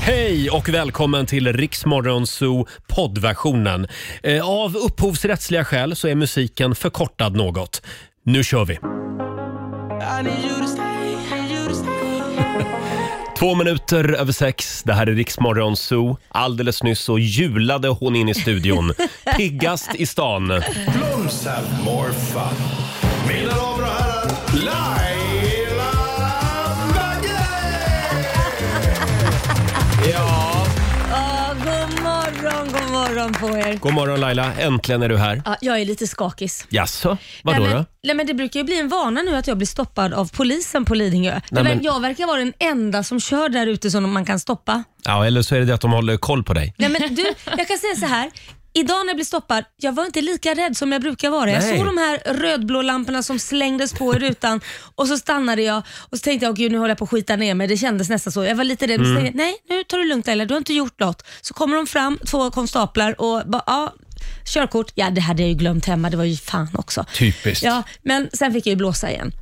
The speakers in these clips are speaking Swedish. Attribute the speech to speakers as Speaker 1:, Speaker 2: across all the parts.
Speaker 1: Hej och välkommen till Riksmorgon Zoo poddversionen. Eh, Av upphovsrättsliga skäl så är musiken förkortad något. Nu kör vi! Två minuter över sex, det här är Riksmorgon Zoo. Alldeles nyss så julade hon in i studion. Piggast i stan.
Speaker 2: Blooms have more fun. Mina damer och herrar, Laila Bagge!
Speaker 1: Ja.
Speaker 3: Ja, god morgon, god morgon på er.
Speaker 1: God morgon Laila, äntligen är du här.
Speaker 3: Ja, jag är lite skakis.
Speaker 1: Jaså, vadå
Speaker 3: nej,
Speaker 1: då?
Speaker 3: men, nej, men det brukar ju bli en vana nu att jag blir stoppad av polisen på Lidingö.
Speaker 1: Nej,
Speaker 3: Nej,
Speaker 1: men-
Speaker 3: Jag verkar vara den enda som kör där ute som man kan stoppa.
Speaker 1: Ja, eller så är det det att de håller koll på dig.
Speaker 3: Nej, men du, jag kan säga så här. Idag när jag blev stoppad, jag var inte lika rädd som jag brukar vara.
Speaker 1: Nej.
Speaker 3: Jag såg de här rödblå lamporna som slängdes på i rutan och så stannade jag och så tänkte jag, "Åh, gud nu håller jag på att skita ner mig. Det kändes nästan så. Jag var lite rädd.
Speaker 1: Mm.
Speaker 3: Mm. Nej, nu tar du det lugnt eller du har inte gjort något. Så kommer de fram, två konstaplar och bara, ja, körkort. Ja, det hade jag ju glömt hemma. Det var ju fan också.
Speaker 1: Typiskt.
Speaker 3: Ja, men sen fick jag ju blåsa igen.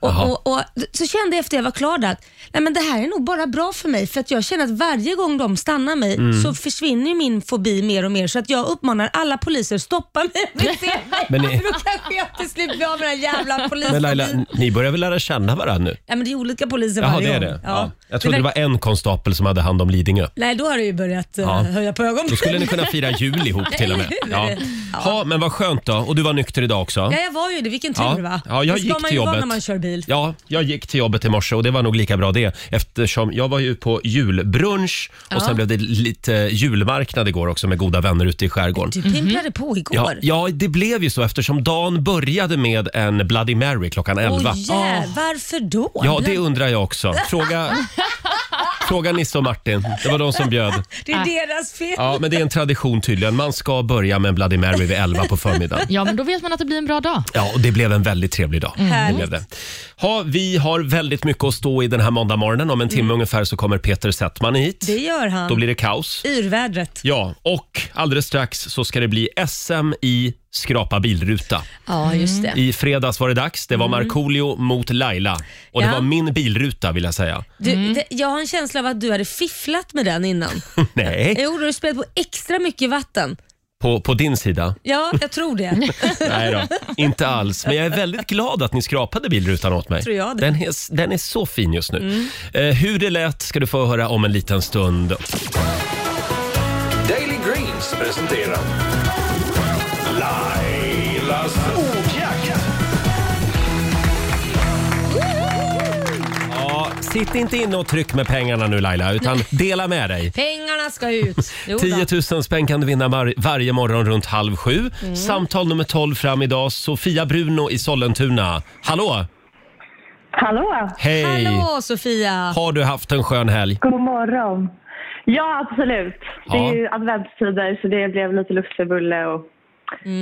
Speaker 1: Jaha.
Speaker 3: Och, och, och, så kände jag efter jag var klar där att nej, men det här är nog bara bra för mig för att jag känner att varje gång de stannar mig
Speaker 1: Mm.
Speaker 3: så försvinner ju min fobi mer och mer så att jag uppmanar alla poliser stoppa mig om ni ser mig.
Speaker 1: Men ni-
Speaker 3: För då kanske jag till slut blir av med den här jävla polisen.
Speaker 1: Men Laila, n- ni börjar väl lära känna varandra nu?
Speaker 3: Ja, men det är olika poliser
Speaker 1: Jaha,
Speaker 3: varje
Speaker 1: det är
Speaker 3: gång.
Speaker 1: det. Ja. Jag
Speaker 3: Men
Speaker 1: trodde det var en konstapel som hade hand om Lidingö.
Speaker 3: Nej, då har det ju börjat eh,
Speaker 1: Ja.
Speaker 3: höja på ögonbrynen.
Speaker 1: Då skulle ni kunna fira jul ihop till och med.
Speaker 3: Ja.
Speaker 1: Ja. Ha, men vad skönt då. Och du var nykter idag också?
Speaker 3: ja, jag var ju det. Vilken tur
Speaker 1: Ja.
Speaker 3: va?
Speaker 1: Ja, jag
Speaker 3: det ska
Speaker 1: gick
Speaker 3: man
Speaker 1: till
Speaker 3: ju vara
Speaker 1: jobbet.
Speaker 3: när man kör bil.
Speaker 1: Ja, jag gick till jobbet i morse och det var nog lika bra det eftersom jag var ju på julbrunch och
Speaker 3: Ja.
Speaker 1: sen blev det lite julmarknad igår också med goda vänner ute i
Speaker 3: Du
Speaker 1: skärgården.
Speaker 3: pimplade på igår.
Speaker 1: Ja, ja, det blev ju så eftersom dagen började med en Bloody Mary klockan 11.
Speaker 3: Åh, jä- varför då?
Speaker 1: Ja, det undrar jag också. Fråga, fråga Nisse och Martin. Det var de som bjöd.
Speaker 3: Det är deras fel.
Speaker 1: Ja, men det är en tradition tydligen. Man ska börja med en Bloody Mary vid 11 på förmiddagen.
Speaker 4: Ja, men då vet man att det blir en bra dag.
Speaker 1: Ja, och det blev en väldigt trevlig dag.
Speaker 4: Mm.
Speaker 1: Det
Speaker 4: Härligt.
Speaker 1: blev det. Ha, vi har väldigt mycket att stå i den här måndagmorgonen. Om en timme ungefär så kommer Peter Settman hit.
Speaker 3: Mm. Det gör han.
Speaker 1: Då blir det kaos.
Speaker 3: Yrvädret.
Speaker 1: Ja, och alldeles strax så ska det bli SM i skrapa bilruta.
Speaker 3: Ja, just det.
Speaker 1: I fredags var det dags. Det var Markoolio mot Laila. Och det
Speaker 3: Ja.
Speaker 1: var min bilruta vill jag säga.
Speaker 3: Du, det, jag har en känsla av att du hade fifflat med den innan.
Speaker 1: Nej,
Speaker 3: Jo, du har spelat på extra mycket vatten.
Speaker 1: på, på din sida.
Speaker 3: Ja, jag tror det.
Speaker 1: Nej då, inte alls. Men jag är väldigt glad att ni skrapade bilrutan åt mig.
Speaker 3: Tror jag det. Mm.
Speaker 1: Den, är, den är så fin just nu. Eh, hur det lät ska du få höra om en liten stund.
Speaker 2: Daily Greens presenterar Lailas ordjakt.
Speaker 1: Ja, sitt inte inne och tryck med pengarna nu Laila, utan dela med dig.
Speaker 3: Pengarna ska ut. Jo,
Speaker 1: 10
Speaker 3: då.
Speaker 1: 000 spänn kan du vinna var, varje morgon runt halv sju.
Speaker 3: Mm.
Speaker 1: Samtal nummer 12 fram idag. Sofia Bruno i Sollentuna. Hallå!
Speaker 5: Hallå!
Speaker 1: Hej!
Speaker 3: Hallå Sofia!
Speaker 1: Har du haft en skön helg?
Speaker 5: God morgon! Ja, absolut. Det
Speaker 1: Ja.
Speaker 5: är ju adventstider så det blev lite luftbulle och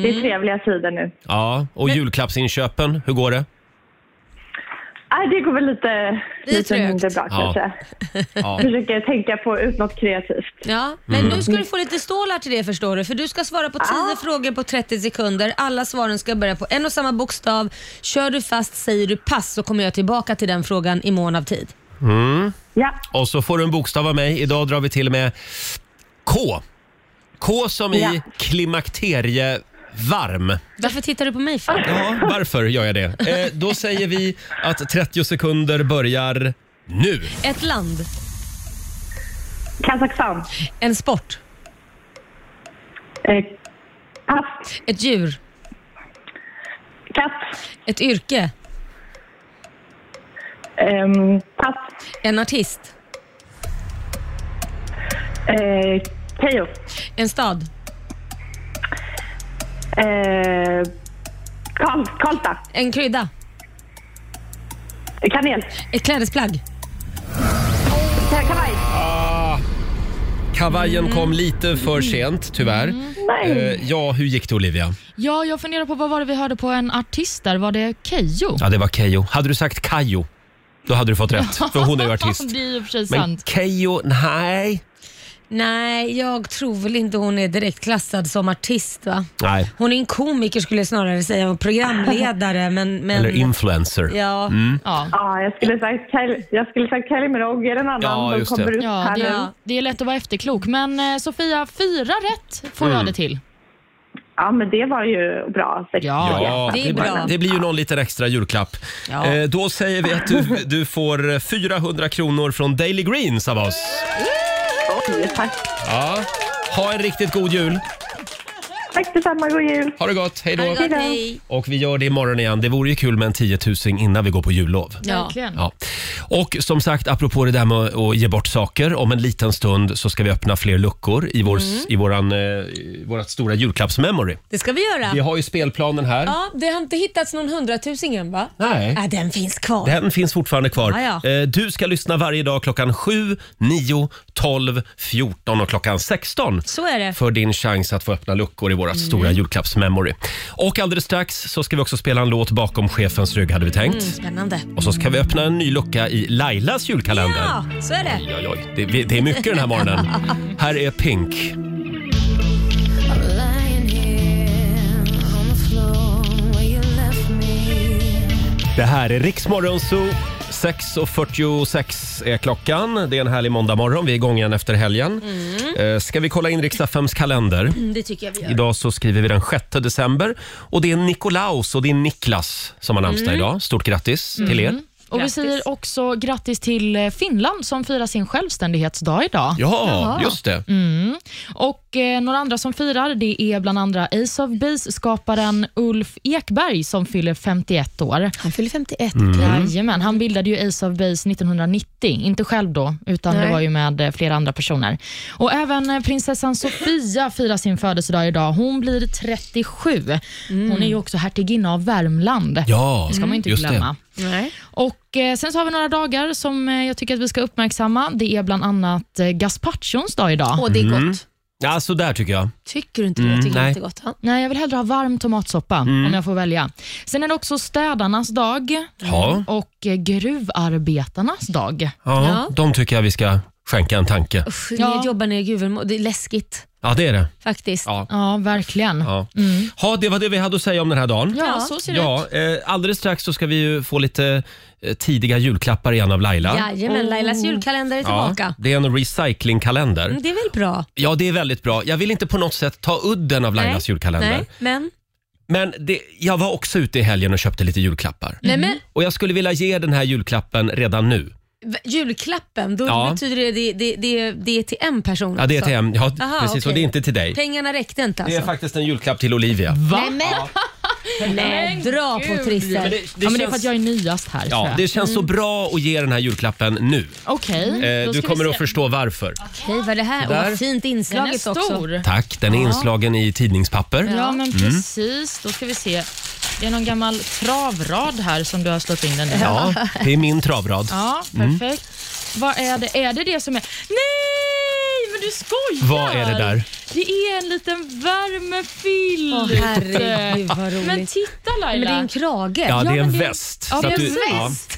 Speaker 5: det är trevliga tider nu.
Speaker 1: Ja, och julklappsinköpen, hur går det?
Speaker 5: Nej, det går väl lite, lite mindre bra
Speaker 1: Ja.
Speaker 5: kanske.
Speaker 1: Ja.
Speaker 5: Försöker tänka på ut något kreativt.
Speaker 3: Ja, men
Speaker 1: Mm.
Speaker 3: nu ska du få lite stålar till det förstår du, för du ska svara på 10 frågor på 30 sekunder. Alla svaren ska börja på en och samma bokstav. Kör du fast, säger du pass, så kommer jag tillbaka till den frågan i mån av tid.
Speaker 1: Mm.
Speaker 5: Ja.
Speaker 1: Och så får du en bokstav av mig. Idag drar vi till med K. K som i
Speaker 3: Ja.
Speaker 1: klimakterievarm.
Speaker 3: Varför tittar du på mig för?
Speaker 1: Ja, varför gör jag det? Eh, då säger vi att 30 sekunder börjar nu.
Speaker 3: Ett land.
Speaker 5: Kazakstan.
Speaker 3: En sport.
Speaker 5: Eh,
Speaker 3: Ett djur.
Speaker 5: Katt.
Speaker 3: Ett yrke.
Speaker 5: Ehm, pass.
Speaker 3: En artist.
Speaker 5: Eh, Keyyo.
Speaker 3: En stad.
Speaker 5: Eh, Karl- Karlstad.
Speaker 3: En krydda.
Speaker 5: Kanel.
Speaker 3: Ett klädesplagg.
Speaker 5: Ka- Kavaj.
Speaker 1: Ah, kavajen
Speaker 3: Mm.
Speaker 1: kom lite för sent, tyvärr. Eh, ja, hur gick det Olivia?
Speaker 4: Ja, jag funderar på vad var det vi hörde på en artist där? Var det Keyyo?
Speaker 1: Ja, det var Kejo. Hade du sagt Kajo, då hade du fått rätt, för hon är ju artist.
Speaker 4: det är ju i och för sig
Speaker 1: Men
Speaker 4: sant.
Speaker 1: Kejo, nej.
Speaker 3: Nej, jag tror väl inte hon är direkt klassad som artist va?
Speaker 1: Nej.
Speaker 3: Hon är en komiker skulle jag snarare säga, och programledare men... men
Speaker 1: Eller influencer. Mm.
Speaker 3: Ja.
Speaker 4: Ja.
Speaker 5: Ja, jag skulle sagt Kylie, jag skulle sagt Kylie Minogue eller en annan
Speaker 1: Ja,
Speaker 5: som
Speaker 1: just
Speaker 5: kommer
Speaker 1: det.
Speaker 5: ut
Speaker 4: Ja,
Speaker 5: här nu.
Speaker 4: det, det är lätt att vara efterklok. Men eh, Sofia, fyra rätt får
Speaker 1: Mm.
Speaker 4: jag det till.
Speaker 5: Ja, men det var ju bra. Sex.
Speaker 4: Ja.
Speaker 3: det är
Speaker 1: det, blir-
Speaker 3: bra.
Speaker 1: det blir ju någon liten extra julklapp.
Speaker 4: Ja.
Speaker 1: Eh, då säger vi att du, du får 400 kronor från Daily Greens av oss.
Speaker 5: Oj, tack.
Speaker 1: Ja. Ha en riktigt god jul.
Speaker 5: Tack detsamma, god jul.
Speaker 1: Ha det gott. Hej då.
Speaker 3: Herregud, hej.
Speaker 1: Och vi gör det imorgon igen. Det vore ju kul med en 10 000 innan vi går på jullov.
Speaker 3: Ja.
Speaker 4: Verkligen.
Speaker 1: Ja. Och som sagt, apropå det där med att ge bort saker. Om en liten stund så ska vi öppna fler luckor i, vår, i våran, eh, i vårt stora julklappsmemory.
Speaker 3: Mm. Det ska vi göra.
Speaker 1: Vi har ju spelplanen här.
Speaker 3: Ja, det har inte hittats någon hundratusing än va?
Speaker 1: Nej.
Speaker 3: Ja, den finns kvar.
Speaker 1: Den finns fortfarande kvar.
Speaker 3: Ja, ja.
Speaker 1: Eh, Du ska lyssna varje dag klockan 7, 9, 12, 14 och klockan 16
Speaker 3: Så är det. Mm.
Speaker 1: för din chans att få öppna luckor i vårt stora julklappsmemory. Och alldeles strax så ska vi också spela en låt bakom chefens rygg hade vi tänkt.
Speaker 3: Mm, Spännande.
Speaker 1: Och så ska vi öppna en ny lucka i Lailas julkalender.
Speaker 3: Ja, så är det.
Speaker 1: Oj, oj, oj. Det, det är mycket den här morgonen. Här är Pink. Det här är Riksmorgon Zoo. 6.46 är klockan. Det är en härlig måndagmorgon. Vi är igång igen efter helgen. Mm. Ska vi kolla in riksdagsfems kalender?
Speaker 3: Mm, Det tycker jag vi gör.
Speaker 1: Idag så skriver vi den 6 december. Och det är Nikolaus och det är Niklas som har namnsdag
Speaker 4: Mm.
Speaker 1: idag. Stort grattis till er.
Speaker 4: Och vi
Speaker 3: Grattis.
Speaker 4: säger också grattis till eh, Finland som firar sin självständighetsdag idag. Mm.
Speaker 1: Ja, just det.
Speaker 4: Och eh, några andra som firar det är bland andra Ace of Base-skaparen Ulf Ekberg som fyller 51 år.
Speaker 3: Han fyller 51.
Speaker 1: Mm.
Speaker 4: Jajamän, han bildade ju Ace of Base 1990, inte själv då, utan det var ju med eh, flera andra personer. Och Även eh, prinsessan Sofia firar sin födelsedag idag. Hon blir 37.
Speaker 3: Mm.
Speaker 4: Hon är ju också hertiginna av Värmland.
Speaker 1: Ja, Mm.
Speaker 4: Det ska man ju inte
Speaker 1: just
Speaker 4: glömma.
Speaker 1: Det.
Speaker 3: Nej.
Speaker 4: Och eh, Sen så har vi några dagar som eh, jag tycker att vi ska uppmärksamma. Det är bland annat eh, gazpachons dag idag.
Speaker 3: Och det är gott.
Speaker 1: Mm. Ja, så där tycker jag.
Speaker 3: Tycker du inte det? Jag tycker
Speaker 1: Mm, nej. Mm.
Speaker 3: inte gott. Ja.
Speaker 4: Nej, jag vill hellre ha varm tomatsoppa om jag får välja. Sen är det också städarnas dag
Speaker 1: Ja.
Speaker 4: och eh, gruvarbetarnas dag.
Speaker 1: Ja,
Speaker 3: Ja.
Speaker 1: De tycker jag vi ska skänka en tanke.
Speaker 3: Usch,
Speaker 4: Ja.
Speaker 3: ni jobbar nere i gruvorna. Det är läskigt
Speaker 1: Ja, det är det.
Speaker 4: Mm.
Speaker 3: faktiskt.
Speaker 1: Ja.
Speaker 4: Ja, verkligen. Mm.
Speaker 1: Ja. Ha, det var det vi hade att säga om den här dagen.
Speaker 4: Ja, så ser det ut.
Speaker 1: Ja, eh, alldeles strax så ska vi ju få lite eh, tidiga julklappar igen av Laila.
Speaker 3: Jajamän, Lailas
Speaker 4: Oh.
Speaker 3: julkalender är
Speaker 1: Ja,
Speaker 3: tillbaka.
Speaker 1: det är en recyclingkalender.
Speaker 3: Mm, Det är väl bra?
Speaker 1: Ja, det är väldigt bra. Jag vill inte på något sätt ta udden av Lailas julkalender. Mm.
Speaker 3: Nej, men.
Speaker 1: Men det, jag var också ute i helgen och köpte lite julklappar.
Speaker 3: Nej, men
Speaker 1: Och jag skulle vilja ge den här julklappen redan nu.
Speaker 3: v- julklappen, då
Speaker 1: Ja.
Speaker 3: betyder det det, det, det det är till en person.
Speaker 1: Ja, det är
Speaker 3: alltså.
Speaker 1: till en, ja,
Speaker 3: Aha,
Speaker 1: precis.
Speaker 3: okej.
Speaker 1: Och det är inte till dig.
Speaker 3: Pengarna räckte inte
Speaker 1: Det
Speaker 3: alltså.
Speaker 1: är faktiskt en julklapp till Olivia.
Speaker 4: Va?
Speaker 3: Nej, dra på
Speaker 1: Men
Speaker 3: trissen.
Speaker 4: ja, men det är för att jag är nyast här. tror
Speaker 1: Ja,
Speaker 4: jag. Mm.
Speaker 1: det känns så bra att ge den här julklappen nu.
Speaker 4: Okej,
Speaker 1: Eh,
Speaker 4: då
Speaker 1: du
Speaker 4: ska
Speaker 1: kommer
Speaker 4: vi
Speaker 1: att
Speaker 4: se.
Speaker 1: förstå varför.
Speaker 3: Okej, vad är det här?
Speaker 1: Där.
Speaker 3: Åh, vad fint
Speaker 4: Den är
Speaker 3: inslaget också.
Speaker 4: stor.
Speaker 1: Tack, den är inslagen i tidningspapper. Mm.
Speaker 4: Ja, men precis. Då ska vi se. Det är någon gammal travrad här som du har slått in den i.
Speaker 1: Ja, Mm. det är min travrad.
Speaker 4: Ja, perfekt. Vad är det? Är det det som är... Nej, men du skojar!
Speaker 1: Vad är det där?
Speaker 4: Det är en liten värmefilt.
Speaker 3: Åh, herregud, vad roligt.
Speaker 4: Men titta
Speaker 3: Men
Speaker 4: Laila.
Speaker 3: det är en krage.
Speaker 1: Ja, det är
Speaker 4: men
Speaker 1: en
Speaker 4: det-
Speaker 1: väst.
Speaker 4: Ja,
Speaker 1: Så att
Speaker 4: men
Speaker 1: du-
Speaker 4: en
Speaker 1: ja.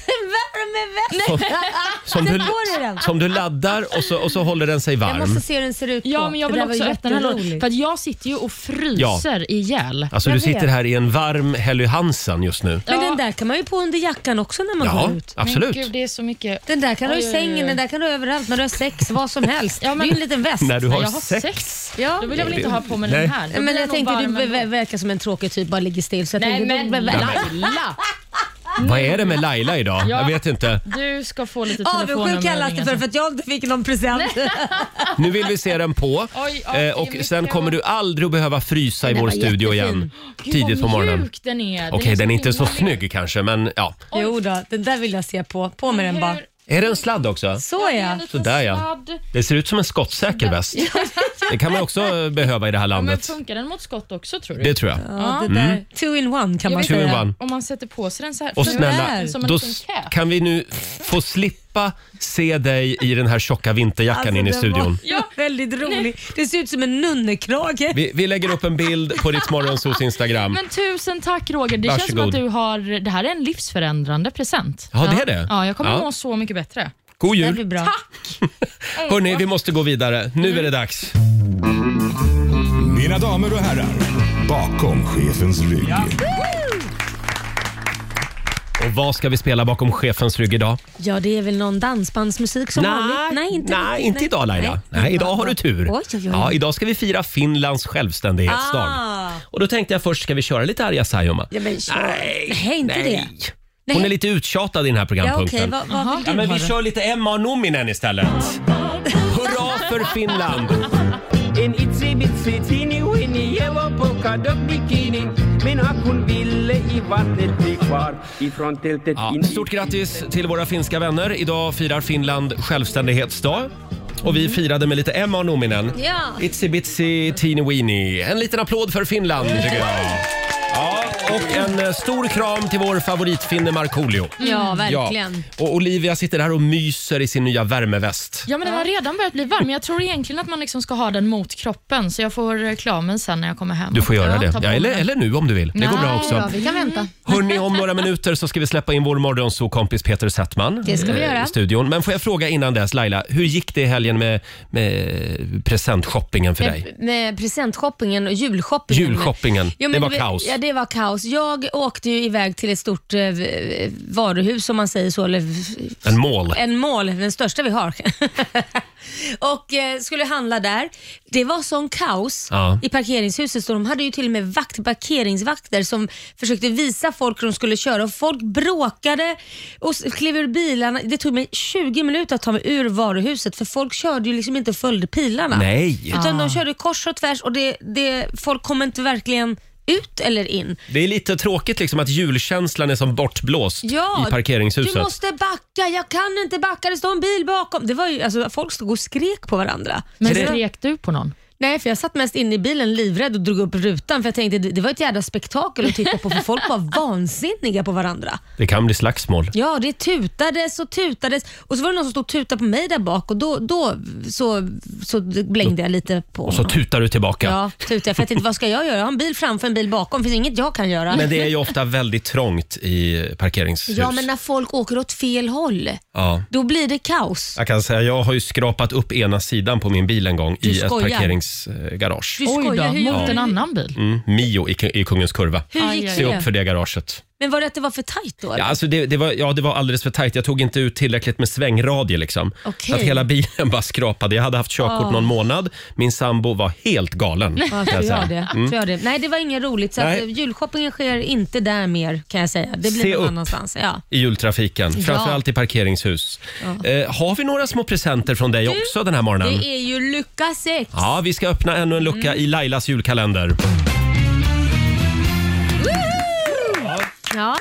Speaker 3: Värmeväst!
Speaker 1: Som- Som du,
Speaker 3: går i den.
Speaker 1: som du laddar och så, och så håller den sig
Speaker 3: Jag
Speaker 1: varm.
Speaker 3: måste se hur den ser ut
Speaker 4: Ja,
Speaker 3: på.
Speaker 4: men jag
Speaker 3: Det
Speaker 4: vill
Speaker 3: där var
Speaker 4: också öppna den här lådan.
Speaker 3: jätteroligt.
Speaker 4: För att jag sitter ju och fryser ihjäl.
Speaker 1: Alltså du
Speaker 3: jag
Speaker 1: sitter
Speaker 3: vet.
Speaker 1: här i en varm Helly Hansen just nu.
Speaker 3: Men
Speaker 4: Ja.
Speaker 3: den där kan man ju på under jackan också när man
Speaker 1: Ja,
Speaker 3: går ut.
Speaker 1: absolut.
Speaker 4: Men gud, det är så mycket.
Speaker 3: Den där kan du ha i
Speaker 4: Oj, oj, oj.
Speaker 3: sängen, den där kan du ha överallt när du har sex, vad som helst.
Speaker 4: Ja, men-
Speaker 3: Det är ju en liten väst.
Speaker 1: När du
Speaker 4: Nej,
Speaker 1: har,
Speaker 4: jag har sex.
Speaker 3: Ja.
Speaker 4: Då vill jag väl inte ha på mig
Speaker 1: Nej.
Speaker 4: den här. Då blir
Speaker 3: Men jag
Speaker 4: nog
Speaker 3: tänkte du
Speaker 4: varm ändå.
Speaker 3: be- verkar som en tråkig typ, bara ligger still. Så jag
Speaker 4: Nej
Speaker 3: tänkte,
Speaker 4: men
Speaker 3: då-
Speaker 4: Laila!
Speaker 1: Vad är det med Laila idag?
Speaker 4: Ja.
Speaker 1: Jag vet inte.
Speaker 4: Du ska få lite telefonnummer.
Speaker 3: Avundsjuk
Speaker 4: och
Speaker 3: kallas det
Speaker 4: ringa
Speaker 3: för,
Speaker 4: sen.
Speaker 3: för att jag inte fick någon present.
Speaker 1: Nu vill vi se den på.
Speaker 4: Oj, ja, det
Speaker 1: Eh,
Speaker 4: är
Speaker 1: och
Speaker 4: mycket
Speaker 1: sen kommer du aldrig att behöva frysa i
Speaker 3: Den
Speaker 1: vår
Speaker 3: var
Speaker 1: studio igen
Speaker 3: jättefin.
Speaker 4: Gud,
Speaker 1: tidigt på
Speaker 4: vad
Speaker 1: morgonen.
Speaker 4: mjuk den är.
Speaker 1: Okej, den är inte så
Speaker 4: himla mjuk.
Speaker 1: snygg kanske, men ja.
Speaker 3: jo då, den där vill jag se på. På med den bara.
Speaker 4: Hur-
Speaker 1: Är det en sladd också?
Speaker 3: Så
Speaker 4: det är en
Speaker 3: ja.
Speaker 4: liten
Speaker 1: Sådär, ja.
Speaker 4: sladd.
Speaker 1: Det ser ut som en skottsäker väst. Det kan man också eh, behöva i det här
Speaker 4: Men
Speaker 1: landet.
Speaker 4: funkar den mot skott också tror du?
Speaker 1: Det tror jag. Mm.
Speaker 3: ja det där. Two in one kan man
Speaker 1: Two in
Speaker 3: säga.
Speaker 1: one.
Speaker 4: Om man sätter på sig den så här.
Speaker 1: Och
Speaker 4: för den är
Speaker 1: snälla,
Speaker 4: som en
Speaker 1: då
Speaker 4: liten
Speaker 1: s-
Speaker 4: cap.
Speaker 1: kan vi nu få slippa se dig i den här tjocka vinterjackan
Speaker 3: Alltså,
Speaker 1: in i
Speaker 3: den
Speaker 1: studion.
Speaker 3: var väldigt rolig. Det ser ut som en nunnekrage.
Speaker 1: Vi, vi lägger upp en bild på Rix Morgonzos Instagram.
Speaker 4: Men tusen tack Roger. Det känns som
Speaker 1: Varsågod.
Speaker 4: att du har, det här är en livsförändrande present.
Speaker 1: Ja, det är det.
Speaker 4: Ja, jag kommer
Speaker 1: Ja.
Speaker 4: må så mycket bättre.
Speaker 1: God
Speaker 3: Det
Speaker 1: jul!
Speaker 3: blir bra.
Speaker 1: Hörni, vi måste gå vidare. Nu är
Speaker 4: Mm.
Speaker 1: det dags.
Speaker 2: Mina damer och herrar, bakom chefens rygg.
Speaker 1: Och vad ska vi spela bakom chefens rygg idag?
Speaker 3: Ja, det är väl någon dansbandsmusik som vanligt?
Speaker 1: nej,
Speaker 3: inte,
Speaker 1: nej,
Speaker 3: riktigt,
Speaker 1: inte idag Laila. Nej. idag har du tur.
Speaker 3: Oj, oj, oj.
Speaker 1: Ja, idag ska vi fira Finlands självständighetsdag.
Speaker 3: Ah.
Speaker 1: Och då tänkte jag först, ska vi köra lite Arja Saijonmaa?
Speaker 3: Ja, men, kör.
Speaker 1: Nej,
Speaker 3: Nej, inte
Speaker 1: nej.
Speaker 3: det.
Speaker 1: Hon
Speaker 3: Nej.
Speaker 1: är lite uttjatad i den här
Speaker 3: Ja, okej.
Speaker 1: programpunkten.
Speaker 3: Vad, vad vill
Speaker 1: Ja,
Speaker 3: du
Speaker 1: men
Speaker 3: ha
Speaker 1: vi
Speaker 3: då?
Speaker 1: kör lite Emma Nominen istället. Hurra för Finland!
Speaker 6: En itse bitse teeny weeny yellow polka dot bikini Min hackon ville i vattnet bli kvar ifrån tältet
Speaker 1: Ja,
Speaker 6: in
Speaker 1: stort grattis till våra finska vänner. Idag firar Finland självständighetsdag. Och vi firade med lite Emma Nominen.
Speaker 3: Ja.
Speaker 1: Itsy bitsy teeny weeny. En liten applåd för Finland tycker jag. Ja, och en eh, stor kram till vår favoritfinne Markoolio. Mm.
Speaker 3: Ja, verkligen.
Speaker 1: Och Olivia sitter här och myser i sin nya värmeväst.
Speaker 4: Ja, men den har redan börjat bli varm. men Jag tror egentligen att man liksom ska ha den mot kroppen, så jag får eh, klara mig sen när jag kommer hem.
Speaker 1: Du får göra
Speaker 4: Ja, ta
Speaker 1: det.
Speaker 4: på
Speaker 1: Ja,
Speaker 4: mig
Speaker 1: eller,
Speaker 4: den.
Speaker 1: eller nu om du vill. Det går bra också.
Speaker 7: Ja, vi kan vänta.
Speaker 1: Hörni, om några minuter så ska vi släppa in vår morgonsokompis Peter Settman
Speaker 3: Det ska vi
Speaker 1: eh,
Speaker 3: göra.
Speaker 1: i studion. Men får jag fråga innan dess, Laila, hur gick det i helgen med, med presentshoppingen för dig?
Speaker 3: Med, med presentshoppingen och julshoppingen.
Speaker 1: Julshoppingen,
Speaker 3: Jo, men
Speaker 1: det var
Speaker 3: du vet-
Speaker 1: kaos.
Speaker 3: Ja, det var kaos. Jag åkte ju iväg till ett stort eh, v- varuhus, om man säger så, eller
Speaker 1: En mål.
Speaker 3: en mål, den största vi har. och eh, skulle handla där. Det var sån kaos
Speaker 1: Ja.
Speaker 3: i parkeringshuset. Så de hade ju till och med vakt, parkeringsvakter som försökte visa folk hur de skulle köra. Och folk bråkade och s- klev ur bilarna. Det tog mig 20 minuter att ta mig ur varuhuset för folk körde ju liksom inte och följde pilarna.
Speaker 1: Nej.
Speaker 3: Utan de körde kors och tvärs och det, det, folk kom inte verkligen ut eller in.
Speaker 1: Det är lite tråkigt liksom att julkänslan är som bortblåst i parkeringshuset.
Speaker 3: Du måste backa, jag kan inte backa, det står en bil bakom. Det var ju, alltså, folk stod och skrek på varandra.
Speaker 4: Men
Speaker 1: Är det-
Speaker 4: skrek du på någon?
Speaker 3: Nej, för jag satt mest inne i bilen livrädd och drog upp rutan för jag tänkte det det var ett jävla spektakel att titta på för folk var vansinniga på varandra.
Speaker 1: Det kan bli slagsmål.
Speaker 3: Ja, det tutades och tutades och så var det någon som stod och tutade på mig där bak och då, då så, så blängde jag lite på
Speaker 1: Och så
Speaker 3: honom.
Speaker 1: tutar du tillbaka.
Speaker 3: Ja, tutade jag för jag tänkte vad ska jag göra? Jag har en bil framför en bil bakom, finns inget jag kan göra.
Speaker 1: Men det är ju ofta väldigt trångt i parkeringshus.
Speaker 3: Ja, men när folk åker åt fel håll,
Speaker 1: Ja.
Speaker 3: då blir det kaos.
Speaker 1: Jag kan säga, jag har ju skrapat upp ena sidan på min bil en gång
Speaker 3: Du
Speaker 1: i ett
Speaker 3: skojar.
Speaker 1: parkeringsgarage.
Speaker 3: Du
Speaker 4: Oj
Speaker 3: skojar,
Speaker 4: då,
Speaker 3: hur, gjorde
Speaker 4: mot
Speaker 3: du?
Speaker 4: en annan bil.
Speaker 1: Mm, Mio i, i Kungens Kurva.
Speaker 3: hur
Speaker 4: Aj,
Speaker 3: gick
Speaker 4: aj,
Speaker 1: Se
Speaker 3: det?
Speaker 1: upp för det garaget.
Speaker 3: Men var det att det var för tajt då?
Speaker 1: Ja,
Speaker 3: eller?
Speaker 1: alltså det, det, var, ja, det var alldeles för tajt. Jag tog inte ut tillräckligt med svängradie. Liksom.
Speaker 3: Okej.
Speaker 1: Så att hela bilen bara skrapade. Jag hade haft körkort
Speaker 3: Ja.
Speaker 1: någon månad. Min sambo var helt galen.
Speaker 3: Ja,
Speaker 1: kan
Speaker 3: tror
Speaker 1: säga. Mm.
Speaker 3: jag det. Tror jag det. Nej, det var inget roligt. Så att
Speaker 1: Nej.
Speaker 3: eh, julshoppingen sker inte där mer kan jag säga. Det
Speaker 1: Se
Speaker 3: blir
Speaker 1: upp.
Speaker 3: någon annanstans. Ja.
Speaker 1: I jultrafiken, framförallt i parkeringshus. Eh, har vi några små presenter från dig också den här morgonen?
Speaker 3: Det är Mm. ju lucka sex.
Speaker 1: Ja, vi ska öppna ännu en lucka i Lailas julkalender.
Speaker 3: Ja.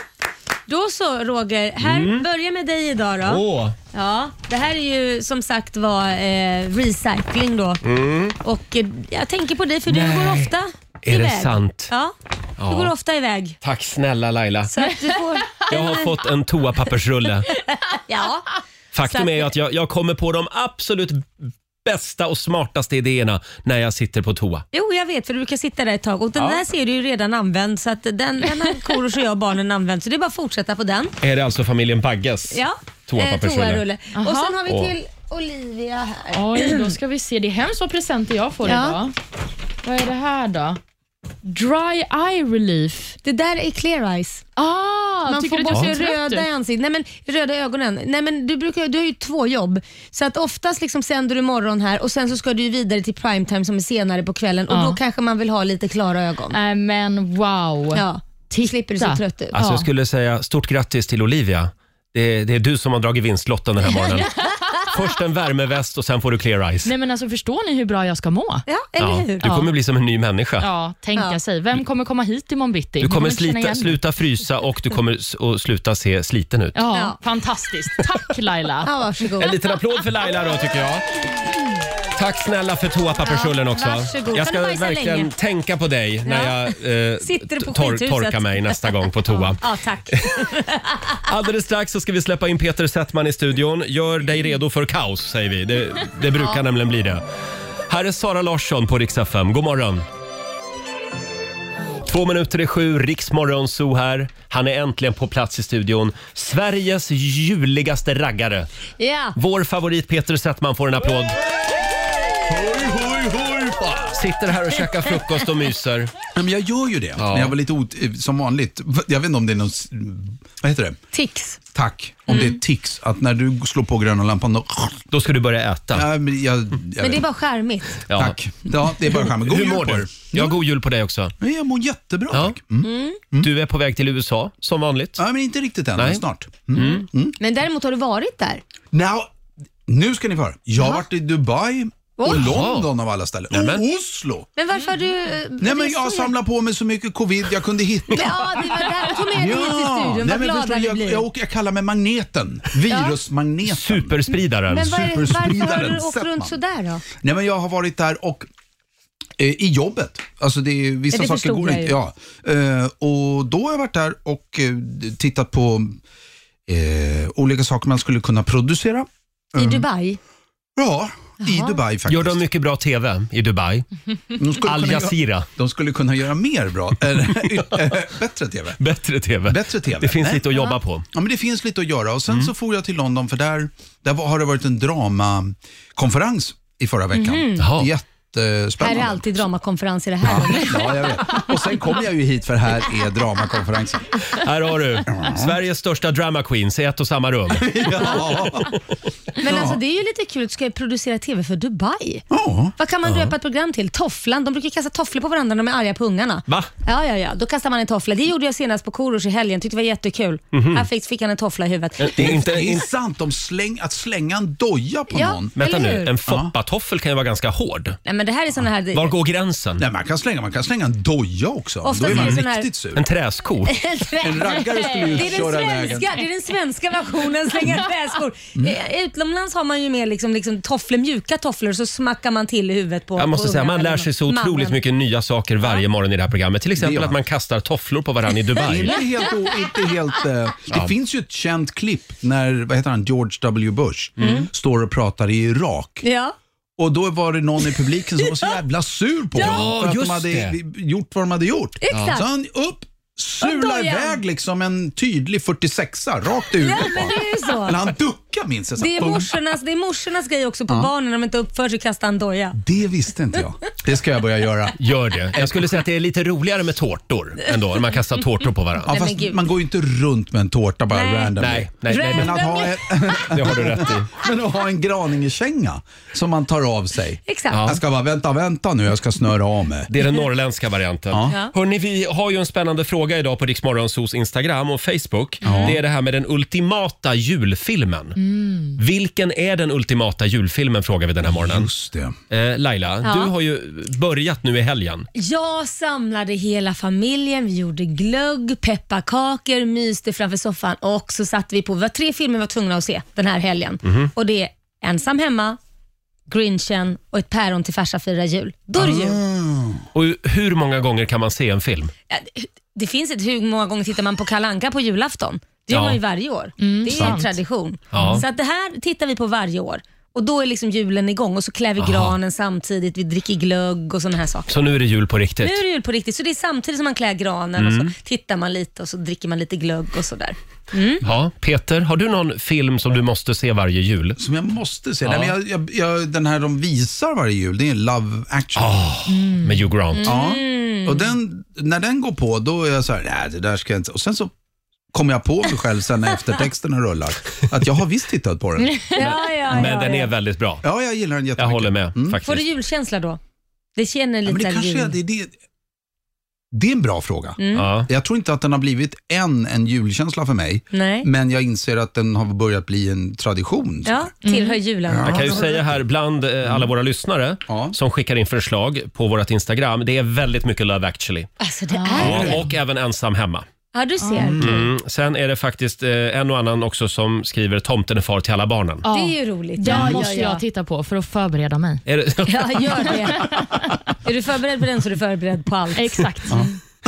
Speaker 3: Då så Roger, här börjar med dig idag då.
Speaker 1: Mm. Åh,
Speaker 3: Ja, det här är ju som sagt var eh, recycling då.
Speaker 1: Mm.
Speaker 3: Och eh, jag tänker på dig för du går ofta
Speaker 1: är
Speaker 3: iväg.
Speaker 1: det sant?
Speaker 3: Ja, du
Speaker 1: Ja.
Speaker 3: går ofta iväg.
Speaker 1: Tack snälla Laila.
Speaker 3: Så att du får,
Speaker 1: Jag har fått en toapappersrulle.
Speaker 3: ja.
Speaker 1: Faktum
Speaker 3: Så att-
Speaker 1: är ju att jag, jag kommer på de absolut bästa och smartaste idéerna när jag sitter på toa.
Speaker 3: Jo, jag vet för du brukar sitta där ett tag och den
Speaker 1: Ja.
Speaker 3: där ser du ju redan använd så att den, den har Korosh och jag och barnen använt så det är bara att fortsätta på den.
Speaker 1: Är det alltså familjen Bagges
Speaker 3: Ja,
Speaker 1: toapappersrulle?
Speaker 3: Eh, toarulle.
Speaker 4: Aha.
Speaker 3: Och sen har
Speaker 1: Åh.
Speaker 3: vi till Olivia här.
Speaker 4: Oj, då ska vi se. Det är hemskt vad presenter jag får
Speaker 3: Ja.
Speaker 4: idag. Vad är det här då? Dry eye relief.
Speaker 3: Det där är clear eyes.
Speaker 4: Ah,
Speaker 3: Man
Speaker 4: tycker
Speaker 3: får
Speaker 4: du att
Speaker 3: bort
Speaker 4: jag ser trött
Speaker 3: röda i
Speaker 4: ut?
Speaker 3: ansiktet. Nej, men röda ögonen. Nej, men du, brukar, du har ju två jobb. Så att oftast liksom sänder du morgon här och sen så ska du ju vidare till primetime som är senare på kvällen och
Speaker 4: Ja.
Speaker 3: då kanske man vill ha lite klara ögon.
Speaker 4: Nej, men wow.
Speaker 3: Ja.
Speaker 4: Titta.
Speaker 3: Slipper du se trött ut.
Speaker 1: Alltså jag
Speaker 4: Ja.
Speaker 1: skulle säga stort grattis till Olivia. Det är, det är du som har dragit vinstlotten den här morgonen. Först en värmeväst och sen får du clear eyes.
Speaker 4: Nej, men alltså, förstår ni hur bra jag ska må?
Speaker 3: Ja, eller
Speaker 1: Ja,
Speaker 3: hur?
Speaker 1: du kommer bli som en ny människa.
Speaker 4: Ja, tänka
Speaker 3: Ja.
Speaker 4: sig. Vem kommer komma hit imorgon bitti?
Speaker 1: Du
Speaker 4: Ni
Speaker 1: kommer
Speaker 4: inte känna
Speaker 1: slita,
Speaker 4: igen mig.
Speaker 1: sluta frysa och du kommer s- och sluta se sliten ut.
Speaker 4: Ja,
Speaker 3: Ja.
Speaker 4: fantastiskt. Tack Laila.
Speaker 3: Ja, varsågod.
Speaker 1: En liten applåd för Laila då tycker jag. Tack snälla för toapappersrullen
Speaker 3: Ja,
Speaker 1: också.
Speaker 3: varsågod.
Speaker 1: Jag
Speaker 3: Kan
Speaker 1: ska
Speaker 3: du bajsa
Speaker 1: verkligen
Speaker 3: länge?
Speaker 1: tänka på dig när jag eh,
Speaker 3: Sitter på
Speaker 1: tor-
Speaker 3: skithuset.
Speaker 1: torkar mig nästa gång på toa.
Speaker 3: Ja, tack.
Speaker 1: Alldeles strax så ska vi släppa in Peter Settman i studion. Gör dig redo för kaos säger vi. Det, det brukar nämligen bli det. Här är Sara Larsson på Rix FM. God morgon! Två minuter i sju, Riksmorgon Zoo här. Han är äntligen på plats i studion. Sveriges juligaste raggare.
Speaker 3: Ja.
Speaker 1: Vår favorit Peter Settman får en applåd.
Speaker 2: Hoj, hoj, hoj!
Speaker 1: Sitter här och käkar frukost och myser.
Speaker 7: Ja, men jag gör ju det. Men jag var lite ot- eh, som vanligt. Jag vet inte om det är någon, s- vad heter det?
Speaker 3: Tics.
Speaker 7: Tack. Om
Speaker 3: Mm.
Speaker 7: det är tics, att när du slår på gröna lampan då...
Speaker 1: Då ska du börja äta.
Speaker 7: Ja, men jag, jag
Speaker 3: Men det
Speaker 7: vet.
Speaker 3: är bara charmigt.
Speaker 1: Ja.
Speaker 7: Tack. Ja, det är bara skämt. God
Speaker 1: Hur
Speaker 7: jul
Speaker 1: mår
Speaker 7: på
Speaker 1: du?
Speaker 7: er. Mm.
Speaker 1: Ja, god jul på dig också.
Speaker 7: Men jag mår jättebra.
Speaker 1: Ja.
Speaker 7: Tack. Mm.
Speaker 1: Du är på väg till USA som vanligt.
Speaker 7: Ja, men inte riktigt än,
Speaker 1: Nej.
Speaker 7: men snart. Mm.
Speaker 3: Men däremot har du varit där.
Speaker 7: Now, nu ska ni få höra. Jag har varit i Dubai och
Speaker 3: Oj.
Speaker 7: London av alla ställen. Och
Speaker 1: Nämen.
Speaker 7: Oslo.
Speaker 3: Men varför har du... eh,
Speaker 7: Nej, men
Speaker 3: rest
Speaker 7: jag
Speaker 3: så
Speaker 7: samlar på mig så mycket covid jag kunde hitta.
Speaker 3: jävla- Ja, det var där. Jag tog med dig hit till
Speaker 7: Nej,
Speaker 3: studion. Vad
Speaker 7: men
Speaker 3: glada
Speaker 7: förstår,
Speaker 3: vi
Speaker 7: jag,
Speaker 3: blir.
Speaker 7: jag, åker- jag kallar mig magneten. Virusmagneten.
Speaker 1: Superspridaren.
Speaker 3: Men vad är, varför har du
Speaker 7: superspridaren
Speaker 3: åkt
Speaker 7: Settman.
Speaker 3: runt sådär då?
Speaker 7: Nej, men jag har varit där och eh, i jobbet. Alltså det är, vissa
Speaker 3: Ja, det
Speaker 7: saker
Speaker 3: förstod
Speaker 7: går
Speaker 3: jag
Speaker 7: inte.
Speaker 3: ju.
Speaker 7: Ja. Eh, och då har jag varit där och eh, tittat på eh, olika saker man skulle kunna producera.
Speaker 3: I Dubai?
Speaker 7: Mm. Ja, i Dubai faktiskt.
Speaker 1: Gör de mycket bra TV i Dubai?
Speaker 7: de, skulle
Speaker 1: Al
Speaker 7: kunna göra,
Speaker 1: Jazeera.
Speaker 7: de skulle kunna göra mer bra, eller, yt- eh, bättre TV.
Speaker 1: Bättre TV.
Speaker 7: Bättre TV.
Speaker 1: Det finns
Speaker 7: Nej.
Speaker 1: lite att jobba på. Mm.
Speaker 7: Ja, men det finns lite att göra och sen så for jag till London för där, där var- har det varit en dramakonferens i förra veckan.
Speaker 1: Jaha.
Speaker 3: Mhm. Här
Speaker 7: Jättespännande.
Speaker 3: är alltid dramakonferens i det här.
Speaker 7: Ja, jag vet. Och sen kom jag ju hit för här är dramakonferensen.
Speaker 1: Här har du Sveriges största drama queens i ett och samma rum.
Speaker 7: Ja.
Speaker 3: Men alltså det är ju lite kul. Ska jag producera TV för Dubai?
Speaker 7: Ja.
Speaker 3: Vad kan man döpa ett program till? Tofflan. De brukar kasta tofflor på varandra när de är arga på ungarna.
Speaker 1: Va?
Speaker 3: Ja, ja, ja. Då kastar man en toffla. Det gjorde jag senast på Korosh i helgen. Tyckte det var jättekul. Här fick, fick han en toffla i huvudet.
Speaker 1: Det är inte...
Speaker 7: Mhm. Det är
Speaker 1: in-
Speaker 7: sant om släng, att slänga en doja på
Speaker 3: Ja.
Speaker 7: någon.
Speaker 1: Vänta
Speaker 3: Eller
Speaker 1: nu,
Speaker 3: hur?
Speaker 1: en foppatoffel kan ju vara ganska hård.
Speaker 3: Nej, men det här är såna här...
Speaker 1: Var går gränsen?
Speaker 7: Nej, man kan slänga, man kan slänga en doja också.
Speaker 3: Ofta
Speaker 7: Då är
Speaker 3: är
Speaker 7: man
Speaker 3: det sån
Speaker 7: riktigt
Speaker 3: här-
Speaker 7: sur.
Speaker 1: En träsko?
Speaker 7: En raggare skulle ju
Speaker 3: Det är, den
Speaker 7: köra vägen. Mm.
Speaker 3: svenska, det är den svenska versionen, slänga träskor. Eh, Utomlands har man ju mer liksom, liksom tofflor, mjuka tofflor, så smackar man till i huvudet på
Speaker 1: Jag måste
Speaker 3: på
Speaker 1: säga, man
Speaker 3: ungarna
Speaker 1: lär
Speaker 3: eller
Speaker 1: sig så
Speaker 3: mannen.
Speaker 1: otroligt mycket nya saker varje morgon i det här programmet. Till
Speaker 7: Det
Speaker 1: exempel
Speaker 7: gör
Speaker 1: att man
Speaker 7: man.
Speaker 1: kastar tofflor på varandra i
Speaker 7: Det är
Speaker 1: Dubai.
Speaker 7: inte helt, o- inte helt, eh, det finns ju ett känt klipp när vad heter han, George W. Bush
Speaker 3: Mm.
Speaker 1: Mm.
Speaker 7: står och pratar i Irak.
Speaker 3: Ja.
Speaker 7: Och då var det någon i publiken som var så jävla sur på honom för att
Speaker 1: just
Speaker 7: de hade
Speaker 1: det.
Speaker 7: gjort vad de hade gjort.
Speaker 3: Exakt.
Speaker 7: Så han upp,
Speaker 3: Upp
Speaker 7: sular
Speaker 3: dojan.
Speaker 7: iväg liksom en tydlig 46a rakt i huvudet
Speaker 3: ja, men det är ju
Speaker 7: på Eller
Speaker 3: så.
Speaker 7: han duckar minns jag. så här,
Speaker 3: Det är
Speaker 7: pum.
Speaker 3: morsornas, det är morsornas grej också på barnen, när de inte uppför sig kastar en doja.
Speaker 7: det visste inte jag. Det ska jag börja göra.
Speaker 1: Gör det. Jag skulle säga att det är lite roligare med tårtor ändå, när man kastar tårtor på varandra.
Speaker 7: Ja,
Speaker 3: men
Speaker 7: fast
Speaker 3: gud.
Speaker 7: man går ju inte runt med en tårta bara
Speaker 3: Nej.
Speaker 7: random.
Speaker 1: Nej, nej, nej,
Speaker 7: Men
Speaker 1: men
Speaker 7: att, ha en,
Speaker 1: det har du rätt i.
Speaker 7: men att ha en Graningekänga som man tar av sig.
Speaker 3: Exakt.
Speaker 1: Ja.
Speaker 7: Jag ska bara vänta, vänta nu, jag ska snöra av mig.
Speaker 1: Det är den norrländska varianten.
Speaker 7: Ja.
Speaker 1: Hörni, vi har ju en spännande fråga idag på Riksmorgonsos Instagram och Facebook. Det är det här med den ultimata julfilmen.
Speaker 7: Mm.
Speaker 3: Mm.
Speaker 1: Vilken är den ultimata julfilmen frågar vi den här morgonen.
Speaker 7: Just det.
Speaker 1: Eh, Laila,
Speaker 3: Ja.
Speaker 1: du har ju börjat nu i helgen.
Speaker 3: Jag samlade hela familjen, vi gjorde glögg, pepparkakor, myste framför soffan och så satte vi på, vi var tre filmer vi var tvungna att se den här helgen.
Speaker 1: Mm.
Speaker 7: Mm-hmm.
Speaker 3: Och det är Ensam hemma, Grinchen och Ett päron till farsa firar jul. Då är det jul.
Speaker 7: Ah. Mm.
Speaker 1: Och hur många gånger kan man se en film?
Speaker 3: Ja, det- Det finns inte hur många gånger tittar man på Kalanka på julafton. Det gör
Speaker 1: Ja.
Speaker 3: man ju varje år.
Speaker 7: Mm,
Speaker 3: det är
Speaker 4: sant.
Speaker 3: tradition.
Speaker 1: Ja.
Speaker 3: Så att det här tittar vi på varje år. Och Då är liksom julen igång och så klär vi granen samtidigt, vi dricker glögg och sådana här saker.
Speaker 1: Så nu är det jul på riktigt. Mm.
Speaker 3: Nu är det jul på riktigt, så det är samtidigt som man klär granen och så tittar man lite och så dricker man lite glögg och sådär.
Speaker 1: Ja, Peter, har du någon film som du måste se varje jul?
Speaker 7: Som jag måste se.
Speaker 1: Ja.
Speaker 7: Nej, men jag, jag, jag, den här de visar varje jul, det är Love Action.
Speaker 1: Ah,
Speaker 7: Mm.
Speaker 1: Med Hugh Grant.
Speaker 7: Ja. Och den, när den går på, då är jag så här, nej det där ska jag inte... Och sen så kommer jag på mig själv sen när eftertexterna rullar, att jag har visst tittat på den.
Speaker 3: Ja, ja,
Speaker 1: Men den är väldigt bra.
Speaker 7: Ja, jag gillar den
Speaker 1: Jag
Speaker 7: jättemycket. Mm.
Speaker 1: håller med
Speaker 3: Får du
Speaker 1: faktiskt. Mm.
Speaker 3: julkänsla då? Det känner
Speaker 7: Ja,
Speaker 3: lite
Speaker 7: men det
Speaker 3: så här
Speaker 7: kanske är,
Speaker 3: jul.
Speaker 7: det, det, det är en bra fråga.
Speaker 3: Mm.
Speaker 1: Ja.
Speaker 7: Jag tror inte att den har blivit än en julkänsla för mig,
Speaker 3: Nej.
Speaker 7: men jag inser att den har börjat bli en tradition.
Speaker 3: Ja, tillhör julen.
Speaker 7: Ja.
Speaker 1: Jag kan ju säga här bland eh, alla våra lyssnare
Speaker 7: Ja.
Speaker 1: som skickar in förslag på vårt Instagram. Det är väldigt mycket Love actually.
Speaker 3: Alltså det är det.
Speaker 1: Ja, och även ensam hemma.
Speaker 3: Ja, du ser.
Speaker 1: Mm. Sen är det faktiskt eh, en och annan också som skriver tomten är far till alla barnen.
Speaker 4: Ja,
Speaker 3: Det är ju roligt.
Speaker 4: Den måste jag titta på för att förbereda mig.
Speaker 1: Är det,
Speaker 3: Ja, gör det. Är du förberedd på den så är du förberedd på allt.
Speaker 4: Exakt.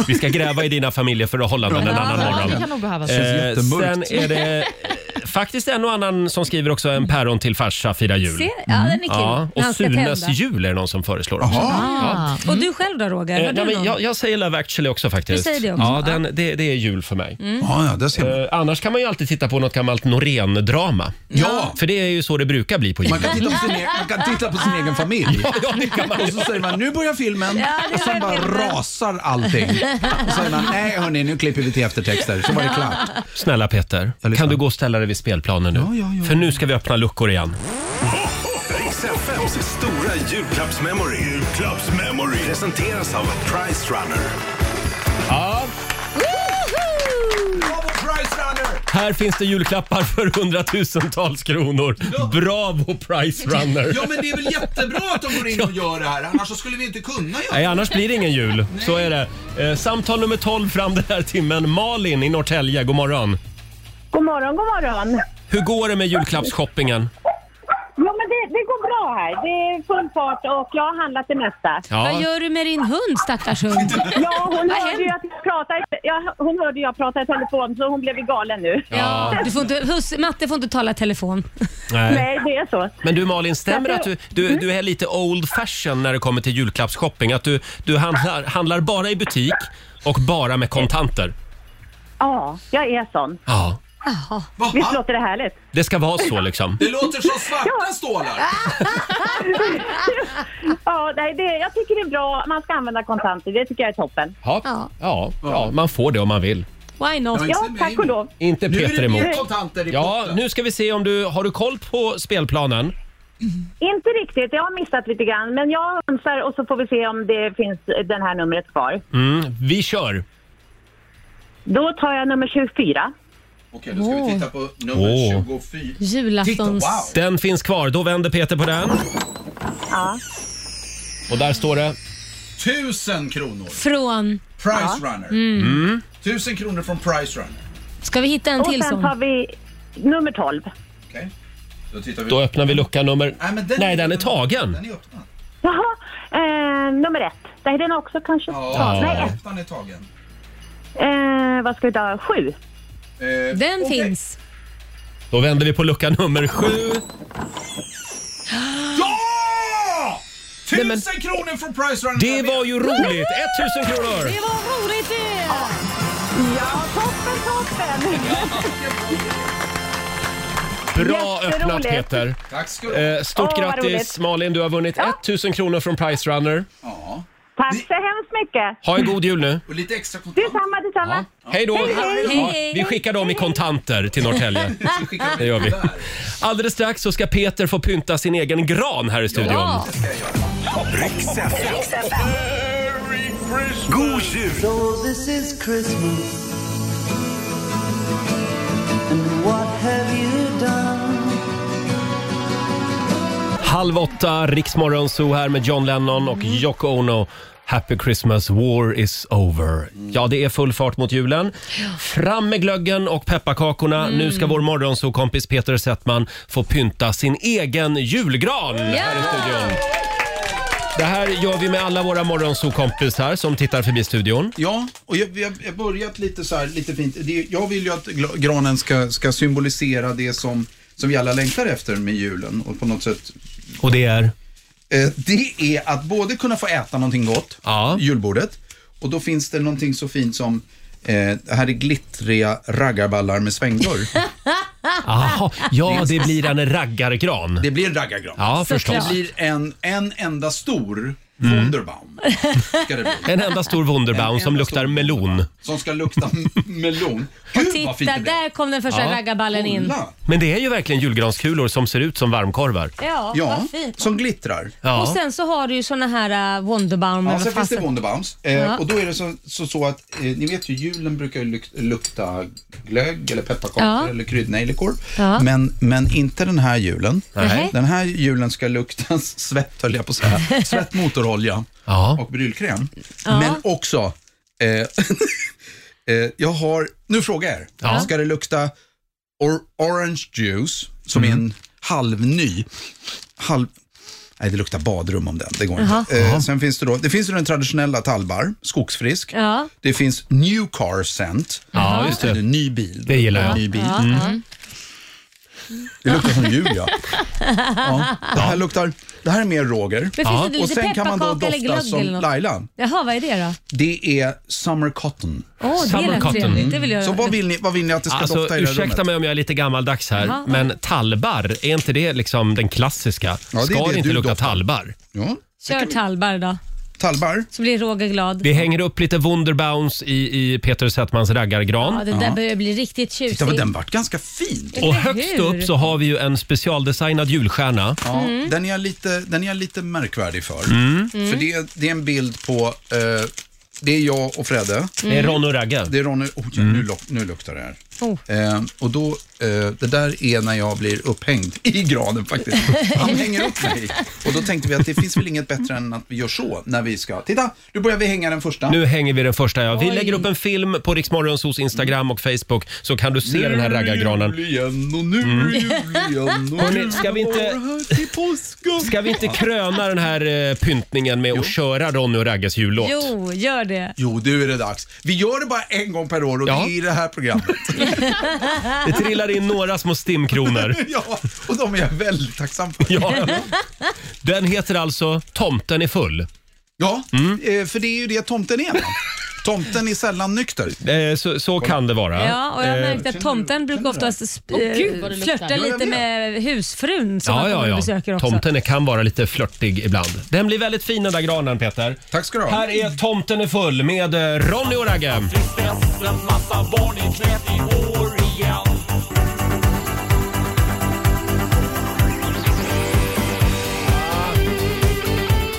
Speaker 1: vi ska gräva i dina familjeförhållanden en annan
Speaker 4: ja, det
Speaker 1: morgon.
Speaker 4: kan nog behövas.
Speaker 1: Eh,
Speaker 7: jättemörkt.
Speaker 1: sen är det eh, faktiskt en och annan som skriver också en päron till farsa firar jul. Mm.
Speaker 3: Se, ja, den är kul.
Speaker 1: Ja,
Speaker 3: När
Speaker 1: och
Speaker 3: han ska tända.
Speaker 1: Sunes jul är det någon som föreslår också.
Speaker 7: Jaha.
Speaker 1: Ja.
Speaker 4: Ah.
Speaker 3: Och du själv då Roger?
Speaker 1: Eh,
Speaker 3: Har du
Speaker 1: nej, men
Speaker 3: någon?
Speaker 1: jag, jag säger Love actually också faktiskt.
Speaker 3: Du säger det också, Mm.
Speaker 1: Ja, den, det, det är jul för mig.
Speaker 7: Ja, ja, där ser man.
Speaker 1: Eh, annars kan man ju alltid titta på något gammalt Norén-drama.
Speaker 7: Ja.
Speaker 1: För det är ju så det brukar bli på jul.
Speaker 7: Man kan, titta på sin egen, man kan titta på
Speaker 3: Ah.
Speaker 7: sin egen familj.
Speaker 1: Ja, det kan man
Speaker 7: Och
Speaker 1: ju.
Speaker 7: så säger man nu börjar filmen
Speaker 3: det
Speaker 7: och sen bara
Speaker 3: verkar bra.
Speaker 7: rasar allting. Och så säger man nej hörni nu klipper vi till eftertexter så var det klart.
Speaker 1: Snälla Peter,
Speaker 7: Jag lyssnar.
Speaker 1: kan du gå och ställa dig vid spelplanen nu?
Speaker 7: Ja, ja, ja.
Speaker 1: För nu ska vi öppna luckor igen.
Speaker 2: Riks FMs stora julklappsmemory. Julklappsmemory. Presenteras av Price Runner.
Speaker 7: Bravo, Price Runner!
Speaker 1: Här finns det julklappar för hundratusentals kronor. Bravo Price Runner!
Speaker 7: Ja men det är väl jättebra att de går in och gör det här annars så skulle vi inte kunna göra
Speaker 1: Nej, annars blir det ingen jul. Så är det. Eh, samtal nummer 12 fram den här timmen. Malin i Norrtälje, god morgon.
Speaker 5: God morgon, god morgon.
Speaker 1: Hur går det med julklappsshoppingen?
Speaker 5: Ja, men det, det går bra här. Det är full fart och jag har handlat det mesta.
Speaker 3: Vad gör du med din hund stackars hund?
Speaker 5: Ja, hon
Speaker 3: Vad
Speaker 5: hörde ju att jag pratade, ja, hon hörde jag prata i telefon så hon blev ju galen nu.
Speaker 1: Ja.
Speaker 3: Du får inte, hus, matte får inte tala i telefon.
Speaker 1: Nej.
Speaker 5: Nej, det är så.
Speaker 1: Men du Malin, stämmer det att du, du,
Speaker 5: Mm.
Speaker 1: du är lite old fashion när det kommer till julklappsshopping? Att du, du handlar, handlar bara i butik och bara med kontanter?
Speaker 5: Ja, jag är sån.
Speaker 1: Ja.
Speaker 5: Visst
Speaker 7: Va?
Speaker 5: låter det härligt?
Speaker 1: Det ska vara så liksom.
Speaker 7: Det låter som svarta stålar.
Speaker 5: Ja, nej, det, jag tycker det är bra. Man ska använda kontanter. Det tycker jag är toppen.
Speaker 1: Ja.
Speaker 3: Ja.
Speaker 1: Ja. ja, man får det om man vill.
Speaker 3: Why not?
Speaker 7: Ja, liksom,
Speaker 5: Ja, tack och lov.
Speaker 1: Inte
Speaker 7: Nu är
Speaker 1: Peter
Speaker 7: det
Speaker 1: emot.
Speaker 7: mer kontanter i
Speaker 1: Ja,
Speaker 7: potten.
Speaker 1: nu ska vi se om du... Har du koll på spelplanen?
Speaker 5: Inte riktigt. Jag har missat lite grann. Men jag önsar och så får vi se om det finns den här numret kvar.
Speaker 1: Mm, vi kör!
Speaker 5: Då tar jag nummer 24.
Speaker 7: Okej, då ska vi titta på
Speaker 1: Åh.
Speaker 7: nummer 24. Titta, wow!
Speaker 3: Julaftons...
Speaker 1: Den finns kvar. Då vänder Peter på den.
Speaker 5: Ja.
Speaker 1: Och där står det...
Speaker 7: Tusen kronor!
Speaker 3: Från...
Speaker 7: Price Runner. Mm. Tusen kronor från Price Runner.
Speaker 3: Ska vi hitta en
Speaker 5: Och
Speaker 3: till
Speaker 5: sen tar
Speaker 3: sån?
Speaker 5: vi nummer 12.
Speaker 7: Okej. Då tittar vi.
Speaker 1: Då öppnar vi lucka nummer...
Speaker 7: Nej, men
Speaker 1: Nej, den är tagen.
Speaker 7: Den är öppnad.
Speaker 5: Jaha, eh, nummer 1. Där är den också kanske.
Speaker 7: Ja,
Speaker 5: Nej, ett.
Speaker 7: ettan är tagen.
Speaker 5: eh, vad ska vi ta? 7.
Speaker 7: Eh,
Speaker 3: Den
Speaker 7: okej.
Speaker 3: finns.
Speaker 1: Då vänder vi på lucka nummer sju.
Speaker 7: Ja!
Speaker 1: Nej,
Speaker 7: Tusen
Speaker 1: men-
Speaker 7: kronor från Price Runner.
Speaker 1: Det var ju roligt! 1000 kronor!
Speaker 3: Det var roligt det!
Speaker 5: Ja, toppen, toppen!
Speaker 1: Bra
Speaker 5: Jätteroligt.
Speaker 1: öppnat Peter.
Speaker 7: Tack ska du ha.
Speaker 1: Eh, Stort
Speaker 5: Åh, vad
Speaker 1: grattis
Speaker 5: roligt.
Speaker 1: Malin, du har vunnit 1000 kronor från Price Runner.
Speaker 7: Ja.
Speaker 5: Tack så hemskt mycket.
Speaker 1: Ha en god jul nu.
Speaker 7: Och lite extra kontanter.
Speaker 5: Detsamma, detsamma.
Speaker 1: Ja. Hej då! Ja, vi skickar dem i kontanter till Norrtälje.
Speaker 7: Så skickar
Speaker 1: Det gör vi.
Speaker 7: där.
Speaker 1: Alldeles strax så ska Peter få pynta sin egen gran här i studion.
Speaker 3: Ja.
Speaker 2: Riks FM. God jul!
Speaker 1: Halv åtta, Riksmorgon Zoo här med John Lennon
Speaker 7: Mm.
Speaker 1: och Yoko Ono. Happy Christmas, war is over.
Speaker 7: Mm.
Speaker 1: Ja, det är full fart mot julen. Fram med glöggen och pepparkakorna.
Speaker 7: Mm.
Speaker 1: Nu ska vår morgonzoo-kompis Peter Settman få pynta sin egen julgran här i studion. Det här gör vi med alla våra morgonzoo-kompisar som tittar förbi studion.
Speaker 7: Ja, och jag jag- jag har börjat lite så här, lite fint. Det, jag vill ju att gla- granen ska, ska symbolisera det som, som vi alla längtar efter med julen. Och på något sätt,
Speaker 1: Och det är?
Speaker 7: eh, det är att både kunna få äta någonting gott,
Speaker 1: Ja.
Speaker 7: julbordet, och då finns det någonting så fint som eh, här är glittriga raggarballar med svängdörr.
Speaker 1: Aha, ja, det blir en raggargran.
Speaker 7: Det blir en raggargran.
Speaker 1: Ja, förstås. Mm.
Speaker 7: Det blir en, en enda stor Wunderbaum. Ska det bli.
Speaker 1: En enda stor Wunderbaum
Speaker 7: En
Speaker 1: som
Speaker 7: enda
Speaker 1: luktar
Speaker 7: stor
Speaker 1: melon.
Speaker 7: Som ska lukta m- melon. Gud vad fint
Speaker 3: Titta,
Speaker 7: det blev.
Speaker 3: där kom den första
Speaker 1: Ja.
Speaker 3: raggarballen in.
Speaker 7: Kolla.
Speaker 1: Men det är ju verkligen julgranskulor som ser ut som varmkorvar.
Speaker 3: Ja,
Speaker 7: Ja,
Speaker 3: vad fint.
Speaker 7: som glittrar.
Speaker 1: Ja.
Speaker 3: Och sen så har du ju såna här uh, Wonderbaum.
Speaker 7: Ja,
Speaker 3: eller
Speaker 7: sen finns
Speaker 3: vad
Speaker 7: det
Speaker 3: fasen-
Speaker 7: Wunderbaums. Eh,
Speaker 3: Ja.
Speaker 7: Och då är det så, så, så att, eh, ni vet ju julen brukar ju luk- lukta glögg eller pepparkakor
Speaker 3: Ja.
Speaker 7: eller kryddnejlikor.
Speaker 3: Ja.
Speaker 7: Men, men inte den här julen.
Speaker 1: Nej.
Speaker 7: Den här julen ska lukta svett, höll jag på att säga. Svett, motorolja
Speaker 1: Ja.
Speaker 7: och brylkräm. Men också, eh, eh, jag har, nu frågar jag er.
Speaker 1: Ja.
Speaker 7: Ska det lukta or, orange juice, som är en halvny, halv, nej det luktar badrum om den, det går inte. Eh, sen finns det då, det finns ju den traditionella Talbar, skogsfrisk.
Speaker 3: Ja.
Speaker 7: Det finns new car scent,
Speaker 1: Ja, just
Speaker 7: eller
Speaker 1: det.
Speaker 7: ny bil.
Speaker 1: Det gillar jag.
Speaker 7: Ny bil.
Speaker 3: Ja, ja.
Speaker 7: Det luktar som jul, ja. ja. Det här luktar... Det här är mer Roger.
Speaker 3: Men
Speaker 1: Ja.
Speaker 3: finns det,
Speaker 7: Och
Speaker 3: finns det
Speaker 7: sen kan man då
Speaker 3: pepparkaka eller
Speaker 7: dofta
Speaker 3: glögg
Speaker 7: som
Speaker 3: eller något?
Speaker 7: Laila.
Speaker 3: Jaha, vad är det då?
Speaker 7: Det är summer cotton.
Speaker 3: Åh, det
Speaker 1: Summer
Speaker 3: är rätt
Speaker 1: cotton.
Speaker 3: trevligt. Det vill jag.
Speaker 7: Så vad vill ni, vad vill ni att det ska
Speaker 1: Alltså,
Speaker 7: dofta i det här
Speaker 1: ursäkta
Speaker 7: rummet?
Speaker 1: mig om jag är lite gammaldags här,
Speaker 3: Jaha.
Speaker 1: men tallbarr, är inte det liksom den klassiska?
Speaker 7: det är
Speaker 1: Ska
Speaker 7: det
Speaker 1: det inte
Speaker 7: du
Speaker 1: lukta
Speaker 7: doftar.
Speaker 1: tallbarr?
Speaker 7: Ja.
Speaker 3: Kör tallbar då,
Speaker 7: Talbar.
Speaker 3: så blir Roger glad.
Speaker 1: Det hänger upp lite Wunderbaums i, i Peter Settmans raggargran.
Speaker 3: Ja, det där börjar bli riktigt tjusigt.
Speaker 7: Titta vad den vart ganska fin.
Speaker 1: Och
Speaker 3: Eller
Speaker 1: högst
Speaker 3: hur?
Speaker 1: upp så har vi ju en specialdesignad julstjärna.
Speaker 7: Ja, den, är jag lite, den är jag lite märkvärdig för.
Speaker 1: Mm.
Speaker 7: För det, det är en bild på, eh, det är jag och Fredde.
Speaker 1: Det är Ron och Ragge. Mm.
Speaker 7: Det är Ronny, oh, ja, nu, luk, nu luktar det här.
Speaker 3: Oh.
Speaker 7: Eh, och då, eh, det där är när jag blir upphängd i granen faktiskt. Han hänger upp mig. Och då tänkte vi att det finns väl inget bättre än att vi gör så när vi ska, titta, nu börjar vi hänga den första.
Speaker 1: Nu hänger vi den första. Ja. Vi
Speaker 3: Oj.
Speaker 1: lägger upp en film på Riksmorgonsos Instagram och Facebook så kan du se den här raggargranen. Mm.
Speaker 7: Nu är jul igen och nu är jul igen och
Speaker 1: Hörrni,
Speaker 7: nu
Speaker 1: Mm. ska vi inte-
Speaker 7: är det här till påsken.
Speaker 1: Ska vi inte kröna den här eh, pyntningen med att köra Ronny och Ragges jullåt?
Speaker 3: Jo, gör det.
Speaker 7: Jo, nu är det dags. Vi gör det bara en gång per år och
Speaker 1: Ja.
Speaker 7: det är i det här programmet.
Speaker 1: Det trillar in några små stimkronor.
Speaker 7: ja, och de är jag väldigt tacksam för.
Speaker 1: Ja. Den heter alltså Tomten är full. Mm.
Speaker 7: Ja, eh, för det är ju det tomten är. va? Tomten är sällan nykter.
Speaker 1: Eh, Så, så kan det vara.
Speaker 3: Ja, och jag har
Speaker 1: Eh,
Speaker 3: märkt att tomten brukar oftast sp-
Speaker 4: Åh, gud, vad det
Speaker 3: eh,
Speaker 4: luktar.
Speaker 3: flörta
Speaker 4: Ja,
Speaker 7: jag
Speaker 3: lite
Speaker 7: vet.
Speaker 3: med husfrun som
Speaker 1: Eh, Ja,
Speaker 3: han
Speaker 1: ja,
Speaker 3: kommer och besöker
Speaker 1: ja.
Speaker 3: också.
Speaker 1: Tomten kan vara lite flörtig ibland. Den blir väldigt fin den där granen Peter.
Speaker 7: Tack ska du ha.
Speaker 1: Här är Tomten är full med eh, Ronny och Ragge.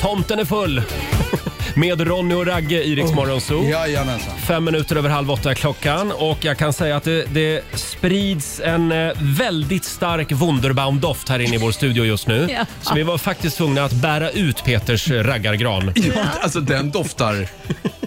Speaker 1: Tomten är full med Ronny och Ragge i Rix Morgon Zoo.
Speaker 7: Oh. Jajamensan.
Speaker 1: Fem minuter över halv åtta är klockan och jag kan säga att det, det sprids en eh, väldigt stark Wunderbaum-doft här inne i vår studio just nu.
Speaker 3: Ja.
Speaker 1: Så vi var faktiskt tvungna att bära ut Peters eh, raggargran.
Speaker 7: Ja, alltså den doftar,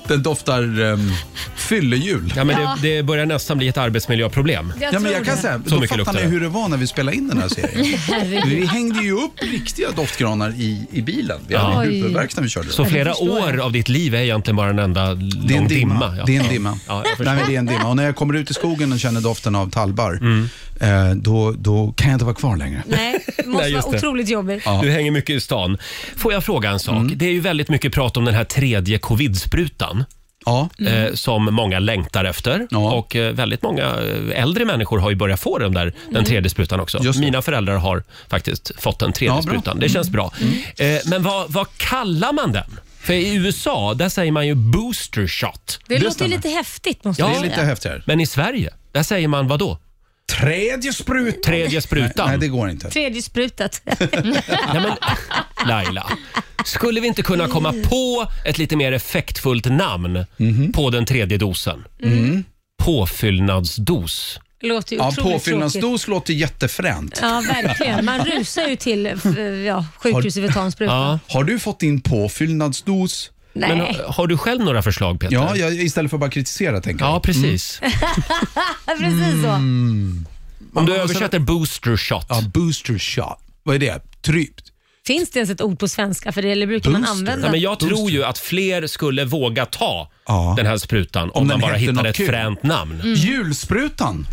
Speaker 7: den doftar um, fyllejul.
Speaker 1: Ja, men det, det börjar nästan bli ett arbetsmiljöproblem.
Speaker 7: Ja, men jag
Speaker 3: tror
Speaker 7: kan
Speaker 3: det.
Speaker 7: säga,
Speaker 1: Så
Speaker 7: då
Speaker 1: mycket
Speaker 7: fattar
Speaker 1: luktar
Speaker 7: ni
Speaker 1: det.
Speaker 7: hur det var när vi spelade in den här serien. vi hängde ju upp riktiga doftgranar i, i bilen. Vi hade
Speaker 4: Oj.
Speaker 7: huvudvärk när vi körde.
Speaker 1: Så flera
Speaker 4: förstår
Speaker 1: år av ditt liv är egentligen bara en enda
Speaker 7: Det är en
Speaker 1: lång
Speaker 7: dimma.
Speaker 1: Ja.
Speaker 7: Det är en dimma.
Speaker 1: Ja, jag
Speaker 7: Nej,
Speaker 1: förstår.
Speaker 7: men det är en dimma. Och när jag kommer ut i skogen och känner doften av tallbarr,
Speaker 1: Mm.
Speaker 7: eh, då, då kan jag inte vara kvar längre.
Speaker 3: Nej, det måste
Speaker 1: Nej, just
Speaker 3: vara
Speaker 1: det.
Speaker 3: otroligt jobbigt.
Speaker 1: Du hänger mycket i stan. Får jag fråga en sak?
Speaker 7: Mm.
Speaker 1: Det är ju väldigt mycket prat om den här tredje covid-sprutan.
Speaker 7: Ja.
Speaker 3: Mm.
Speaker 1: eh, som många längtar efter.
Speaker 7: Ja.
Speaker 1: Och eh, väldigt många eh, äldre människor har ju börjat få den där
Speaker 3: Mm.
Speaker 1: den tredje sprutan också.
Speaker 7: Just det.
Speaker 1: Mina föräldrar har faktiskt fått den tredje
Speaker 7: Ja, bra. Mm.
Speaker 1: sprutan. Det känns bra. Eh, men vad, vad kallar man den? För i USA, där säger man ju booster shot.
Speaker 3: Det, låter
Speaker 7: stämmer.
Speaker 3: ju lite häftigt måste
Speaker 1: Ja.
Speaker 7: Det
Speaker 3: jag
Speaker 7: är lite
Speaker 3: säga.
Speaker 7: häftigare.
Speaker 1: Men i Sverige, där säger man vad då?
Speaker 7: Tredje sprut.
Speaker 1: Tredje sprutan?
Speaker 7: Nej,
Speaker 1: Nej,
Speaker 7: det går inte.
Speaker 3: Tredje sprutat.
Speaker 1: men, Laila, skulle vi inte kunna komma på ett lite mer effektfullt namn
Speaker 7: Mhm.
Speaker 1: på den tredje dosen? Påfyllnadsdos.
Speaker 3: låter
Speaker 7: Mm.
Speaker 3: ju
Speaker 7: Ja,
Speaker 3: otroligt tråkigt.
Speaker 7: påfyllnadsdos låter jättefränt.
Speaker 3: Ja, verkligen. Man rusar ju till f- ja, sjukhuset för att ta en spruta.
Speaker 1: Ja.
Speaker 7: Har du fått din påfyllnadsdos?
Speaker 1: Men
Speaker 3: Nej,
Speaker 1: har, har du själv några förslag Peter?
Speaker 7: Ja, jag, istället för att bara kritisera tänker jag. Mm.
Speaker 1: Ja, precis. Mm.
Speaker 3: precis så.
Speaker 1: Om du översätter booster shot.
Speaker 7: Ja, booster shot. Vad är det? Trypt?
Speaker 3: Finns det ens ett ord på svenska för det eller brukar man
Speaker 7: Booster.
Speaker 1: Nej,
Speaker 3: använda?
Speaker 1: men jag
Speaker 7: Booster.
Speaker 1: tror ju att fler skulle våga ta
Speaker 7: Ja.
Speaker 1: den här sprutan om,
Speaker 7: Om
Speaker 1: man
Speaker 7: den
Speaker 1: bara
Speaker 7: hette
Speaker 1: hittade
Speaker 7: något
Speaker 1: ett
Speaker 7: kul.
Speaker 1: fränt namn.
Speaker 3: Mm.
Speaker 7: Julsprutan.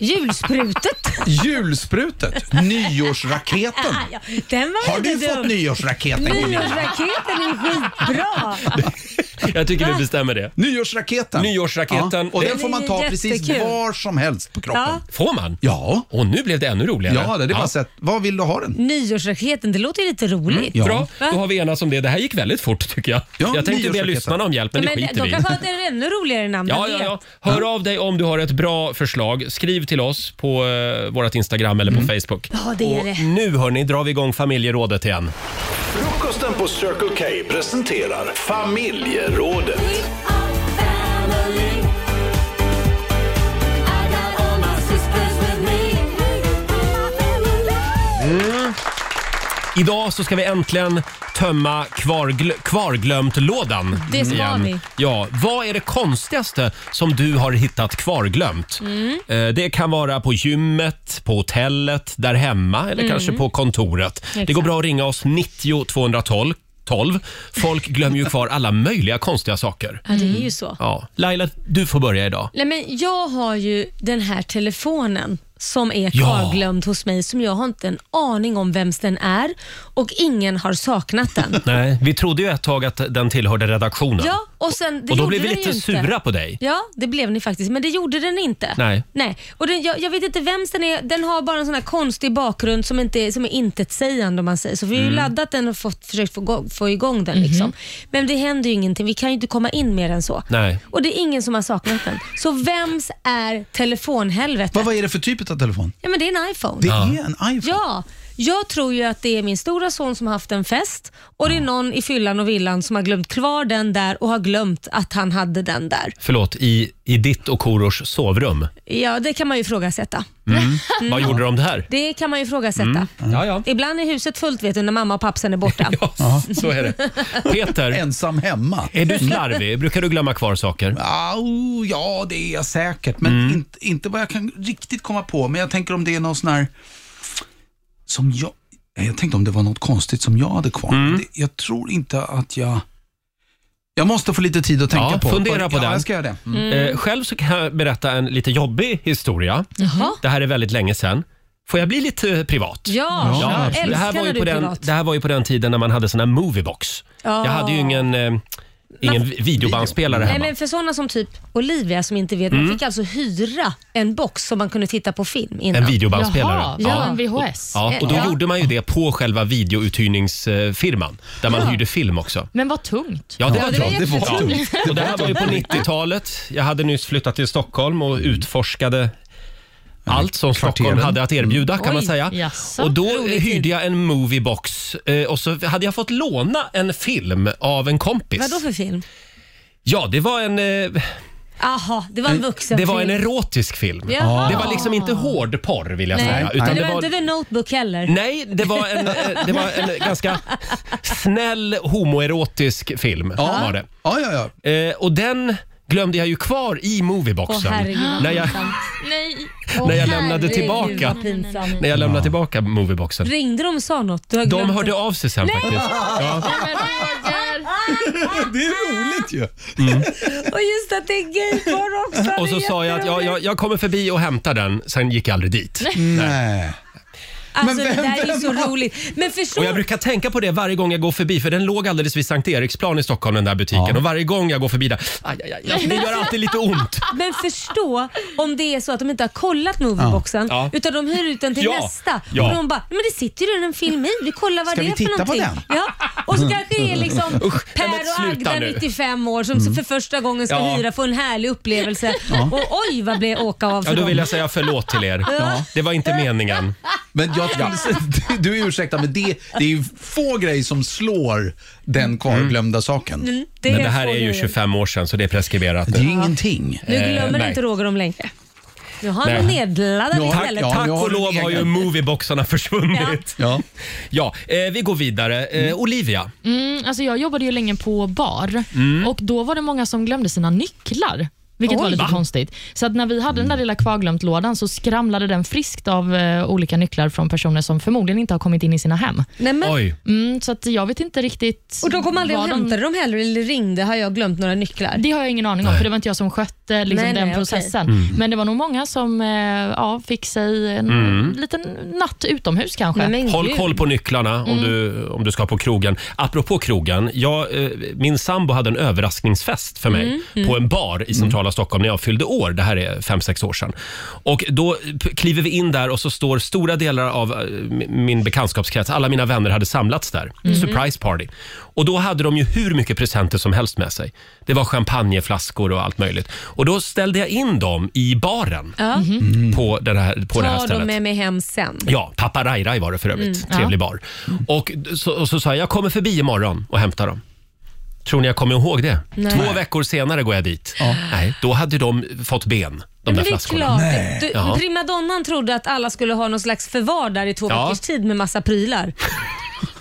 Speaker 3: Julsprutet?
Speaker 7: Julsprutet. Nyårsraketen.
Speaker 3: Ah, ja. Den var
Speaker 7: Har
Speaker 3: inte
Speaker 7: du
Speaker 3: dum.
Speaker 7: fått nyårsraketen? Gunilla?
Speaker 3: Nyårsraketen är skitbra.
Speaker 1: Jag tycker vi bestämmer det.
Speaker 7: Nyårsraketen.
Speaker 1: Nyårsraketen.
Speaker 7: Ja, och den får man ta
Speaker 3: Det är
Speaker 7: precis
Speaker 3: jättekul.
Speaker 7: var som helst på kroppen.
Speaker 3: Ja.
Speaker 1: Får man?
Speaker 7: Ja,
Speaker 1: Och nu blev det ännu roligare.
Speaker 7: ja det är bara
Speaker 1: Ja.
Speaker 7: sett. Vad vill du ha den?
Speaker 3: Nyårsraketen, det låter ju lite roligt.
Speaker 7: Ja.
Speaker 1: Mm, Bra,
Speaker 3: Va?
Speaker 1: då har vi enats om det. Det här gick väldigt fort tycker jag.
Speaker 7: Ja,
Speaker 1: jag tänkte be
Speaker 7: nyårsraketen.
Speaker 1: lyssnarna om hjälp, men,
Speaker 3: Men
Speaker 1: det skiter
Speaker 3: de
Speaker 1: vi i.
Speaker 3: kanske har ett ännu roligare namn.
Speaker 1: Ja,
Speaker 3: vem
Speaker 1: ja,
Speaker 3: vet?
Speaker 1: ja. Hör av dig om du har ett bra förslag. Skriv till oss på eh, vårt Instagram eller på Facebook.
Speaker 3: Mm. Ja, det är
Speaker 1: Och
Speaker 3: det.
Speaker 1: nu hörni drar vi igång familjerådet igen.
Speaker 2: Frukosten på Circle K presenterar familjerådet.
Speaker 1: Mm. Idag så ska vi äntligen tömma kvargl kvarglömt-lådan.
Speaker 3: Det ska
Speaker 1: igen.
Speaker 3: vi.
Speaker 1: Ja, vad är det konstigaste som du har hittat kvarglömt?
Speaker 3: Mm.
Speaker 1: Eh, Det kan vara på gymmet, på hotellet, där hemma eller kanske
Speaker 3: Mm.
Speaker 1: på kontoret. Det går bra att ringa oss 90 212. 12. Folk glömmer ju kvar alla möjliga konstiga saker.
Speaker 3: Ja, det är ju så.
Speaker 1: Ja. Laila, du får börja idag.
Speaker 3: Nej, men jag har ju den här telefonen som är
Speaker 1: Ja.
Speaker 3: kvarglömd hos mig som jag har inte en aning om vems den är och ingen har saknat den.
Speaker 1: Nej, vi trodde ju ett tag att den tillhörde redaktionen.
Speaker 3: ja, och, sen, det
Speaker 1: och då
Speaker 3: gjorde
Speaker 1: blev vi
Speaker 3: den
Speaker 1: lite
Speaker 3: ju inte.
Speaker 1: sura på dig.
Speaker 3: Ja, det blev ni faktiskt, men det gjorde den inte.
Speaker 1: Nej.
Speaker 3: Nej. Och den, jag, jag vet inte vems den är. Den har bara en sån här konstig bakgrund som, inte, är- som är intetsägande om man säger så. Vi har
Speaker 1: Mm.
Speaker 3: ju laddat den och fått, försökt få, gå- få igång den.
Speaker 1: Mhm.
Speaker 3: Liksom. Men det händer ju ingenting. Vi kan ju inte komma in mer än så.
Speaker 1: Nej.
Speaker 3: Och det är ingen som har saknat den. Så vems är telefonhelvetet?
Speaker 7: Vad, vad är det för typ av telefon?
Speaker 3: Ja, men det är en iPhone.
Speaker 7: Det är en iPhone.
Speaker 3: Ja, jag tror ju att det är min stora son som har haft en fest och det är någon i fyllan och villan som har glömt kvar den där och har glömt att han hade den där.
Speaker 1: Förlåt, i, i ditt och Korosh sovrum. Mm.
Speaker 3: Ja, det kan man ju ifrågasätta.
Speaker 1: Vad gjorde de där?
Speaker 3: Det kan man ju ifrågasätta.
Speaker 1: Mm. Ja, ja.
Speaker 3: Ibland är huset fullt vet du, när mamma och pappsen är borta.
Speaker 1: ja så är det. Peter,
Speaker 7: Ensam hemma.
Speaker 1: är du slarvig? Brukar du glömma kvar saker?
Speaker 7: Au, ja, det är jag säkert. Men inte, inte vad jag kan riktigt komma på. Men jag tänker om det är någon sån här... Som jag, Nej, jag tänkte om det var något konstigt som jag hade kvar. Det, jag tror inte att jag... Jag måste få lite tid att tänka
Speaker 1: Ja,
Speaker 7: på.
Speaker 1: fundera på
Speaker 7: ja,
Speaker 1: den.
Speaker 7: jag ska göra det. Mm.
Speaker 1: Eh, själv så kan jag berätta en lite jobbig historia. Det här är väldigt länge sedan. Får jag bli lite privat?
Speaker 3: Ja,
Speaker 7: Ja,
Speaker 3: ja
Speaker 7: absolut.
Speaker 1: det, här
Speaker 3: älskar
Speaker 1: var ju
Speaker 3: när
Speaker 1: på
Speaker 3: du är
Speaker 1: den,
Speaker 3: privat.
Speaker 1: det här var ju på den tiden när man hade sån här moviebox.
Speaker 3: Ja.
Speaker 1: Jag hade ju ingen, eh, ingen videobandspelare
Speaker 3: Nej,
Speaker 1: hemma. Mm.
Speaker 3: men för sådana som typ Olivia som inte vet, man fick alltså hyra en box som man kunde titta på film innan.
Speaker 1: En videobandspelare.
Speaker 4: Jaha, ja.
Speaker 1: ja.
Speaker 4: en VHS.
Speaker 1: Ja, och då
Speaker 3: Ja.
Speaker 1: gjorde man ju det på själva videouthyrningsfirman där man hyrde film också.
Speaker 4: Men vad tungt.
Speaker 1: Ja, det
Speaker 3: Ja,
Speaker 1: var
Speaker 3: det var
Speaker 1: tungt.
Speaker 3: jättetungt.
Speaker 1: Ja. Och det här var ju på 90-talet. Jag hade nyss flyttat till Stockholm och
Speaker 3: Mm.
Speaker 1: utforskade allt som Stockholm
Speaker 7: kvarteren.
Speaker 1: hade att erbjuda kan man
Speaker 3: Oj,
Speaker 1: säga.
Speaker 4: jaså.
Speaker 1: Och då
Speaker 3: Rolig tid.
Speaker 1: hyrde jag en moviebox eh, och så hade jag fått låna en film av en kompis.
Speaker 3: Vadå för film?
Speaker 1: Ja, det var en, eh,
Speaker 3: Aha, det var en vuxenfilm.
Speaker 1: det var en erotisk film.
Speaker 3: Jaha.
Speaker 1: Det var liksom inte hårdporr vill jag
Speaker 3: Nej,
Speaker 1: säga.
Speaker 3: men det,
Speaker 1: det
Speaker 3: var
Speaker 1: var-
Speaker 3: inte The Notebook heller.
Speaker 1: Nej, det var en, eh, det var en ganska snäll homoerotisk film.
Speaker 7: Ja.
Speaker 1: Var det.
Speaker 7: Ja, ja, ja.
Speaker 1: Eh, och den glömde jag ju kvar i
Speaker 3: Åh,
Speaker 1: movieboxen.
Speaker 3: herregud, vad
Speaker 1: när jag,
Speaker 3: pinsamt.
Speaker 4: Nej.
Speaker 1: när jag lämnade tillbaka,
Speaker 3: Herregud, vad pinsamt.
Speaker 1: när jag lämnade tillbaka movieboxen.
Speaker 3: Ringde de och sa något? Du har
Speaker 1: De
Speaker 3: glömt
Speaker 1: hörde
Speaker 3: det.
Speaker 1: av sig sen faktiskt. Ja.
Speaker 4: Men Roger.
Speaker 7: Det är roligt ju.
Speaker 3: Och just att det är gayporr också.
Speaker 1: Mm. Och så sa jag att jag, jag, jag kommer förbi och hämtar den, sen gick jag aldrig dit.
Speaker 7: Nej.
Speaker 3: Alltså
Speaker 7: Men vem-
Speaker 3: det där är ju
Speaker 7: vem
Speaker 3: så
Speaker 7: har-
Speaker 3: roligt. Men förstå,
Speaker 1: Och jag brukar tänka på det varje gång jag går förbi, för den låg alldeles vid Sankt Eriksplan i Stockholm, den där butiken. Och varje gång jag går förbi där, aj, aj, aj, det gör alltid lite ont.
Speaker 3: men förstå om det är så att de inte har kollat movieboxen
Speaker 1: Ja.
Speaker 3: utan de hyr ut den till
Speaker 1: Ja.
Speaker 3: nästa.
Speaker 1: Ja.
Speaker 3: Och de bara, men det sitter ju redan en film i. Vi kollar vad
Speaker 7: Ska
Speaker 3: det
Speaker 7: vi
Speaker 3: är
Speaker 7: titta
Speaker 3: för
Speaker 7: på
Speaker 3: någonting.
Speaker 7: den?
Speaker 3: Ja. Och så kanske det är liksom Per
Speaker 1: Mm. men
Speaker 3: och
Speaker 1: sluta
Speaker 3: Agda,
Speaker 1: nu. Mm.
Speaker 3: 95 år, som för första gången ska
Speaker 1: Ja.
Speaker 3: hyra, få en härlig upplevelse. Och oj vad blev åka av för
Speaker 1: Ja, då
Speaker 3: dem.
Speaker 1: vill jag säga förlåt till er. Det var inte meningen.
Speaker 7: Men jag skulle säga, du är ursäktad, men det, det är ju få grejer som slår den kvarglömda saken.
Speaker 3: Mm. Det
Speaker 1: Men det här
Speaker 3: får
Speaker 1: är
Speaker 3: ni
Speaker 1: ju 25 år sedan så det är preskriberat.
Speaker 7: Det är ju ingenting.
Speaker 3: Nu glömmer
Speaker 1: nej.
Speaker 3: inte Roger dem längre. Nu har han
Speaker 1: Nej.
Speaker 3: dem nedladdade
Speaker 7: Ja,
Speaker 3: istället.
Speaker 7: ja.
Speaker 1: Tack
Speaker 7: nu har
Speaker 1: och
Speaker 7: du
Speaker 1: lov
Speaker 7: en
Speaker 1: har ju
Speaker 7: egen.
Speaker 1: movieboxarna försvunnit.
Speaker 7: Ja.
Speaker 1: Ja, eh, vi går vidare. Eh, Olivia,
Speaker 4: Mm, alltså jag jobbade ju länge på bar
Speaker 1: Mm.
Speaker 4: och då var det många som glömde sina nycklar. Vilket var lite konstigt. Så att när vi hade den där lilla kvarglömt-lådan så skramlade den friskt av eh, olika nycklar från personer som förmodligen inte har kommit in i sina hem.
Speaker 3: Nej, men,
Speaker 1: oj.
Speaker 4: Mm, så att jag vet inte riktigt...
Speaker 3: och de kom aldrig och
Speaker 4: vad de-
Speaker 3: hämtade dem heller eller ringde, har jag glömt några nycklar?
Speaker 4: Det har jag ingen aning om, för det var inte jag som skötte liksom,
Speaker 3: Nej,
Speaker 4: den
Speaker 3: nej,
Speaker 4: processen.
Speaker 1: Mm.
Speaker 4: Men det var nog många som eh, ja, fick sig en liten natt utomhus kanske.
Speaker 3: Nej, men
Speaker 1: Mm. Håll
Speaker 3: gud. Mm.
Speaker 1: koll på nycklarna om, du, om du ska på krogen. Apropå krogen, jag, eh, min sambo hade en överraskningsfest för mig
Speaker 3: Mm,
Speaker 1: på en bar i centrala Stockholm när jag fyllde år. Det här är fem sex år sedan. Och då p- kliver vi in där och så står stora delar av eh, m- min bekantskapskrets, alla mina vänner hade samlats där.
Speaker 3: Mm.
Speaker 1: Surprise party. Och då hade de ju hur mycket presenter som helst med sig. Det var champagneflaskor och allt möjligt. Och då ställde jag in dem i baren
Speaker 3: Ja.
Speaker 4: Mhm.
Speaker 1: på, den här, Mm. på det här
Speaker 3: Mm. Ta
Speaker 1: stället.
Speaker 3: dem med mig hem sen.
Speaker 1: Ja, Papa Rai Rai var det för
Speaker 3: Mm,
Speaker 1: övrigt. Trevlig bar. Och så, och så sa jag, jag kommer förbi imorgon och hämtar dem. Tror ni jag kommer ihåg det?
Speaker 3: Nej.
Speaker 1: Två veckor senare går jag dit. Nej, då hade de fått ben, de där
Speaker 3: Men det är
Speaker 1: flaskorna.
Speaker 3: klart. Du,
Speaker 1: Ja.
Speaker 3: Primadonnan trodde att alla skulle ha någon slags förvar där i två
Speaker 1: Ja.
Speaker 3: veckors tid med massa prylar.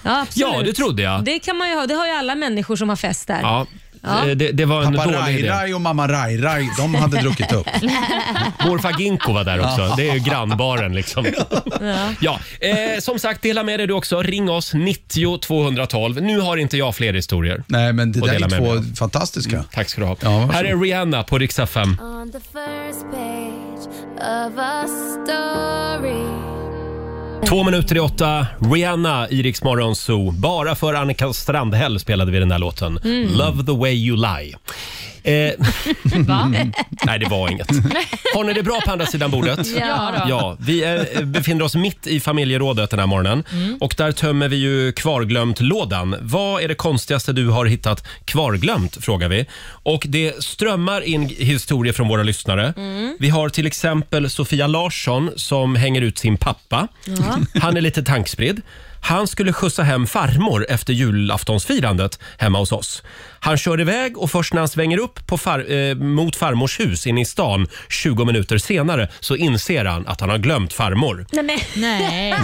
Speaker 3: Ja, absolut.
Speaker 1: Ja, det trodde jag.
Speaker 3: Det kan man ju ha. Det har ju alla människor som har fest där.
Speaker 1: Ja, Eh, Det, det var en
Speaker 7: Pappa
Speaker 1: dålig idé.
Speaker 7: Rai-Rai och mamma Rai-Rai, de hade druckit upp.
Speaker 1: Morfar Ginko var där också. Det är ju grannbaren liksom. Ja. Eh, som sagt, dela med dig du också. Ring oss 90 212. Nu har inte jag fler historier.
Speaker 7: Nej, men det
Speaker 1: Och
Speaker 7: där
Speaker 1: dela
Speaker 7: är
Speaker 1: med mig Mm.
Speaker 7: två fantastiska.
Speaker 1: Tack ska du ha.
Speaker 7: Ja, varsågod.
Speaker 1: Här är Rihanna på Rix FM.
Speaker 8: On the first page of a story.
Speaker 1: Två minuter i åtta. Rihanna i Rix Morgon Zoo. Bara för Annika Strandhäll spelade vi den där låten.
Speaker 4: Mm.
Speaker 1: Love the way you lie. Eh,
Speaker 4: Va?
Speaker 1: Mm. nej, det var inget. Har ni det bra på andra sidan bordet?
Speaker 4: Ja, då.
Speaker 1: Ja, vi är, befinner oss mitt i familjerådet den här morgonen
Speaker 4: Mm.
Speaker 1: och där tömmer vi ju kvarglömt-lådan. Vad är det konstigaste du har hittat kvarglömt? frågar vi. Och det strömmar in historier från våra lyssnare.
Speaker 4: Mm.
Speaker 1: Vi har till exempel Sofia Larsson som hänger ut sin pappa. Han är lite tankspridd. Han skulle skjutsa hem farmor efter julaftonsfirandet hemma hos oss. Han kör iväg och först när han svänger upp på far, eh, mot farmors hus inne i stan 20 minuter senare så inser han att han har glömt farmor.
Speaker 3: Nej, men,
Speaker 4: Nej.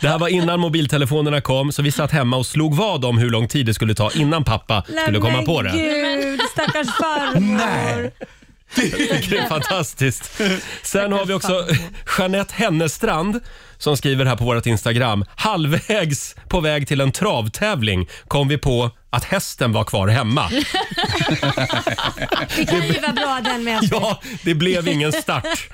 Speaker 1: Det här var innan mobiltelefonerna kom så vi satt hemma och slog vad om hur lång tid det skulle ta innan pappa skulle komma på det.
Speaker 3: Gud, stackars farmor.
Speaker 7: Nej.
Speaker 1: Det är fantastiskt. Sen har vi också Jeanette Hennestrand som skriver här på vårt Instagram. Halvvägs på väg till en travtävling kom vi på att hästen var kvar hemma.
Speaker 3: Det kan ju vara bra den med.
Speaker 1: Ja, det blev ingen start.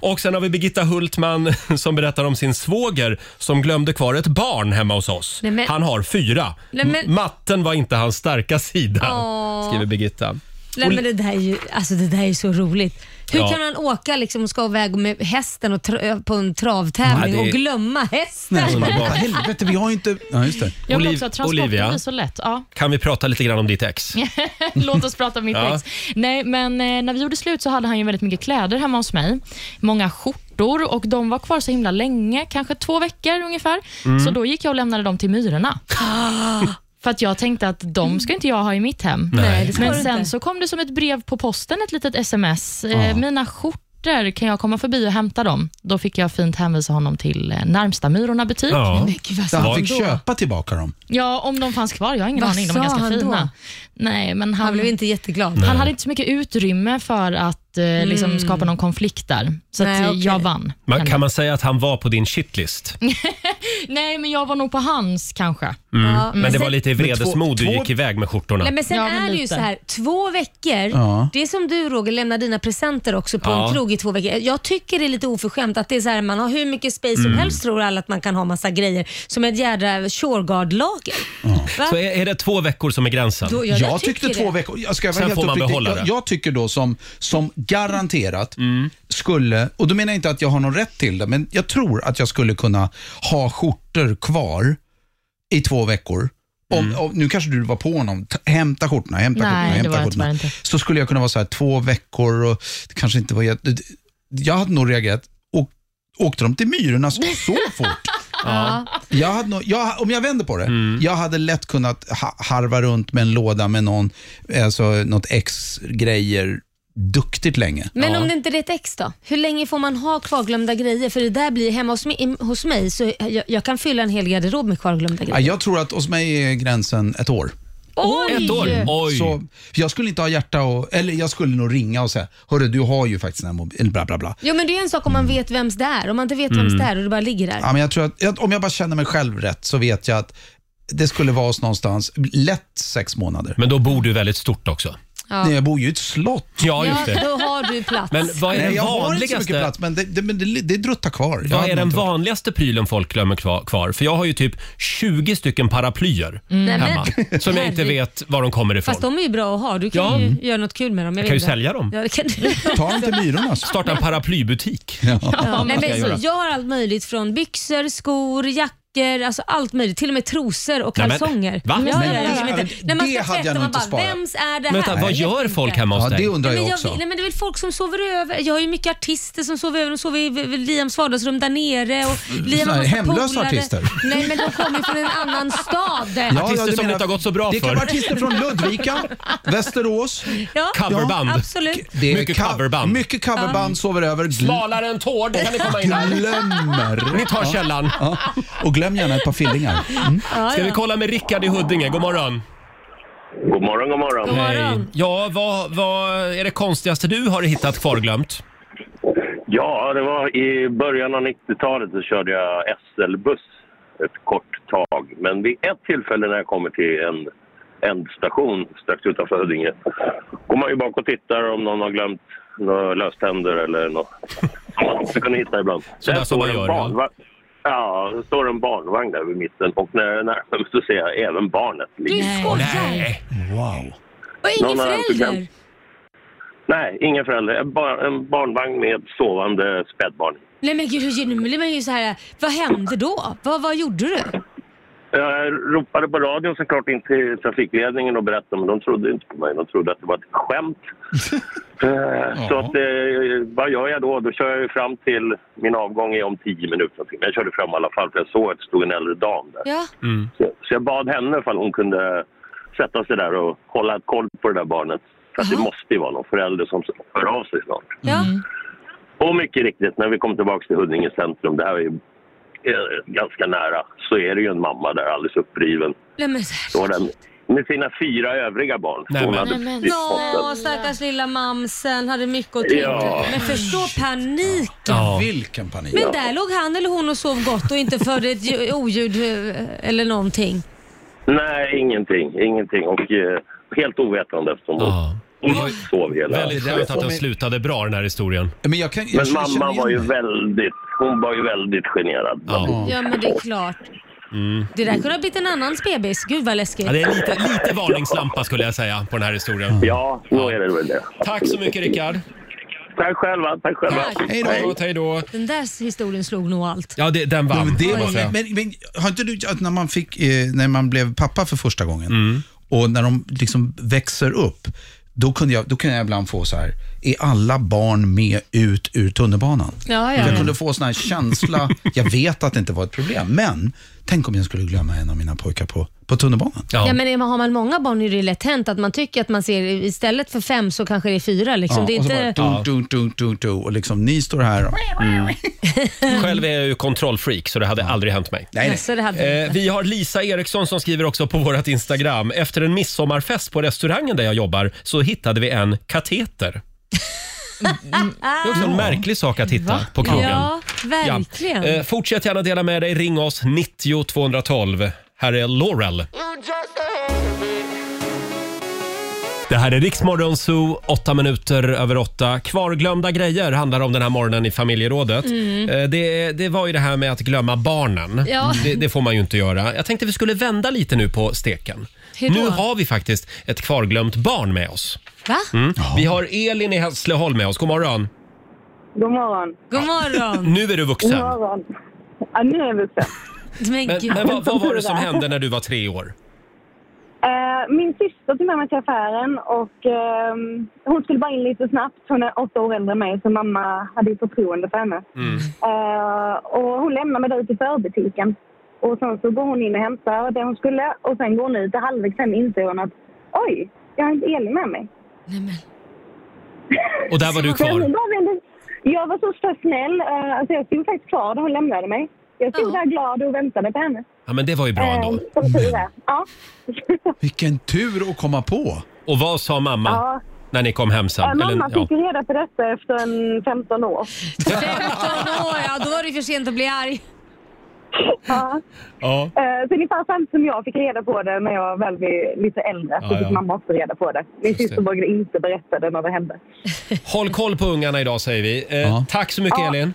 Speaker 1: Och sen har vi Birgitta Hultman som berättar om sin svåger som glömde kvar ett barn hemma hos oss.
Speaker 3: Nej, men-
Speaker 1: Han har fyra.
Speaker 3: Nej, men-
Speaker 1: M- Matten var inte hans starka sida,
Speaker 3: Åh.
Speaker 1: skriver Birgitta.
Speaker 3: Nej, men det, där är ju, alltså, det där är ju så roligt. Hur
Speaker 1: Ja.
Speaker 3: kan han åka liksom, och ska iväg med hästen och tra- på en travtävling
Speaker 1: Nej, det är-
Speaker 3: och glömma hästen?
Speaker 1: Underbart.
Speaker 7: Helvete, vi har ju inte... Ja, just det.
Speaker 4: Jag vill
Speaker 1: Oliv-
Speaker 4: också att transporten
Speaker 1: Olivia.
Speaker 4: blir så lätt. Ja.
Speaker 1: Kan vi prata lite grann om ditt ex?
Speaker 4: Låt oss prata om mitt
Speaker 1: Ja.
Speaker 4: ex. Nej, men eh, när vi gjorde slut så hade han ju väldigt mycket kläder hemma hos mig. Många skjortor och de var kvar så himla länge, kanske två veckor ungefär. Så då gick jag och lämnade dem till myrorna. För att jag tänkte att de ska inte jag ha i mitt hem.
Speaker 3: Nej, det ska
Speaker 4: Men
Speaker 3: du
Speaker 4: sen
Speaker 3: inte.
Speaker 4: så kom det som ett brev på posten, ett litet sms. Eh, Mina skjortor, kan jag komma förbi och hämta dem? Då fick jag fint hänvisa honom till eh, närmsta Myrorna butik.
Speaker 1: Ja.
Speaker 3: Gud, vad
Speaker 7: Så han fick
Speaker 3: då?
Speaker 7: köpa tillbaka dem.
Speaker 4: Ja, om de fanns kvar. Jag har ingen
Speaker 3: Vad
Speaker 4: aning. De är
Speaker 3: sa
Speaker 4: ganska
Speaker 3: han då?
Speaker 4: fina. Nej, men han,
Speaker 3: Han blev inte jätteglad. Mm.
Speaker 4: han hade inte så mycket utrymme för att eh, liksom skapa någon konflikt där. Så
Speaker 3: Nej,
Speaker 4: att, eh,
Speaker 3: okej.
Speaker 4: jag vann.
Speaker 1: Man,
Speaker 4: ändå.
Speaker 1: kan man säga att han var på din shitlist?
Speaker 4: Nej, men jag var nog på hans kanske.
Speaker 3: Ja,
Speaker 1: Mm. Men det
Speaker 3: sen-
Speaker 1: var lite i
Speaker 7: två-
Speaker 1: vredesmod du
Speaker 7: två-
Speaker 1: gick iväg med skjortorna.
Speaker 3: Nej, men sen
Speaker 4: Ja, men
Speaker 3: är det ju
Speaker 4: lite.
Speaker 3: så här, två veckor,
Speaker 7: Ja.
Speaker 3: det är som du Roger, lämnar dina presenter också på
Speaker 1: Ja.
Speaker 3: en krog i två veckor. Jag tycker det är lite oförskämt att det är så här, man har hur mycket space
Speaker 1: Mm.
Speaker 3: som helst tror alla att man kan ha massa grejer. Som ett jädra Shurgard-lager. Va?
Speaker 1: Så är, är det två veckor som är gränsen?
Speaker 3: Då- ja,
Speaker 7: Jag,
Speaker 3: jag
Speaker 7: tyckte
Speaker 3: tycker
Speaker 7: två
Speaker 3: det.
Speaker 7: veckor. Jag, ska vara
Speaker 1: Sen
Speaker 7: helt
Speaker 1: får man
Speaker 7: uppriktig.
Speaker 1: behålla det. Mm.
Speaker 7: jag, jag tycker då som, som garanterat skulle, och då menar jag inte att jag har någon rätt till det, men jag tror att jag skulle kunna ha skjortor kvar i två veckor. Om,
Speaker 1: Mm.
Speaker 7: om, nu kanske du var på honom. T- Hämta skjortorna, hämta
Speaker 4: Nej,
Speaker 7: skjortorna,
Speaker 4: det
Speaker 7: hämta
Speaker 4: var jag
Speaker 7: skjortorna.
Speaker 4: tyvärr inte.
Speaker 7: Så skulle jag kunna vara så här två veckor och det kanske inte var jätte... Jag hade nog reagerat. Och, åkte de till Myrorna så så fort?
Speaker 1: Ja.
Speaker 7: Jag hade nog, jag, om jag vänder på det,
Speaker 1: Mm.
Speaker 7: jag hade lätt kunnat ha, harva runt med en låda med någon, alltså, något ex-grejer duktigt länge.
Speaker 3: Men
Speaker 1: Ja.
Speaker 3: om det inte är ett ex då? Hur länge får man ha kvarglömda grejer? För det där blir hemma hos mig, hos mig så jag, jag kan fylla en hel garderob med kvarglömda
Speaker 7: Ja,
Speaker 3: grejer.
Speaker 7: jag tror att hos mig är gränsen ett år.
Speaker 3: Oj!
Speaker 1: Ett år? Oj!
Speaker 7: Så, för jag skulle inte ha hjärta och, eller jag skulle nog ringa och säga, hörru du har ju faktiskt den här mobilen, bla bla bla.
Speaker 3: Jo men det är en sak om man vet vems det är. Om man inte vet
Speaker 1: Mm.
Speaker 3: vems det är och det bara ligger där.
Speaker 7: Ja, men jag tror att, att om jag bara känner mig själv rätt så vet jag att det skulle vara oss någonstans, lätt sex månader.
Speaker 1: Men då bor du väldigt stort också.
Speaker 7: Nej, jag bor ju i ett slott.
Speaker 1: Ja,
Speaker 3: Ja,
Speaker 1: just det.
Speaker 3: då har du plats.
Speaker 1: Men vad är
Speaker 7: Nej,
Speaker 1: den
Speaker 7: jag har inte så mycket
Speaker 1: vanligaste
Speaker 7: plats, men det, det, men det, det druttar kvar. Jag
Speaker 1: Vad
Speaker 7: hade
Speaker 1: är den
Speaker 7: nog inte-
Speaker 1: vanligaste prylen folk glömmer kva- kvar? För jag har ju typ 20 stycken paraplyer
Speaker 3: Mm. Nej, men-
Speaker 1: hemma som jag inte
Speaker 3: Herregud.
Speaker 1: vet var de kommer ifrån.
Speaker 3: Fast de är ju bra att ha. Du kan
Speaker 1: Ja.
Speaker 3: ju göra något kul med dem. Jag,
Speaker 1: kan
Speaker 3: vet
Speaker 1: ju
Speaker 3: inte.
Speaker 1: sälja dem.
Speaker 3: Ja, det kan du.
Speaker 7: Ta dem till alltså. Myrorna. så.
Speaker 1: Starta en paraplybutik.
Speaker 3: Nej,
Speaker 1: ska jag
Speaker 3: men,
Speaker 1: göra?
Speaker 3: så, jag har allt möjligt från byxor, skor, jackor, alltså allt möjligt. Till och med trosor och
Speaker 1: Nej, men-
Speaker 3: kalsonger.
Speaker 1: Va?
Speaker 3: Ja,
Speaker 1: Men
Speaker 3: ja, ja,
Speaker 7: det-
Speaker 3: jag vet inte.
Speaker 7: ja, men
Speaker 3: När man
Speaker 7: det
Speaker 3: ska
Speaker 7: hade jag
Speaker 3: tvätta,
Speaker 7: nog
Speaker 3: man
Speaker 7: inte
Speaker 3: bara,
Speaker 7: sparat.
Speaker 3: vems är det här?
Speaker 1: Men vänta, vad
Speaker 3: Jag vet
Speaker 1: gör
Speaker 3: inte.
Speaker 1: folk hemma hos
Speaker 7: Ja, det
Speaker 1: dig?
Speaker 7: undrar
Speaker 3: Nej,
Speaker 7: jag
Speaker 3: men, jag,
Speaker 7: också.
Speaker 3: nej, men det är väl folk som sover över. Jag har ju mycket artister som sover över. De sover i v- v- Liams vardagsrum där nere. Och Liam
Speaker 7: såna
Speaker 3: har
Speaker 7: Mm. här
Speaker 3: massa
Speaker 7: hemlösa
Speaker 3: polare.
Speaker 7: artister.
Speaker 3: Nej, men de kommer ju från en annan stad.
Speaker 7: Ja,
Speaker 1: Artister
Speaker 7: du
Speaker 1: som det inte har gått så bra
Speaker 7: Det
Speaker 1: för.
Speaker 7: kan vara artister från Ludvika, Västerås.
Speaker 3: Ja,
Speaker 1: Coverband.
Speaker 3: Absolut.
Speaker 7: Det är
Speaker 1: Mycket
Speaker 7: co-
Speaker 1: coverband.
Speaker 7: Mycket coverband, sover över. Gl-
Speaker 1: Smalare än tår, då kan ni komma in här.
Speaker 7: Glömmer.
Speaker 1: Ni tar källan.
Speaker 7: Ja. Och glöm gärna ett par fillingar. Mm.
Speaker 1: Ska vi kolla med Rickard i Huddinge? God morgon.
Speaker 9: God morgon, god morgon.
Speaker 3: God
Speaker 1: Hej.
Speaker 3: morgon.
Speaker 1: Ja, vad, vad är det konstigaste du har hittat kvarglömt?
Speaker 9: Ja, det var i början av 90-talet så körde jag SL-buss ett kort tag. Men vid ett tillfälle när jag kommer till en ändstation strax utanför Huddinge går man ju bak och tittar om någon har glömt några löständer eller något. Så kan ni hitta ibland.
Speaker 1: Sådär
Speaker 9: Där
Speaker 1: som man
Speaker 9: står en
Speaker 1: gör, ja.
Speaker 9: barnvagn- Ja, det står en barnvagn där vid mitten och när jag närmar mig så ser jag även barnet.
Speaker 3: Du
Speaker 9: ligga.
Speaker 3: skojar!
Speaker 1: Wow.
Speaker 3: Och ingen
Speaker 9: Någon har inte
Speaker 3: förälder?
Speaker 9: glömt. Nej, ingen förälder. En, bar- en barnvagn med sovande spädbarn.
Speaker 3: Nej men gud, nu blir man ju så här. vad hände då? Vad, vad gjorde du?
Speaker 9: Jag ropade på radion såklart in till trafikledningen och berättade, men de trodde inte på mig. De trodde att det var ett skämt. Eh, Så att, eh, vad gör jag då? Då kör jag ju fram till, min avgång är om tio minuter. någonting. Men jag körde fram i alla fall för jag såg att det stod en äldre dam där.
Speaker 3: Ja.
Speaker 1: Mm.
Speaker 9: Så, så jag bad henne ifall hon kunde sätta sig där och hålla ett koll på det där barnet. För att det
Speaker 3: Jaha.
Speaker 9: måste ju vara någon förälder som hör av sig snart.
Speaker 3: Ja.
Speaker 1: Mm.
Speaker 9: Och mycket riktigt, när vi kom tillbaka till Huddinge centrum, det här är ju eh, ganska nära, så är det ju en mamma där alldeles uppriven.
Speaker 3: Nej men så här.
Speaker 9: Då var den med sina fyra övriga barn.
Speaker 1: Nej,
Speaker 9: Hon
Speaker 1: men-
Speaker 9: hade
Speaker 4: Nej, men-
Speaker 9: precis fått den.
Speaker 3: Åh, stackars lilla mamsen. Hade mycket att tänka
Speaker 9: Ja.
Speaker 3: på. Men förstå paniken.
Speaker 1: Ja.
Speaker 7: Vilken panik.
Speaker 3: Men där låg han eller hon och sov gott och inte förde ett ju- oljud eh, eller någonting.
Speaker 9: Nej, ingenting. Ingenting. Och eh, helt ovetande eftersom hon
Speaker 1: Ja.
Speaker 9: hon sov hela...
Speaker 1: Väldigt skönt att den
Speaker 7: Men-
Speaker 1: slutade bra den här historien.
Speaker 7: Men, jag kan, jag
Speaker 9: Men
Speaker 7: känner
Speaker 9: mamman
Speaker 7: igen
Speaker 9: var ju
Speaker 7: mig.
Speaker 9: väldigt... Hon var ju väldigt generad.
Speaker 1: Ja. Mm.
Speaker 3: Ja men det är klart. Det där kunde ha blivit en annans bebis. Gud vad läskigt.
Speaker 1: Ja, det är lite, lite varningslampa skulle jag säga på den här historien.
Speaker 9: Ja, nog är det väl det.
Speaker 1: Tack så mycket Rickard.
Speaker 9: Tack själva. Tack själva.
Speaker 3: Tack.
Speaker 7: Hej då.
Speaker 1: Förlåt, Hej då.
Speaker 3: Den där historien slog nog allt.
Speaker 1: Ja, det, den
Speaker 7: Ja,
Speaker 1: vann.
Speaker 7: men, det
Speaker 1: måste
Speaker 7: var,
Speaker 1: jag säga.
Speaker 7: men, men har inte du, att när man, fick, eh, när man blev pappa för första gången
Speaker 1: Mm.
Speaker 7: och när de liksom växer upp, då kunde, jag, då kunde jag ibland få så här, är alla barn med ut ur tunnelbanan?
Speaker 3: Ja, ja.
Speaker 7: Jag kunde få sån här känsla, jag vet att det inte var ett problem, men tänk om jag skulle glömma en av mina pojkar på, på tunnelbanan.
Speaker 1: Ja.
Speaker 3: Ja, men är man- har man många barn är det lätt hänt att man tycker att man ser istället för fem så kanske det är fyra. Liksom. det är
Speaker 7: och så
Speaker 3: inte...
Speaker 7: bara dun, dun, dun, dun, dun, och liksom ni står här och...
Speaker 1: Mm. Själv är jag ju kontrollfreak så det hade aldrig hänt mig.
Speaker 7: Nej, nej.
Speaker 3: Alltså, det hade...
Speaker 1: Eh, vi har Lisa Eriksson som skriver också på vårt Instagram. Efter en midsommarfest på restaurangen där jag jobbar så hittade vi en kateter. Det är också en märklig sak att hitta
Speaker 4: Va?
Speaker 1: på krogen.
Speaker 3: Mm, Ja,
Speaker 1: Ja.
Speaker 3: verkligen.
Speaker 1: Eh, fortsätt gärna dela med dig. Ring oss 90 212. Här är Laurel. Det här är Riksmorgon Zoo, åtta minuter över åtta. Kvarglömda grejer handlar om den här morgonen i familjerådet. Eh, Det, det var ju det här med att glömma barnen.
Speaker 3: Mm. Ja.
Speaker 1: Det, det får man ju inte göra. Jag tänkte vi skulle vända lite nu på steken.
Speaker 3: Hur då?
Speaker 1: Nu har vi faktiskt ett kvarglömt barn med oss. Mm.
Speaker 3: Va?
Speaker 1: Vi har Elin i Hässleholm med oss. God morgon.
Speaker 5: God morgon.
Speaker 3: God morgon.
Speaker 1: Nu är du vuxen.
Speaker 5: morgon. Ja, nu är jag vuxen.
Speaker 3: Men,
Speaker 1: Men,
Speaker 3: gud.
Speaker 1: men vad, vad var det som hände när du var tre år?
Speaker 5: Eh, Min syster tog med mig till affären och ehm, hon skulle bara in lite snabbt. Hon är åtta år äldre än mig så mamma hade ju förtroende för henne.
Speaker 1: Mm.
Speaker 5: Eh, och hon lämnar mig där ute i förbutiken. Och sen så går hon in och hämtar det hon skulle och sen går hon ut och halvvägs sen inser hon att oj, jag har inte Elin med mig.
Speaker 3: Nej, men.
Speaker 1: Och där var du
Speaker 5: Men hon
Speaker 1: kvar.
Speaker 5: bara vände- Jag var så så snäll. eh, Alltså jag stod faktiskt kvar där hon lämnade mig. Jag stod
Speaker 3: Ja.
Speaker 5: där glad och väntade på henne.
Speaker 1: Ja, men det var ju bra
Speaker 5: Eh,
Speaker 1: ändå. Mm.
Speaker 5: Som tur är. Ja.
Speaker 7: Ehm. Vilken tur att komma på.
Speaker 1: Och vad sa mamma
Speaker 5: Ja.
Speaker 1: när ni kom hem
Speaker 5: Eh,
Speaker 1: sen?
Speaker 5: Mamma
Speaker 1: ja.
Speaker 5: fick ju reda på detta efter en 15 år.
Speaker 3: 15 år, ja då var det för sent att bli arg.
Speaker 5: Ja.
Speaker 1: Ja.
Speaker 5: Eh, Så ungefär samtidigt som jag fick reda på det när jag väl blev lite äldre så
Speaker 1: Ja,
Speaker 5: fick
Speaker 1: ja.
Speaker 5: mamma också reda på det. Min
Speaker 1: Just
Speaker 5: syster
Speaker 1: det.
Speaker 5: vågade inte berätta det när det hände.
Speaker 1: Håll koll på ungarna idag säger vi. Eh,
Speaker 7: Ja.
Speaker 1: Tack så mycket Elin.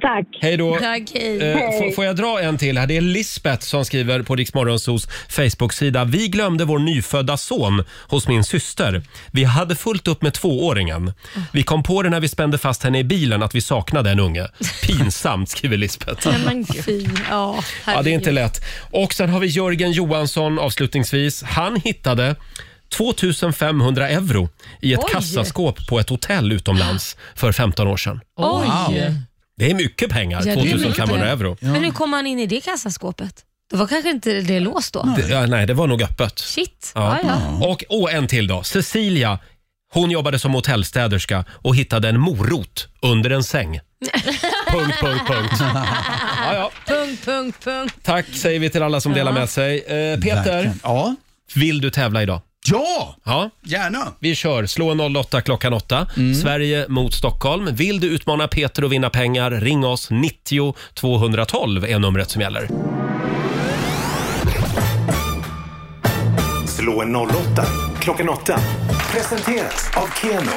Speaker 5: Tack!
Speaker 1: Hej då.
Speaker 3: Tack, hej.
Speaker 1: Eh, f- får jag dra en till här? Det är Lisbeth som skriver på Riksmorgonsos Facebook-sida. Vi glömde vår nyfödda son hos min syster. Vi hade fullt upp med tvååringen. Vi kom på det när vi spände fast henne i bilen att vi saknade en unge. Pinsamt skriver Lisbeth.
Speaker 4: Nej, men gud.
Speaker 3: Fy, ja,
Speaker 1: Ja, det är inte
Speaker 3: herregud.
Speaker 1: lätt. Och sen har vi Jörgen Johansson avslutningsvis. Han hittade 2500 euro i ett
Speaker 3: Oj.
Speaker 1: kassaskåp på ett hotell utomlands för 15 år sedan.
Speaker 4: Oj.
Speaker 1: Det är mycket pengar,
Speaker 3: Ja, det är mycket
Speaker 1: 2500
Speaker 3: pengar.
Speaker 1: euro.
Speaker 3: Men hur kom han in i det kassaskåpet? Det var kanske inte det låst då?
Speaker 1: Det, ja, nej, det var nog öppet.
Speaker 3: Shit.
Speaker 1: Ja.
Speaker 3: Ja, ja.
Speaker 1: Och åh, en till då. Cecilia, hon jobbade som hotellstäderska och hittade en morot under en säng. punkt, punkt, punkt. Ja, ja.
Speaker 3: Punkt, punkt, punkt.
Speaker 1: Tack säger vi till alla som delar med sig. Eh, Peter,
Speaker 7: Verkligen. Ja.
Speaker 1: Vill du tävla idag?
Speaker 7: Ja,
Speaker 1: Ja.
Speaker 7: gärna. Mm.
Speaker 1: Vi kör. Slå en 08 klockan 8. Sverige mot Stockholm. Vill du utmana Peter och vinna pengar? Ring oss. 90 212 är numret som gäller. Mm.
Speaker 2: Slå en 08 klockan 8. Presenteras av Keno.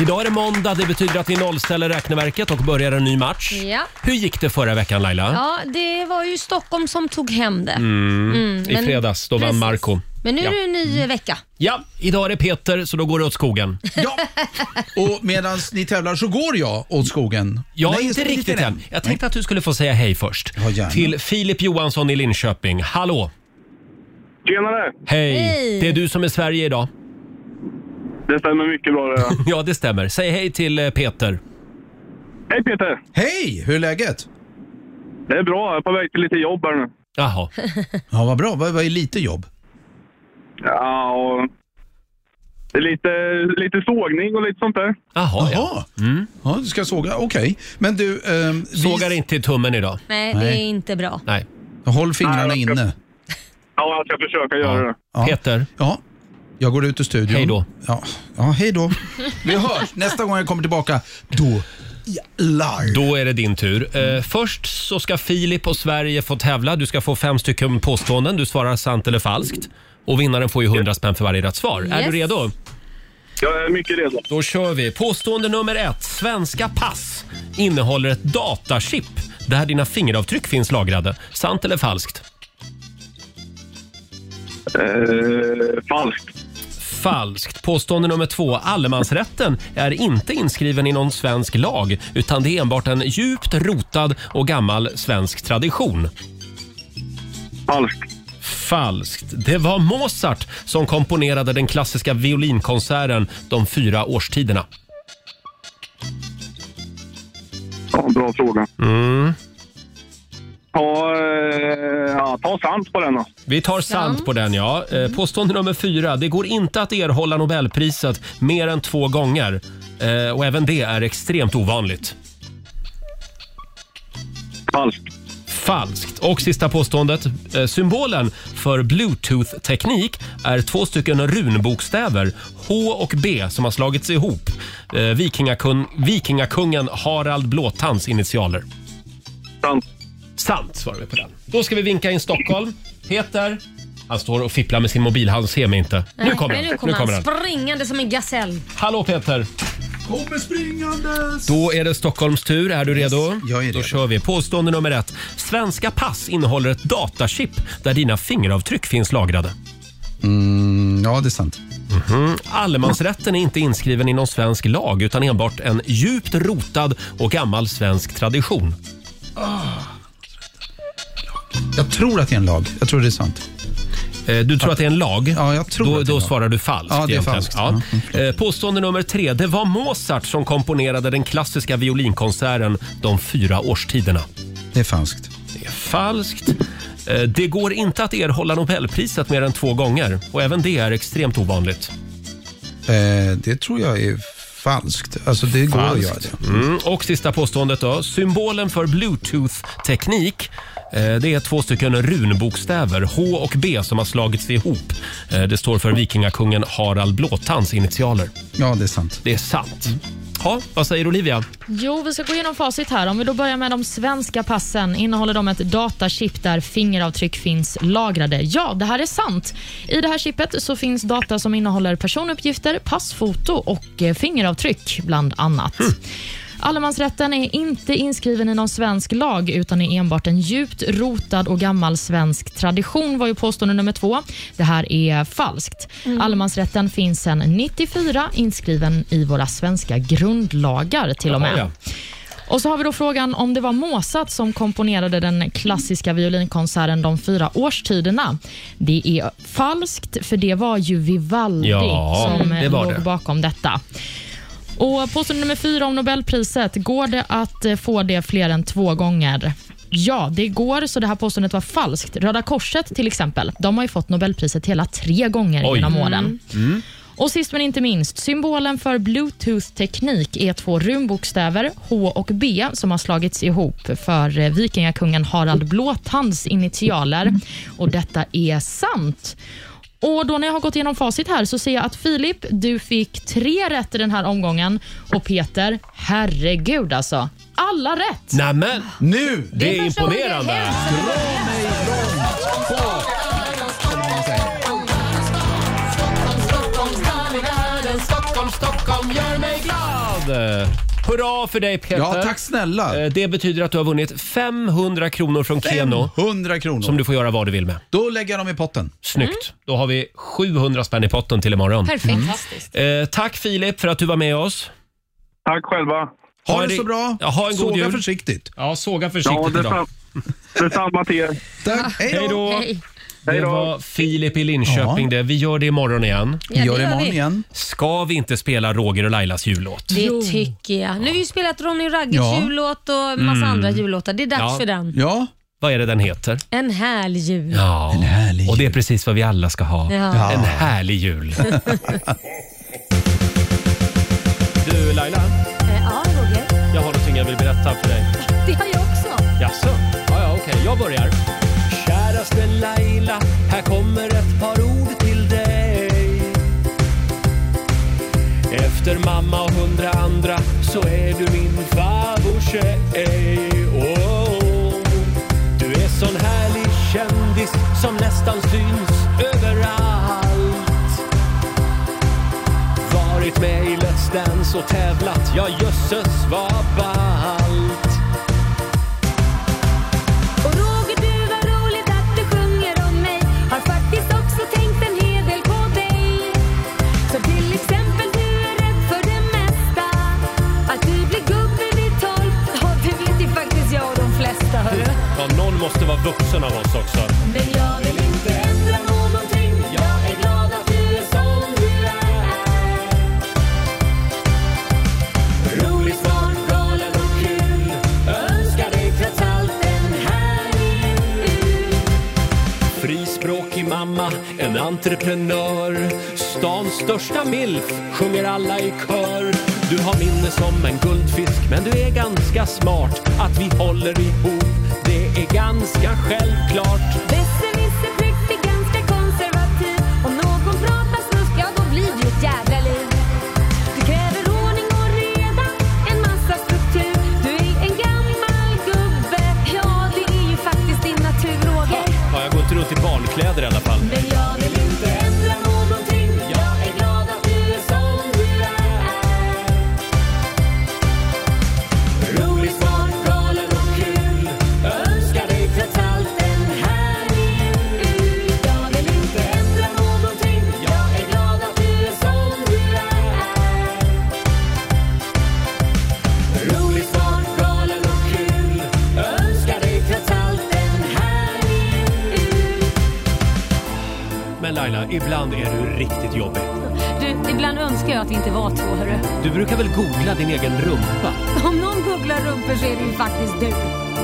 Speaker 1: Idag är det måndag. Det betyder att vi nollställer räkneverket och börjar en ny match.
Speaker 3: Ja.
Speaker 1: Hur gick det förra veckan Laila?
Speaker 3: Ja, det var ju Stockholm som tog hem det. Mm, men-
Speaker 1: I fredags, då vann
Speaker 3: Precis.
Speaker 1: Marco.
Speaker 3: Men nu
Speaker 1: Ja.
Speaker 3: är det en ny vecka.
Speaker 1: Ja, idag är det Peter så då går det åt skogen.
Speaker 7: Ja. Och medan ni tävlar så går jag åt skogen.
Speaker 1: Jag är
Speaker 7: Nej,
Speaker 1: inte
Speaker 7: jag står
Speaker 1: riktigt
Speaker 7: lite
Speaker 1: än. Jag tänkte att du skulle få säga hej först.
Speaker 7: Ja, gärna.
Speaker 1: Till Filip Johansson i Linköping. Hallå!
Speaker 9: Tjenare!
Speaker 1: Hej!
Speaker 3: Hej.
Speaker 1: Det är du som är Sverige idag.
Speaker 9: Det stämmer mycket bra det här.
Speaker 1: Ja, det stämmer. Säg hej till eh, Peter.
Speaker 9: Hej Peter!
Speaker 7: Hej, hur är läget?
Speaker 9: Det är bra, jag är på väg till lite jobb här nu.
Speaker 1: Jaha.
Speaker 7: Ja, vad bra. Vad vad är lite jobb?
Speaker 9: Ja, och... Det är lite, lite sågning och lite sånt där.
Speaker 1: Jaha, ja. Mm.
Speaker 7: Jaha. Ja, du ska såga. Okej. Men du, ehm, vi-
Speaker 1: Sågar inte i tummen idag.
Speaker 3: Nej, det
Speaker 7: Nej.
Speaker 3: är inte bra.
Speaker 1: Nej.
Speaker 7: håll fingrarna
Speaker 9: Nej, jag ska-
Speaker 7: inne.
Speaker 9: Ja, jag ska försöka göra det.
Speaker 7: Ja.
Speaker 1: Peter,
Speaker 7: Ja, jag går ut ur studion.
Speaker 1: Hej då.
Speaker 7: Ja, ja hej då. Vi hörs nästa gång jag kommer tillbaka. Då jävlar.
Speaker 1: då är det din tur.
Speaker 9: Mm.
Speaker 1: Eh, först så ska Filip och Sverige få tävla. Du ska få fem stycken påståenden. Du svarar sant eller falskt. Och vinnaren får ju 100 spänn för varje rätt svar. Är du
Speaker 3: Yes.
Speaker 1: redo?
Speaker 9: Jag är mycket redo.
Speaker 1: Då kör vi. Påstående nummer ett. Svenska pass innehåller ett datachip där dina fingeravtryck finns lagrade. Sant eller falskt?
Speaker 9: Eh, falskt.
Speaker 1: Falskt. Påstående nummer två. Allemansrätten är inte inskriven i någon svensk lag utan det är enbart en djupt rotad och gammal svensk tradition.
Speaker 9: Falskt.
Speaker 1: Falskt. Det var Mozart som komponerade den klassiska violinkonserten De fyra årstiderna.
Speaker 9: Ja, bra fråga.
Speaker 1: Mm.
Speaker 9: Ta, eh, ja, ta sant på den då.
Speaker 1: Vi tar sant på den, ja. Eh, Påstående nummer fyra. Det går inte att erhålla Nobelpriset mer än två gånger. Eh, Och även det är extremt ovanligt.
Speaker 9: Falskt.
Speaker 1: Falskt. Och sista påståendet. Eh, Symbolen för bluetooth-teknik är två stycken runbokstäver, H och B, som har slagits ihop. Eh, Vikingakun vikingakungen Harald Blåtands initialer.
Speaker 9: Sant.
Speaker 1: Sant svarar vi på den. Då ska vi vinka in Stockholm. Peter. Han står och fipplar med sin mobil. Han ser mig inte. Nu kommer
Speaker 3: Nej,
Speaker 1: han.
Speaker 3: nu kommer han springande som en gasell.
Speaker 1: Hallå Peter.
Speaker 7: Kommer springandes.
Speaker 1: Då är det Stockholms tur. Är du redo?
Speaker 7: jag är
Speaker 1: Då
Speaker 7: redo.
Speaker 1: kör vi. Påstående nummer ett. Svenska pass innehåller ett datachip där dina fingeravtryck finns lagrade.
Speaker 7: Mm, ja, det är sant.
Speaker 1: Mhm. Allemansrätten är inte inskriven i någon svensk lag utan enbart en djupt rotad och gammal svensk tradition.
Speaker 7: Jag tror att det är en lag. Jag tror det är sant.
Speaker 1: Eh, Du tror att det är en lag?
Speaker 7: Ja, jag tror
Speaker 1: då,
Speaker 7: att det är
Speaker 1: då
Speaker 7: en lag.
Speaker 1: svarar du falskt.
Speaker 7: Ja, det är
Speaker 1: egentligen.
Speaker 7: falskt. Ja, mm,
Speaker 1: Eh, Påstående nummer tre. Det var Mozart som komponerade den klassiska violinkonserten De fyra årstiderna.
Speaker 7: Det är falskt.
Speaker 1: Det är falskt. Eh, Det går inte att erhålla Nobelpriset mer än två gånger och även det är extremt ovanligt.
Speaker 7: Eh, det tror jag är falskt. Alltså, det går att göra det.
Speaker 1: Mm. Och sista påståendet då. Symbolen för bluetooth-teknik eh, det är två stycken runbokstäver, H och B, som har slagits ihop. Eh, Det står för vikingakungen Harald Blåtands initialer.
Speaker 7: Ja, det är sant.
Speaker 1: Det är sant. Ja, vad säger Olivia?
Speaker 4: Jo, vi ska gå igenom facit här. Om vi då börjar med de svenska passen. Innehåller de ett datachip där fingeravtryck finns lagrade? Ja, det här är sant. I det här chippet så finns data som innehåller personuppgifter, passfoto och eh, fingeravtryck bland annat. Allemansrätten är inte inskriven i någon svensk lag utan är enbart en djupt rotad och gammal svensk tradition var ju påstående nummer två. Det här är falskt. Allemansrätten finns sedan 94 inskriven i våra svenska grundlagar till och med.
Speaker 1: Jaha,
Speaker 4: Och så har vi då frågan om det var Mozart som komponerade den klassiska violinkonserten De fyra årstiderna. Det är falskt, för det var ju Vivaldi
Speaker 1: Ja,
Speaker 4: som eh,
Speaker 1: det var
Speaker 4: låg
Speaker 1: det.
Speaker 4: bakom detta. Och Påstående nummer fyra om Nobelpriset. Går det att eh, få det fler än två gånger? Ja, det går, så det här påståendet var falskt. Röda Korset till exempel, de har ju fått Nobelpriset hela tre gånger
Speaker 3: Mm.
Speaker 1: Oj. Mm.
Speaker 4: genom åren. Och sist men inte minst, symbolen för bluetooth-teknik är två rumbokstäver, H och B, som har slagits ihop för eh, vikingakungen Harald Blåtands initialer. Och detta är sant. Och då när jag har gått igenom facit här så ser jag att Filip, du fick tre rätt i den här omgången och Peter, herregud alltså. Alla rätt!
Speaker 1: Nämen,
Speaker 7: Nu!
Speaker 1: det är
Speaker 3: första gången det
Speaker 1: imponerande. Eh, Hurra för dig Peter.
Speaker 7: Ja, tack snälla.
Speaker 1: Eh, Det betyder att du har vunnit 500 kronor från Keno
Speaker 7: 100 kronor.
Speaker 1: som du får göra vad du vill med.
Speaker 7: Då lägger jag dem i potten.
Speaker 1: Snyggt. Då har vi 700 spänn i potten till imorgon.
Speaker 3: Mm. Perfekt.
Speaker 7: Mm.
Speaker 1: Eh, tack Filip för att du var med oss.
Speaker 9: Tack själva.
Speaker 7: Ha,
Speaker 1: Ha
Speaker 7: det,
Speaker 1: det-
Speaker 7: så bra.
Speaker 1: Ja, ha en god
Speaker 7: Såga
Speaker 1: jul.
Speaker 7: försiktigt.
Speaker 1: Ja, såga försiktigt idag.
Speaker 9: Detsamma till er.
Speaker 7: Tack. Hej
Speaker 1: Hej
Speaker 7: då.
Speaker 1: då.
Speaker 3: Ah, Hej.
Speaker 1: Det
Speaker 9: Hej då.
Speaker 1: var Filip i Linköping
Speaker 7: Ja.
Speaker 1: det. Vi gör det imorgon igen.
Speaker 3: Ja,
Speaker 7: gör det
Speaker 3: vi.
Speaker 7: imorgon igen.
Speaker 1: Ska vi inte spela Roger och Lailas jullåt?
Speaker 3: Det tycker jag. Nu har vi ju spelat Ronny och Ragges
Speaker 7: Ja.
Speaker 3: jullåt och en massa andra jullåtar. Det är dags
Speaker 1: Mm. Ja.
Speaker 3: för den.
Speaker 7: Ja.
Speaker 1: Vad är det den heter?
Speaker 3: En härlig jul.
Speaker 1: Ja,
Speaker 7: En härlig
Speaker 1: och det är precis vad vi alla ska ha.
Speaker 3: Ja.
Speaker 1: En härlig jul.
Speaker 3: Eh,
Speaker 1: du Laila,
Speaker 3: Eh, ja, Roger.
Speaker 1: jag har någonting jag vill berätta för dig.
Speaker 3: Det har jag också.
Speaker 1: Jaså? Ja, ja, okej. Jag börjar. Käraste Laila, här kommer ett par ord till dig. Efter mamma och hundra andra så är du min favorittjej. Oh, du är sån härlig kändis som nästan syns överallt. Varit med i Let's Dance och tävlat, ja jösses vad ballt.
Speaker 8: Och Roger, du var roligt att du sjunger om mig. Har faktiskt också tänkt en hel del på dig. Så till exempel, du är rädd för det mesta. Att du blir gubbe vid tolv. Ja, det vet ju faktiskt jag och de flesta, hörru.
Speaker 1: Ja, någon måste vara vuxen av oss också.
Speaker 8: Men jag vill inte ändra någonting. Jag är glad att du är som du är. Rolig, smart, galen och kul. Önskar dig trots allt en härlig jul.
Speaker 1: Frispråkig mamma, en entreprenör. Stans största milf, sjunger alla i kör. Du har minne som en guldfisk, men du är ganska smart. Att vi håller ihop, det är ganska självklart.
Speaker 8: Besserwisser prick är ganska konservativ. Om någon pratar snusk, ja då blir det ju ett jävla liv. Du kräver ordning och reda, en massa struktur. Du är en gammal gubbe, ja det är ju faktiskt din natur, Roger.
Speaker 1: Ja, jag går inte runt i barnkläder i alla fall.
Speaker 8: Men jag vill inte ändra någonting. Jag är glad att du är som du är. Rolig, smart, galen och kul. Önskar dig trots allt en härlig jul. Jag vill inte ändra någonting. Jag är glad att du är som du är. Rolig, smart, galen och kul. Önskar dig trots allt en härlig jul.
Speaker 1: Men Laila, ibland är du riktigt jobbig.
Speaker 3: Du, ibland önskar jag att vi inte var två, hörru.
Speaker 1: Du brukar väl googla din egen rumpa?
Speaker 3: Om någon googlar rumpor så är det ju faktiskt du.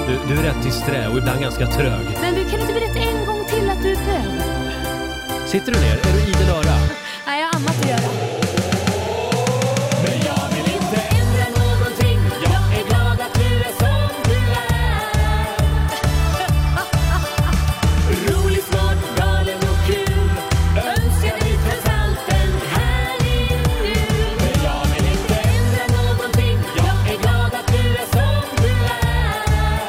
Speaker 1: Du, du är rätt disträ och ibland ganska trög.
Speaker 8: Men du kan inte berätta en gång till att du är bög?
Speaker 1: Sitter du ner? Är du idel öra?
Speaker 3: Nej, jag har annat att göra.
Speaker 8: Ändra någonting, jag är glad att du är som du är. Rolig, smart, galen och kul. Önskar dig trots allt en härlig jul. Men jag vill inte ändra någonting, jag är glad att du är som du är.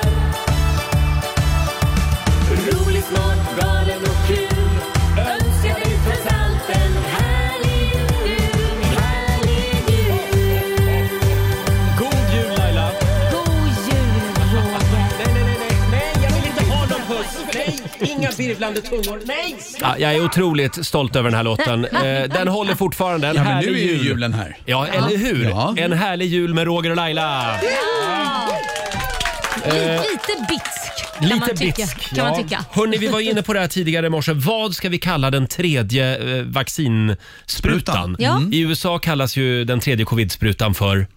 Speaker 8: Rolig, smart, galen och kul. Önskar dig trots allt en härlig jul. Härlig jul.
Speaker 1: God jul Laila!
Speaker 3: God jul, Roger.
Speaker 1: Ja, jag är otroligt stolt över den här låten. Eh, Den håller fortfarande. En
Speaker 7: Ja, men
Speaker 1: härlig
Speaker 7: nu är ju
Speaker 1: jul.
Speaker 7: julen här.
Speaker 1: Ja, eller hur?
Speaker 7: Ja.
Speaker 1: En härlig jul med Roger och Laila.
Speaker 3: Lite bitsk kan man
Speaker 1: Eh, Lite
Speaker 3: tycka.
Speaker 1: bitsk.
Speaker 3: Kan man tycka.
Speaker 1: Hörni, vi var inne på det här tidigare i morse. Vad ska vi kalla den tredje eh, vaccinsprutan?
Speaker 7: Sprutan.
Speaker 3: Ja.
Speaker 1: I USA kallas ju den tredje covidsprutan för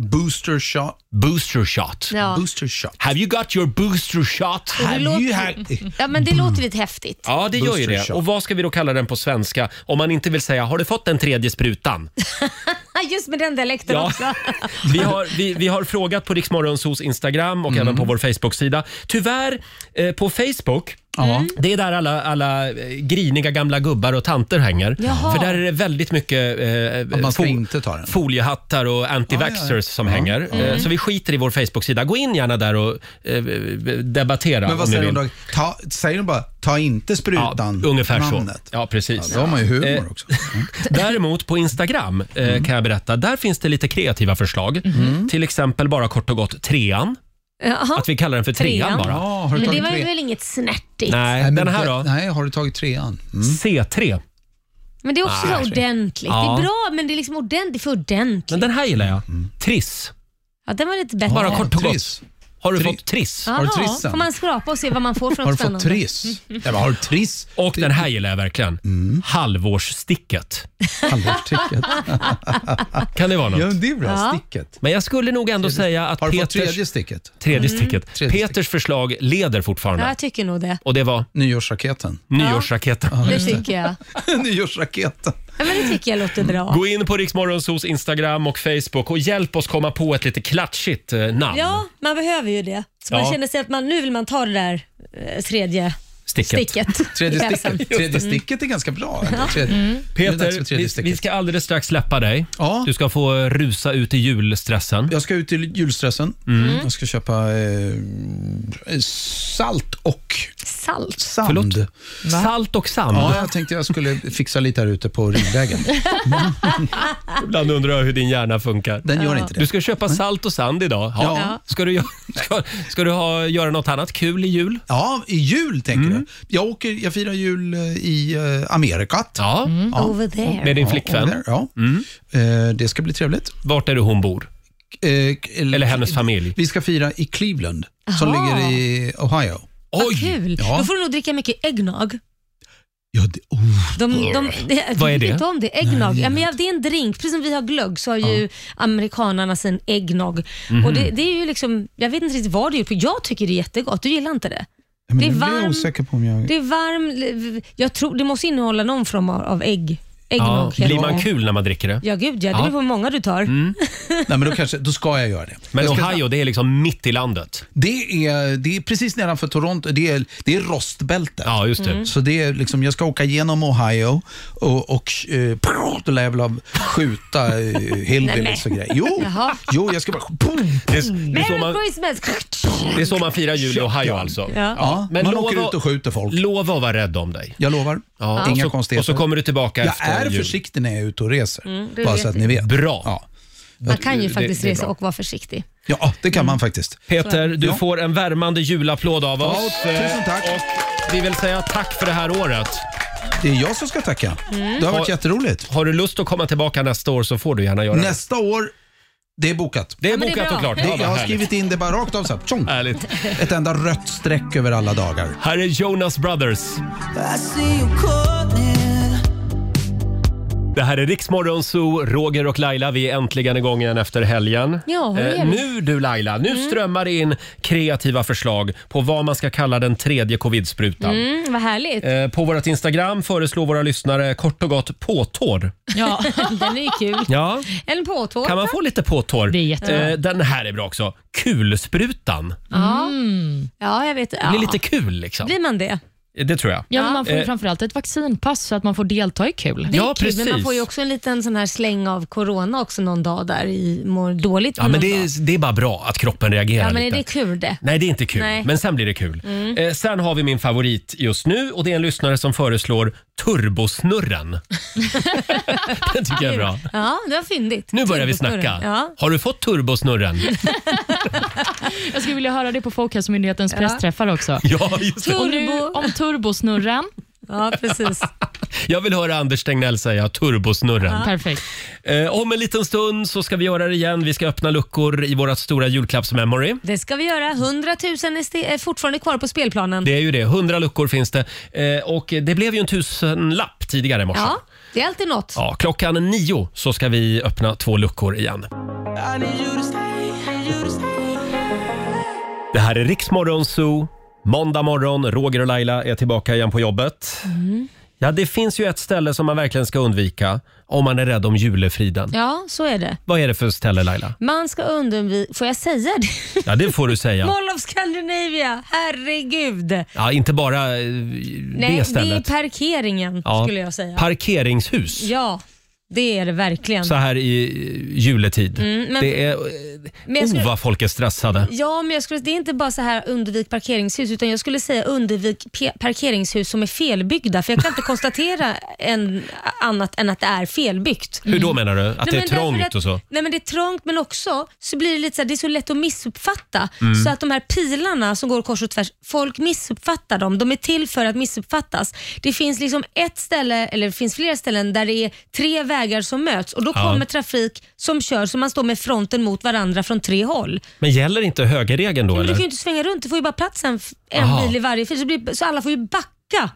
Speaker 7: Booster shot.
Speaker 1: Booster shot.
Speaker 3: Ja.
Speaker 7: Booster shot.
Speaker 1: Have you got your booster shot?
Speaker 3: Det låter,
Speaker 7: Mm.
Speaker 3: ja, men det låter lite häftigt.
Speaker 1: Ja, det gör ju
Speaker 7: Booster
Speaker 1: det.
Speaker 7: shot.
Speaker 1: Och vad ska vi då kalla den på svenska? Om man inte vill säga “Har du fått den tredje sprutan?”
Speaker 3: Ja, Just med den dialekten
Speaker 1: Ja.
Speaker 3: också.
Speaker 1: Vi har, vi, vi har frågat på Riksmorgonsos Instagram och även på
Speaker 7: Mm.
Speaker 1: vår Facebook-sida. Tyvärr, eh, på Facebook Mm. Det är där alla, alla eh, griniga gamla gubbar och tanter hänger.
Speaker 3: Jaha.
Speaker 1: För där är det väldigt mycket eh,
Speaker 7: man ska inte ta den.
Speaker 1: foliehattar och anti-vaxxers
Speaker 7: Ja, Mm. ja, ja.
Speaker 1: som hänger. Eh, så vi skiter i vår Facebook-sida. Gå in gärna där och eh, debattera
Speaker 7: Men vad
Speaker 1: om ni
Speaker 7: säger de
Speaker 1: vill.
Speaker 7: då? Ta, säger de bara, ta inte sprutan?
Speaker 1: Ja, ungefär
Speaker 7: namnet.
Speaker 1: så. Ja, precis.
Speaker 7: Då har man ju humor
Speaker 1: Eh,
Speaker 7: också.
Speaker 1: Däremot på Instagram eh,
Speaker 3: Mm.
Speaker 1: kan jag berätta, där finns det lite kreativa förslag. Till exempel bara kort och gott trean.
Speaker 3: Jaha.
Speaker 1: Att vi kallar den för trean,
Speaker 3: Trean.
Speaker 1: bara.
Speaker 7: Ja, har du
Speaker 3: Men det
Speaker 7: tagit
Speaker 3: var
Speaker 7: tre?
Speaker 3: väl inget snärtigt?
Speaker 1: Nej,
Speaker 7: men
Speaker 1: den här
Speaker 7: det-
Speaker 1: då?
Speaker 7: Nej, har du tagit trean? Mm.
Speaker 1: C3.
Speaker 3: Men det är också
Speaker 1: Nej.
Speaker 3: så ordentligt.
Speaker 1: Ja.
Speaker 3: Det är bra, men det är liksom ordentligt. Det är för ordentligt.
Speaker 1: Men den här gillar jag. Triss.
Speaker 3: ja, den var lite bättre.
Speaker 1: Bara kort och gott.
Speaker 7: Mm. Triss.
Speaker 1: Har du
Speaker 7: Tri-
Speaker 1: fått triss?
Speaker 7: Har du
Speaker 3: Jaha,
Speaker 7: trissen?
Speaker 3: Får man skrapa och se vad man får för
Speaker 7: Har du fått
Speaker 3: något spännande? Mm.
Speaker 7: triss? Ja, men har du triss? Mm.
Speaker 1: Och den här gillar jag verkligen. Halvårssticket.
Speaker 7: Halvårsticket.
Speaker 1: Kan det vara
Speaker 7: Ja,
Speaker 1: något?
Speaker 7: men det är bra.
Speaker 3: Ja.
Speaker 7: Sticket.
Speaker 1: Men jag skulle nog ändå säga att
Speaker 7: Har du fått
Speaker 1: Peters...
Speaker 7: tredje sticket?
Speaker 1: tredje sticket.
Speaker 7: Tredje sticket.
Speaker 1: Peters förslag leder fortfarande.
Speaker 3: Mm. Ja, jag tycker nog det.
Speaker 1: Och det var
Speaker 7: Nyårsraketen.
Speaker 1: nyårsraketen.
Speaker 3: Det tycker jag.
Speaker 7: Nyårsraketen.
Speaker 3: Ja, men det tycker jag låter bra.
Speaker 1: Gå in på Riksmorgonsos Instagram och Facebook och hjälp oss komma på ett lite klatschigt eh, namn.
Speaker 3: Ja, man behöver ju det. Så
Speaker 1: Ja.
Speaker 3: man känner sig att man, nu vill man ta det där eh, tredje
Speaker 1: Sticket.
Speaker 3: sticket. liksom.
Speaker 7: Tredje
Speaker 3: Pälsen.
Speaker 7: sticket. Tredje sticket är ganska bra. eller? Tredje.
Speaker 3: Mm.
Speaker 7: Nu är det dags för
Speaker 1: Peter,
Speaker 7: tredje
Speaker 1: vi,
Speaker 7: sticket.
Speaker 1: vi ska alldeles strax släppa dig.
Speaker 7: Ja.
Speaker 1: Du ska få eh, rusa ut i julstressen.
Speaker 7: Jag ska ut till julstressen.
Speaker 1: Mm.
Speaker 7: Jag ska köpa eh, salt och
Speaker 3: Salt.
Speaker 7: sand.
Speaker 1: Förlåt? Salt och sand.
Speaker 7: Ja, jag tänkte jag skulle fixa lite här ute på Ringvägen.
Speaker 1: Ibland undrar jag hur din hjärna funkar.
Speaker 7: Den gör inte
Speaker 1: Du
Speaker 7: det. Mm.
Speaker 1: ska köpa salt och sand idag. Ja.
Speaker 7: Ja.
Speaker 1: Ska du, gö- ska, ska du ha, göra något annat kul i jul?
Speaker 7: Ja, i jul tänker
Speaker 1: Mm.
Speaker 7: du. Jag, åker, jag firar jul eh, i eh, Amerikat.
Speaker 1: Ja,
Speaker 3: Mm, Over there.
Speaker 1: med din
Speaker 7: Ja,
Speaker 1: flickvän. Mm.
Speaker 7: och där, Ja. Eh, det ska bli trevligt.
Speaker 1: Vart är det hon bor?
Speaker 7: Eh,
Speaker 1: Eller hennes familj.
Speaker 7: Vi ska fira i Cleveland, som
Speaker 3: Aha.
Speaker 7: ligger i Ohio.
Speaker 3: Vad kul.
Speaker 7: Ja.
Speaker 3: Då får du nog dricka mycket äggnog.
Speaker 7: Ja, det, oh,
Speaker 3: De, de, det,
Speaker 1: Vad är
Speaker 3: du vet
Speaker 1: det?
Speaker 3: Inte om det. Äggnog. ja, men ja, det är en drink. Precis som vi har glögg så har ju amerikanarna sin äggnog. Och det, det är ju liksom, jag vet inte riktigt vad det är, för jag tycker det är jättegott. Du gillar inte det?
Speaker 7: men
Speaker 3: Det är
Speaker 7: nu blir
Speaker 3: varm-
Speaker 7: jag osäker på om jag...
Speaker 3: Det är varm, jag tror, det måste innehålla någon form av, av ägg.
Speaker 1: Ja.
Speaker 3: Äggnog.
Speaker 1: Blir
Speaker 3: heter
Speaker 1: man
Speaker 3: det.
Speaker 1: kul när man dricker det?
Speaker 3: Ja, gud ja. Det beror på hur många du tar.
Speaker 7: Nej, men då, kanske, då ska jag göra det.
Speaker 1: Men
Speaker 7: jag ska,
Speaker 1: Ohio, det är liksom mitt i landet.
Speaker 7: det, är, det är precis nedanför Toronto. Det är, det är rostbältet.
Speaker 1: Ja, just det.
Speaker 3: Mm.
Speaker 7: Så det är liksom, jag ska åka genom Ohio och, och eh, då lär jag väl av skjuta eh, hillbillies och grejer. Jo,
Speaker 3: Jaha.
Speaker 7: jo, jag ska bara... Boom.
Speaker 1: Det, är- det, är så
Speaker 3: Merry
Speaker 1: man,
Speaker 3: Christmas!
Speaker 1: det är så man firar jul i Ohio alltså.
Speaker 7: Ja,
Speaker 1: Men
Speaker 7: man
Speaker 1: lova-
Speaker 7: åker ut och skjuter folk.
Speaker 1: Lova att vara rädd om dig.
Speaker 7: Jag lovar.
Speaker 1: Ja,
Speaker 7: Inga
Speaker 1: och, så,
Speaker 7: konstigheter.
Speaker 1: och så kommer du tillbaka
Speaker 7: jag
Speaker 1: efter
Speaker 7: är
Speaker 1: jul.
Speaker 7: försiktig när jag är ute och reser.
Speaker 3: Mm, det
Speaker 7: bara
Speaker 3: vet
Speaker 7: så att
Speaker 3: vi.
Speaker 7: ni vet.
Speaker 1: Bra.
Speaker 7: Ja,
Speaker 3: Man kan ju
Speaker 1: Det-
Speaker 3: faktiskt
Speaker 1: det är
Speaker 3: resa
Speaker 1: bra.
Speaker 3: och vara försiktig.
Speaker 7: ja det kan man faktiskt.
Speaker 1: Peter, du
Speaker 7: Ja.
Speaker 1: får en värmande julapplåd av
Speaker 7: Ja,
Speaker 1: oss.
Speaker 7: tusen tack.
Speaker 1: Och vi vill säga tack för det här året. Mm.
Speaker 7: Det är jag som ska tacka. Det har varit
Speaker 1: Har-
Speaker 7: jätteroligt.
Speaker 1: Har du lust att komma tillbaka nästa år så får du gärna göra det.
Speaker 7: Nästa år, det är bokat.
Speaker 1: Det är
Speaker 3: Ja, men det är
Speaker 1: bokat
Speaker 3: bra.
Speaker 1: och klart.
Speaker 7: Det,
Speaker 1: Ja, vad
Speaker 7: jag har
Speaker 1: härligt.
Speaker 7: skrivit in det bara rakt av så här. Tjong.
Speaker 1: Härligt.
Speaker 7: Ett enda rött streck över alla dagar.
Speaker 1: Här är Jonas Brothers. Det här är Riksmorgon Zoo, Roger och Laila. Vi är äntligen igång igen efter helgen. Eh,
Speaker 3: Ja, det Mm. är vi.
Speaker 1: nu du Laila, nu strömmar det in kreativa förslag på vad man ska kalla den tredje covid-sprutan.
Speaker 3: Mm, vad härligt.
Speaker 1: Eh, På vårt Instagram föreslår våra lyssnare kort och gott påtår.
Speaker 4: Ja.
Speaker 3: Den är ju kul.
Speaker 1: Ja.
Speaker 3: En påtårta.
Speaker 1: Kan man få lite påtår?
Speaker 4: Det är jättebra.
Speaker 1: Eh, Den här är bra också. Kulsprutan.
Speaker 3: Ja. ja, jag vet. Ja.
Speaker 1: Det blir lite kul liksom.
Speaker 3: Blir man det?
Speaker 1: Det tror jag.
Speaker 4: Ja, men man får ju
Speaker 1: Eh.
Speaker 4: framförallt ett vaccinpass så att man får delta i kul.
Speaker 3: Det är
Speaker 1: Ja,
Speaker 3: kul,
Speaker 1: precis.
Speaker 3: Men man får ju också en liten sån här släng av corona också någon dag där i mår dåligt. på
Speaker 1: Ja, men
Speaker 3: någon
Speaker 1: det
Speaker 3: dag.
Speaker 1: är, det är bara bra att kroppen reagerar
Speaker 3: ja, men är
Speaker 1: lite.
Speaker 3: det kul det?
Speaker 1: Nej, det är inte kul,
Speaker 3: Nej. Mm.
Speaker 1: men sen blir det kul. Eh, sen har vi min favorit just nu och det är en lyssnare som föreslår turbosnurren. Den tycker jag är bra.
Speaker 3: Ja, det var fyndigt.
Speaker 1: Nu börjar vi
Speaker 3: Turbosnurren.
Speaker 1: snacka.
Speaker 3: Ja.
Speaker 1: Har du fått turbosnurren?
Speaker 4: Jag skulle vilja höra det på Folkhälsomyndighetens pressträffar också.
Speaker 1: Ja, just det.
Speaker 4: Och nu
Speaker 3: Turbo.
Speaker 4: om turbosnurren.
Speaker 3: Ja, precis.
Speaker 1: Jag vill höra Anders Tegnell säga turbosnurren.
Speaker 4: Perfekt.
Speaker 1: Eh, om en liten stund så ska vi göra det igen. Vi ska öppna luckor i vårt stora julklappsmemory.
Speaker 3: Det ska vi göra. 100 000 är, sti- är fortfarande kvar på spelplanen.
Speaker 1: Det är ju det. 100 luckor finns det. Eh, och det blev ju en tusenlapp tidigare i morse.
Speaker 3: Ja. Det är alltid något.
Speaker 1: Ja, klockan nio så ska vi öppna två luckor igen. Det här är Riksmorgon Zoo. Måndag morgon, Roger och Laila är tillbaka igen på jobbet.
Speaker 3: Mm.
Speaker 1: Ja, det finns ju ett ställe som man verkligen ska undvika om man är rädd om julefriden.
Speaker 3: Ja, så är det.
Speaker 1: Vad är det för ställe Laila?
Speaker 3: Man ska undvika... Får jag säga det?
Speaker 1: Ja, det får du säga.
Speaker 3: Mall of Scandinavia, herregud.
Speaker 1: Ja, inte bara eh,
Speaker 3: Nej,
Speaker 1: det
Speaker 3: det är
Speaker 1: stället.
Speaker 3: parkeringen
Speaker 1: Ja,
Speaker 3: skulle jag säga.
Speaker 1: Parkeringshus.
Speaker 3: ja, det är det verkligen.
Speaker 1: Så här i eh, juletid.
Speaker 3: Mm, men-
Speaker 1: det är... eh,
Speaker 3: Men jag skulle-
Speaker 1: Oh, vad folk är stressade.
Speaker 3: Ja, men jag skulle, det är inte bara så här undvik parkeringshus utan jag skulle säga undvik pe- parkeringshus som är felbyggda för jag kan inte konstatera en, annat än att det är felbyggt.
Speaker 1: Hur då menar du? Att det är
Speaker 3: men därför
Speaker 1: trångt
Speaker 3: att-
Speaker 1: och så?
Speaker 3: Nej men det är trångt men också så blir det lite så här, det är så lätt att missuppfatta.
Speaker 1: Mm.
Speaker 3: Så att de här pilarna som går kors och tvärs, folk missuppfattar dem. De är till för att missuppfattas. Det finns liksom ett ställe, eller det finns flera ställen där det är tre vägar som möts och då
Speaker 1: Ja.
Speaker 3: kommer trafik som kör så man står med fronten mot varandra från tre håll.
Speaker 1: Men gäller inte högerregeln då
Speaker 3: Men du kan ju
Speaker 1: eller?
Speaker 3: inte svänga runt, du får ju bara plats en, en
Speaker 1: Aha.
Speaker 3: bil i varje fil så, blir, så alla får ju backa.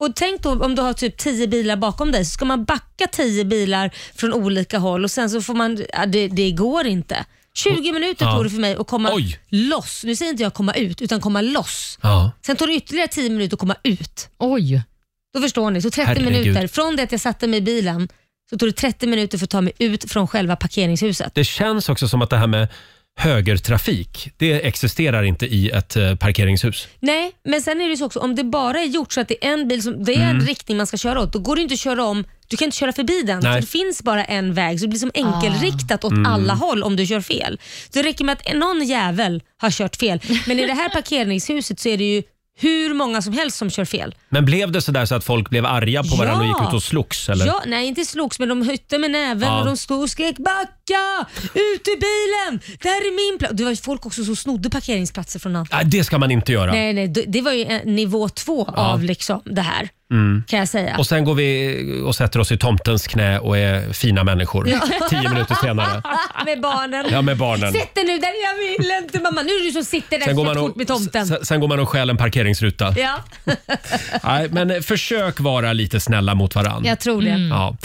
Speaker 3: Och tänk då om du har typ 10 bilar bakom dig, så ska man backa 10 bilar från olika håll och sen så får man, ja, det, det går inte. 20 minuter
Speaker 1: Ja.
Speaker 3: tog det för mig att komma
Speaker 1: Oj.
Speaker 3: loss. Nu säger inte jag komma ut, utan komma loss.
Speaker 1: Ja.
Speaker 3: Sen tog det ytterligare 10 minuter att komma ut.
Speaker 4: Oj.
Speaker 3: Då förstår ni, så 30
Speaker 1: Herregud.
Speaker 3: minuter. Från det att jag satte mig i bilen så tog det 30 minuter för att ta mig ut från själva parkeringshuset.
Speaker 1: Det känns också som att det här med högertrafik, det existerar inte i ett eh, parkeringshus.
Speaker 3: Nej, men sen är det ju så också, om det bara är gjort så att det är en bil som, det är
Speaker 1: Mm.
Speaker 3: en riktning man ska köra åt, då går det inte att köra om, du kan inte köra förbi den.
Speaker 1: Nej. Mm.
Speaker 3: För det finns bara en väg, så det blir som enkelriktat åt alla håll om du kör fel. Så det räcker med att någon jävel har kört fel. Men i det här parkeringshuset så är det ju hur många som helst som kör fel.
Speaker 1: Men blev det sådär så att folk blev arga på varandra och
Speaker 3: Ja.
Speaker 1: gick ut och slogs? Eller?
Speaker 3: Ja, nej, inte slogs, men de hytte med näven
Speaker 1: Ja.
Speaker 3: och de stod och skrek “Backa! Ut ur bilen! Det här är min plats!” Det var ju folk också som snodde parkeringsplatser från andra.
Speaker 1: Nej, Äh, det ska man inte göra.
Speaker 3: Nej, nej, det- det var ju en nivå två av liksom det här, kan jag säga.
Speaker 1: Och sen går vi och sätter oss i tomtens knä och är fina människor tio minuter senare.
Speaker 3: med barnen.
Speaker 1: Ja, med barnen.
Speaker 3: Sätt dig nu där, jag vill inte mamma. Nu är du som sitter där
Speaker 1: Sen går,
Speaker 3: så
Speaker 1: man
Speaker 3: fort med
Speaker 1: och,
Speaker 3: tomten.
Speaker 1: sen, sen går man och stjäl en parkeringsruta.
Speaker 3: Ja,
Speaker 1: Nej, men eh, försök vara lite snälla mot varandra.
Speaker 3: jag tror det.
Speaker 1: Ja.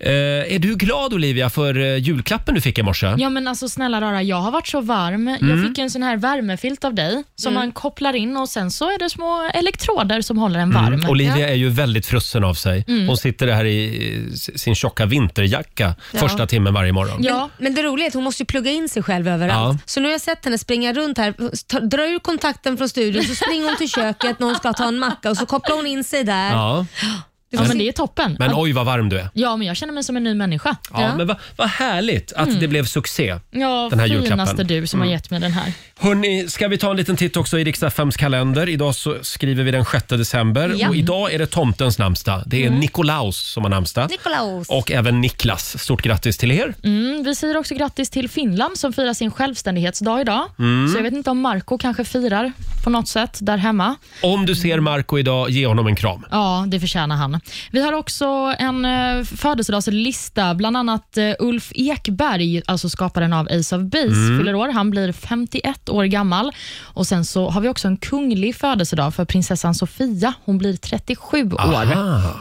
Speaker 1: Eh, är du glad Olivia för eh, julklappen du fick i morse?
Speaker 4: Ja men alltså snälla rara, jag har varit så varm.
Speaker 1: Mm.
Speaker 4: Jag fick en sån här värmefilt av dig som man kopplar in och sen så är det små elektroder som håller en varm.
Speaker 1: Mm.
Speaker 4: Mm.
Speaker 1: Olivia är ju väldigt frussen av sig. Hon sitter här i eh, s- sin tjocka vinterjacka första timmen varje morgon.
Speaker 4: Ja.
Speaker 3: Men det roliga är att hon måste ju plugga in sig själv överallt.
Speaker 1: Ja.
Speaker 3: Så nu har jag sett henne springa runt här, ta, dra ur kontakten från studion, så springer hon till köket när hon ska ta en macka och så kopplar hon in sig där.
Speaker 1: Ja.
Speaker 4: Ja, men det är toppen.
Speaker 1: Men oj vad varm du är.
Speaker 4: Ja, men jag känner mig som en ny människa.
Speaker 1: Ja, Men vad vad härligt att
Speaker 4: Mm.
Speaker 1: det blev succé.
Speaker 4: Ja,
Speaker 1: Den här
Speaker 4: finaste
Speaker 1: julklappen. Mm.
Speaker 4: du som har gett mig den här.
Speaker 1: Hörni, ska vi ta en liten titt också i Riks-FMs kalender? Idag så skriver vi den 6 december
Speaker 3: Ja.
Speaker 1: och idag är det tomtens namnsdag. Det
Speaker 4: Mm.
Speaker 1: är Nikolaus som har namnsdag.
Speaker 3: Nikolaus.
Speaker 1: Och även Niklas. Stort grattis till er.
Speaker 4: Mm, vi säger också grattis till Finland som firar sin självständighetsdag idag.
Speaker 1: Mm.
Speaker 4: Så jag vet inte om Marco kanske firar på något sätt där hemma.
Speaker 1: Om du ser Marco idag, ge honom en kram.
Speaker 4: Ja, det förtjänar han. Vi har också en eh, födelsedagslista. Bland annat eh, Ulf Ekberg, alltså skaparen av Ace of Base, fyller år. Han blir 51 år gammal. Och Sen så har vi också en kunglig födelsedag för prinsessan Sofia. Hon blir 37 år. Mm,
Speaker 1: Ah.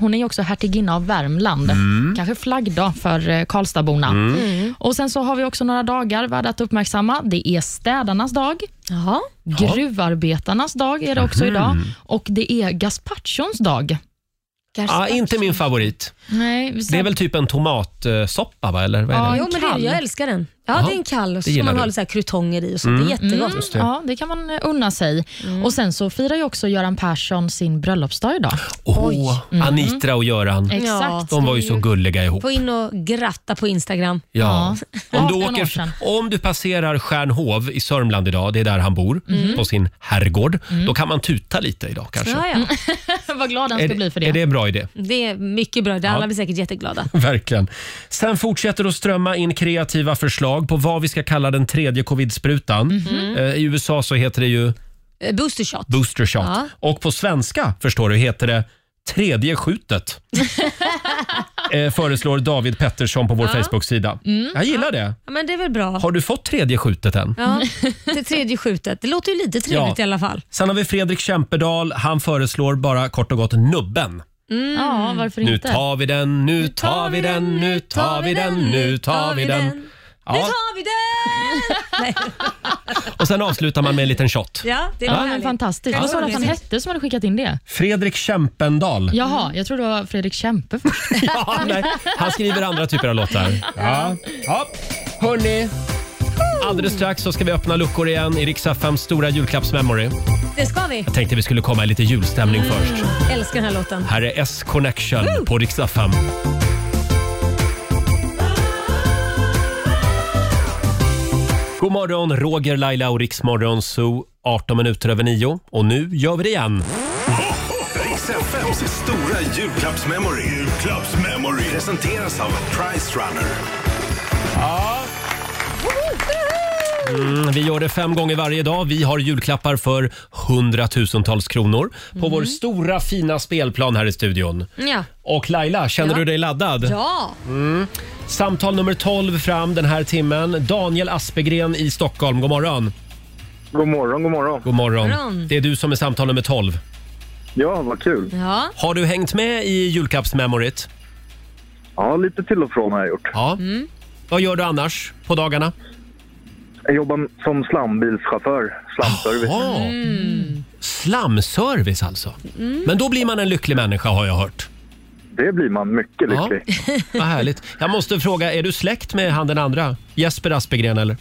Speaker 4: Hon är ju också hertiginna av Värmland. Kanske flaggdag för eh, Karlstadborna. Och sen så har vi också några dagar värda att uppmärksamma. Det är städarnas dag.
Speaker 3: Jaha.
Speaker 4: Gruvarbetarnas dag är det också
Speaker 1: Mhm.
Speaker 4: idag. Och det är gazpachons dag.
Speaker 1: Ah, inte min favorit.
Speaker 4: Nej, vi
Speaker 1: Det är väl typ en tomatsoppa, va? Eller vad är
Speaker 4: Ja,
Speaker 1: det?
Speaker 3: Jo, men det, är-
Speaker 4: kall.
Speaker 3: jag älskar den. Ja,
Speaker 1: Jaha.
Speaker 3: det är en kall och så
Speaker 1: gillar
Speaker 3: ska man
Speaker 1: du. Mm.
Speaker 3: ha lite så här krutonger i och så. Det är jättegott. Mm.
Speaker 1: Just det.
Speaker 4: Ja, det kan man eh, unna sig. Och Sen så firar ju också Göran Persson sin bröllopsdag idag.
Speaker 1: Åh, Anitra och Göran.
Speaker 4: Mm. Exakt.
Speaker 1: De var ju så gulliga ihop.
Speaker 3: Gå in och gratta på Instagram.
Speaker 1: Ja.
Speaker 4: Ja.
Speaker 1: Om, du
Speaker 4: 18 år
Speaker 1: åker,
Speaker 4: sedan.
Speaker 1: om du passerar Stjärnhov i Sörmland idag, det är där han bor,
Speaker 4: Mm.
Speaker 1: på sin herrgård, då kan man tuta lite idag kanske.
Speaker 3: Ja, ja.
Speaker 4: Vad glad han
Speaker 1: Är
Speaker 4: ska bli för det.
Speaker 1: Är det en bra idé?
Speaker 3: Mm. Det är mycket bra. Det Alla blir säkert jätteglada.
Speaker 1: Verkligen. Sen fortsätter det att strömma in kreativa förslag på vad vi ska kalla den tredje covid-sprutan. Eh, I USA så heter det ju
Speaker 3: Eh, Booster shot.
Speaker 1: booster shot.
Speaker 3: Ja.
Speaker 1: Och på svenska, förstår du, heter det tredje skjutet. eh, föreslår David Pettersson på vår Facebook-sida. Jag gillar det.
Speaker 3: Ja, men det är väl bra.
Speaker 1: Har du fått tredje skjutet än?
Speaker 3: Ja, det tredje skjutet. Det låter ju lite
Speaker 1: Ja.
Speaker 3: trevligt i alla fall.
Speaker 1: Sen har vi Fredrik Kämpedal. Han föreslår bara kort och gott nubben.
Speaker 3: Mm.
Speaker 4: Ja, varför
Speaker 1: Nu
Speaker 4: inte?
Speaker 1: tar vi den, nu tar vi den, nu tar vi den, nu tar vi den.
Speaker 3: Nu
Speaker 1: Ja,
Speaker 3: tar vi den! Nej,
Speaker 1: och sen avslutar man med en liten shot.
Speaker 3: ja, det var
Speaker 4: Ja, men
Speaker 3: härligt.
Speaker 4: fantastiskt.
Speaker 3: Ja,
Speaker 4: Vad sa du att han
Speaker 3: mysigt.
Speaker 4: hette som hade skickat in det?
Speaker 1: Fredrik Kämpendal.
Speaker 4: Jaha, jag tror det var Fredrik Kempe först.
Speaker 1: Ja, nej, han skriver andra typer av låtar. Ja. Ja. Hörni, alldeles strax så ska vi öppna luckor igen i Rix FMs stora julklappsmemory.
Speaker 3: Det ska vi.
Speaker 1: Tänkte vi skulle komma i lite julstämning först.
Speaker 3: Älskar den här låten.
Speaker 1: Här är S-Connection på Rix FM. God morgon, Roger, Laila och Riksmorgon Zoo. 18 minuter över 9 och nu gör vi det igen.
Speaker 2: Riks FMs stora julklappsmemory. Julklappsmemory. Presenteras av Price Runner.
Speaker 1: Mm, vi gör det fem gånger varje dag. Vi har julklappar för hundratusentals kronor på
Speaker 3: Mm.
Speaker 1: vår stora fina spelplan här i studion.
Speaker 3: Ja.
Speaker 1: Och Laila, känner
Speaker 3: Ja.
Speaker 1: du dig laddad? Mm.
Speaker 3: ja.
Speaker 1: Samtal nummer 12 fram den här timmen. Daniel Aspegren i Stockholm. God morgon.
Speaker 10: God morgon, god morgon.
Speaker 1: God morgon.
Speaker 3: God morgon.
Speaker 1: Det är du som är samtal nummer 12.
Speaker 10: Ja, vad kul.
Speaker 3: ja.
Speaker 1: Har du hängt med i julklappsmemoryt?
Speaker 10: Ja, lite till och från har jag gjort.
Speaker 1: Ja.
Speaker 3: Mm.
Speaker 1: Vad gör du annars på dagarna?
Speaker 10: Jag jobbar som slambilschaufför, slamservice.
Speaker 1: Ja. Slamservice alltså.
Speaker 3: Mm.
Speaker 1: Men då blir man en lycklig människa har jag hört.
Speaker 10: Det blir man mycket
Speaker 1: Ja.
Speaker 10: lycklig.
Speaker 1: Vad härligt. Jag måste fråga, är du släkt med han den andra? Jesper Aspegren eller?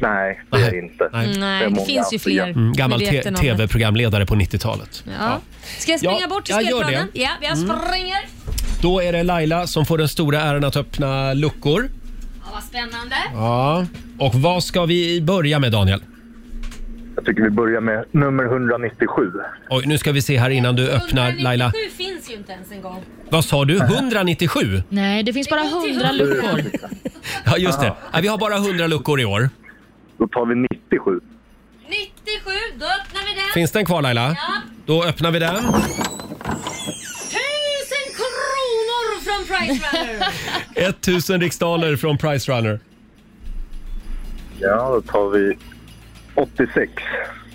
Speaker 10: Nej, det är jag inte.
Speaker 1: Nej.
Speaker 10: Det
Speaker 3: Nej,
Speaker 10: är
Speaker 3: det
Speaker 10: många
Speaker 3: finns ju fler.
Speaker 10: program.
Speaker 1: Mm, Gammal
Speaker 3: Vi vet
Speaker 1: te-
Speaker 3: den om det.
Speaker 1: tv-programledare på 90-talet.
Speaker 3: Ja. Ska jag springa
Speaker 1: Ja,
Speaker 3: bort till
Speaker 1: jag gör
Speaker 3: spelplanen? Ja, jag
Speaker 4: Mm.
Speaker 3: springer.
Speaker 1: Då är det Laila som får den stora äran att öppna luckor.
Speaker 8: Vad spännande.
Speaker 1: Ja. Och vad ska vi börja med Daniel?
Speaker 10: Jag tycker vi börjar med nummer 197.
Speaker 1: Oj, nu ska vi se här innan du öppnar Laila.
Speaker 8: 197 finns ju inte ens en gång.
Speaker 1: Vad sa du? 197?
Speaker 4: Nej, det finns bara hundra luckor.
Speaker 1: Ja, just det. Ja, vi har bara 100 luckor i år.
Speaker 10: Då tar vi 97.
Speaker 8: 97, då öppnar vi den.
Speaker 1: Finns den kvar Laila?
Speaker 8: Ja.
Speaker 1: Då öppnar vi den.
Speaker 8: Tusen kronor från Price Runner.
Speaker 1: 1000 riksdaler från Price Runner.
Speaker 10: Ja, då tar vi 86.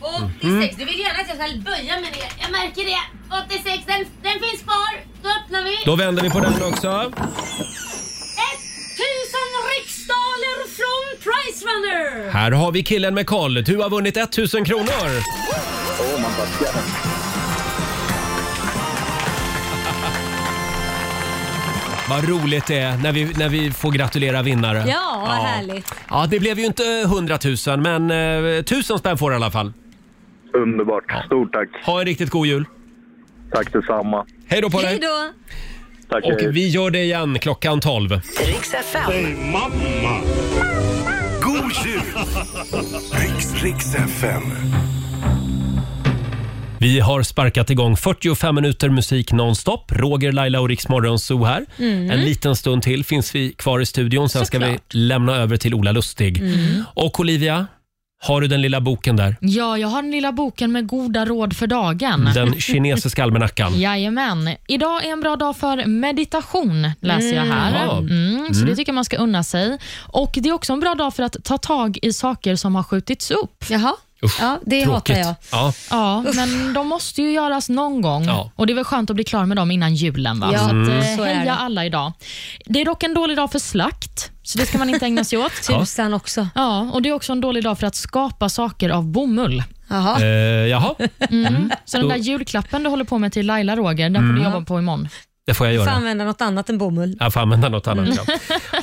Speaker 8: 86,
Speaker 4: Mm.
Speaker 8: du vill gärna att jag ska böja mig ner. Jag märker det. 86, den, den finns kvar. Då öppnar vi.
Speaker 1: Då vänder vi på den också.
Speaker 8: 1000 riksdaler från Price Runner.
Speaker 1: Här har vi killen med koll. Du har vunnit 1000 kronor.
Speaker 10: Åh, man backar.
Speaker 1: Vad roligt det är när vi, när vi får gratulera vinnare.
Speaker 3: Ja, vad härligt.
Speaker 1: Ja, det blev ju inte eh, 100 000 men eh, 1000 spänn får du i alla fall.
Speaker 10: Underbart. Stort tack.
Speaker 1: Ha en riktigt god jul.
Speaker 10: Tack detsamma.
Speaker 1: Hej då på
Speaker 3: Hej
Speaker 1: dig.
Speaker 3: då.
Speaker 10: Tack, hej.
Speaker 1: Och vi gör det igen klockan 12.
Speaker 11: Riks FM.
Speaker 2: God jul! Riks, Riks FM.
Speaker 1: Vi har sparkat igång 45 minuter musik nonstop. Roger, Laila och Rix Morgonzoo här. En liten stund till finns vi kvar i studion. Sen ska vi lämna över till Ola Lustig.
Speaker 4: Mm.
Speaker 3: Mm.
Speaker 1: Och Olivia, har du den lilla boken där?
Speaker 4: Ja, jag har den lilla boken med goda råd för dagen.
Speaker 1: Den kinesiska almanackan.
Speaker 4: Jajamän. Idag är en bra dag för meditation, läser jag
Speaker 1: Jaha.
Speaker 4: här. Mm, så det tycker jag man ska unna sig. Och Det är också en bra dag för att ta tag i saker som har skjutits upp.
Speaker 3: Jaha.
Speaker 1: Usch,
Speaker 3: ja, det hatar
Speaker 1: Tråkigt.
Speaker 3: jag.
Speaker 1: Ja.
Speaker 4: Ja, men de måste ju göras någon gång.
Speaker 1: Ja.
Speaker 4: Och Det är väl skönt att bli klar med dem innan julen. Va?
Speaker 3: Ja,
Speaker 4: så att, eh,
Speaker 3: så är
Speaker 4: heja
Speaker 3: det.
Speaker 4: alla idag. Det är dock en dålig dag för slakt, så det ska man inte ägna sig åt.
Speaker 3: Tusan också.
Speaker 4: Ja, och Det är också en dålig dag för att skapa saker av bomull.
Speaker 3: Jaha.
Speaker 1: Eh, jaha, Mm.
Speaker 4: Så den där julklappen du håller på med till Laila, Roger, den får du jobba på imorgon.
Speaker 1: det får jag
Speaker 3: Får
Speaker 1: göra.
Speaker 3: använda något annat än bomull.
Speaker 1: Jag får använda något annat. Ja.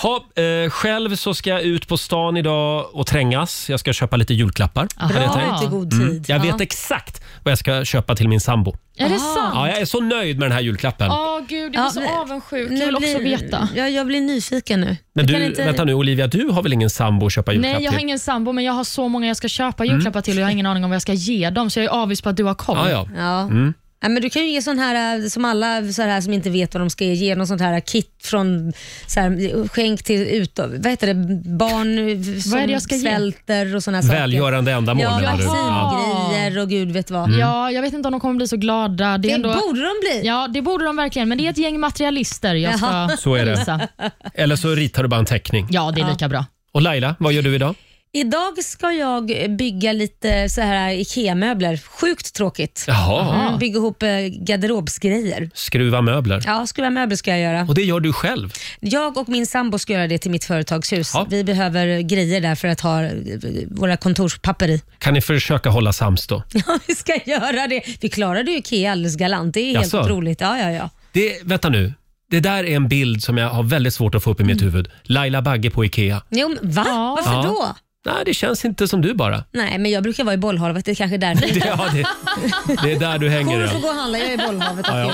Speaker 1: Ha, eh, själv så ska jag ut på stan idag och trängas. Jag ska köpa lite julklappar. hade
Speaker 4: Bra.
Speaker 1: jag
Speaker 3: Bra
Speaker 1: tänkt. Mm.
Speaker 3: ute i god tid.
Speaker 1: Jag
Speaker 3: Ja.
Speaker 1: vet exakt vad jag ska köpa till min sambo. Ah.
Speaker 4: Är det sant?
Speaker 1: Ja, jag är så nöjd med den här julklappen.
Speaker 4: Åh gud, jag
Speaker 3: Ja,
Speaker 4: blir så
Speaker 3: men-
Speaker 4: avundsjuk.
Speaker 3: Nu
Speaker 4: Jag vill också
Speaker 3: blir-
Speaker 4: veta.
Speaker 3: Ja, jag blir nyfiken nu.
Speaker 1: Men
Speaker 3: Jag kan
Speaker 1: du,
Speaker 3: inte-
Speaker 1: vänta nu Olivia, du har väl ingen sambo att köpa julklapp
Speaker 4: Nej, jag har
Speaker 1: till?
Speaker 4: ingen sambo, men jag har så många jag ska köpa julklappar till och jag har ingen aning om vad jag ska ge dem, så jag är avis på att du har koll.
Speaker 1: Ah, ja.
Speaker 3: Ja. Ja, men du kan ju ge sån här eh, som alla så här, som inte vet vad de ska ge, ge någon sånt här kit från så här, skänk till ut, vad heter det, barn eh, som
Speaker 4: Vad är det jag ska ge?
Speaker 3: svälter och såna här saker.
Speaker 1: Välgörande ändamål
Speaker 3: Ja,
Speaker 1: menar du? Ja.
Speaker 3: vaccingrejer och gud vet vad.
Speaker 4: Ah.
Speaker 1: Mm.
Speaker 4: Ja, jag vet inte om de kommer bli så glada. Det,
Speaker 3: Det
Speaker 4: är ändå...
Speaker 3: borde de bli.
Speaker 4: Ja, det borde de verkligen, men det är ett gäng materialister jag ska
Speaker 1: Så är det.
Speaker 4: visa.
Speaker 1: Eller så ritar du bara en teckning.
Speaker 4: Ja, det är lika bra.
Speaker 1: Och Laila, vad gör du idag?
Speaker 3: Idag ska jag bygga lite så här IKEA-möbler. Sjukt tråkigt.
Speaker 1: Jaha.
Speaker 3: Mm, Bygga ihop eh, garderobsgrejer.
Speaker 1: Skruva möbler.
Speaker 3: Ja, skruva möbler ska jag göra.
Speaker 1: Och det gör du själv?
Speaker 3: Jag och min sambo ska göra det till mitt företagshus.
Speaker 1: Ja.
Speaker 3: Vi behöver grejer där för att ha eh, våra kontorspapper i.
Speaker 1: Kan ni försöka hålla sams då?
Speaker 3: Ja, vi ska göra det. Vi klarade ju IKEA alldeles galant. Det är helt
Speaker 1: Jaså?
Speaker 3: otroligt. Ja, ja, ja.
Speaker 1: Det, vänta nu. Det där är en bild som jag har väldigt svårt att få upp i mitt huvud. Laila Bagge på IKEA.
Speaker 3: Jo, men va? Mm. Varför
Speaker 1: Ja.
Speaker 3: då?
Speaker 1: Nej, det känns inte som du bara.
Speaker 3: Nej, men jag brukar vara i bollhavet. Det är kanske är därför.
Speaker 1: Det, ja, det, det är där du hänger
Speaker 3: Kommer du
Speaker 1: än.
Speaker 3: få gå och handla? Jag är i bollhavet.
Speaker 1: Ja, ja.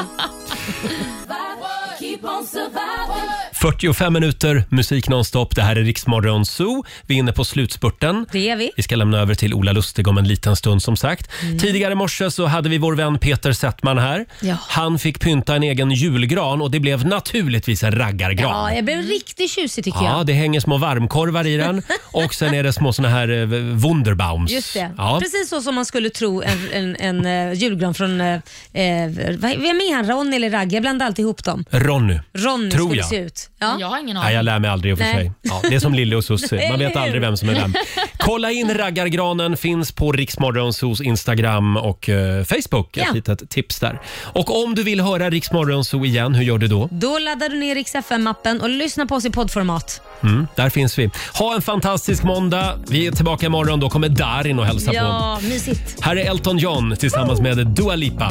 Speaker 3: okej.
Speaker 1: 45 minuter musik nonstop. Det här är Riksmorgon Zoo. Vi är inne på slutspurten.
Speaker 3: Det är vi. Mm.
Speaker 1: Vi ska lämna över till Ola Lustig om en liten stund som sagt. Tidigare i morse så hade vi vår vän Peter Settman här.
Speaker 3: Ja.
Speaker 1: Han fick pynta en egen julgran och det blev naturligtvis en
Speaker 3: Ja,
Speaker 1: raggargran.
Speaker 3: jag blev riktigt tjusig tycker
Speaker 1: Ja,
Speaker 3: jag.
Speaker 1: det hänger små varmkorvar i den och sen är det små såna här eh, Wunderbaums.
Speaker 3: Just det.
Speaker 1: Ja.
Speaker 3: Precis så som man skulle tro en, en, en eh, julgran från, eh, eh, vad- vem är han, Ronny eller Ragge? Jag blandar alltid ihop dem.
Speaker 1: Ronny.
Speaker 3: Ronny
Speaker 1: Tror
Speaker 3: skulle
Speaker 1: jag.
Speaker 3: se ut. Ja.
Speaker 4: Jag har ingen
Speaker 1: Nej,
Speaker 4: aning.
Speaker 1: jag lär mig aldrig i och för
Speaker 3: Nej.
Speaker 1: sig. Ja, det är som Lille och Susie. Man
Speaker 3: Eller
Speaker 1: vet
Speaker 3: hur?
Speaker 1: aldrig vem som är vem. Kolla in raggargranen. Finns på Riksmorgonsos Instagram och eh, Facebook. Ett
Speaker 3: Ja.
Speaker 1: litet tips där. Och om du vill höra Riksmorgonso igen, hur gör du då?
Speaker 3: Då laddar du ner Rix FM-appen och lyssnar på oss i poddformat.
Speaker 1: Mm, där finns vi. Ha en fantastisk måndag. Vi är tillbaka imorgon. Då kommer Darin och hälsa på.
Speaker 3: Ja, mysigt.
Speaker 1: Här är Elton John tillsammans med Dua Lipa.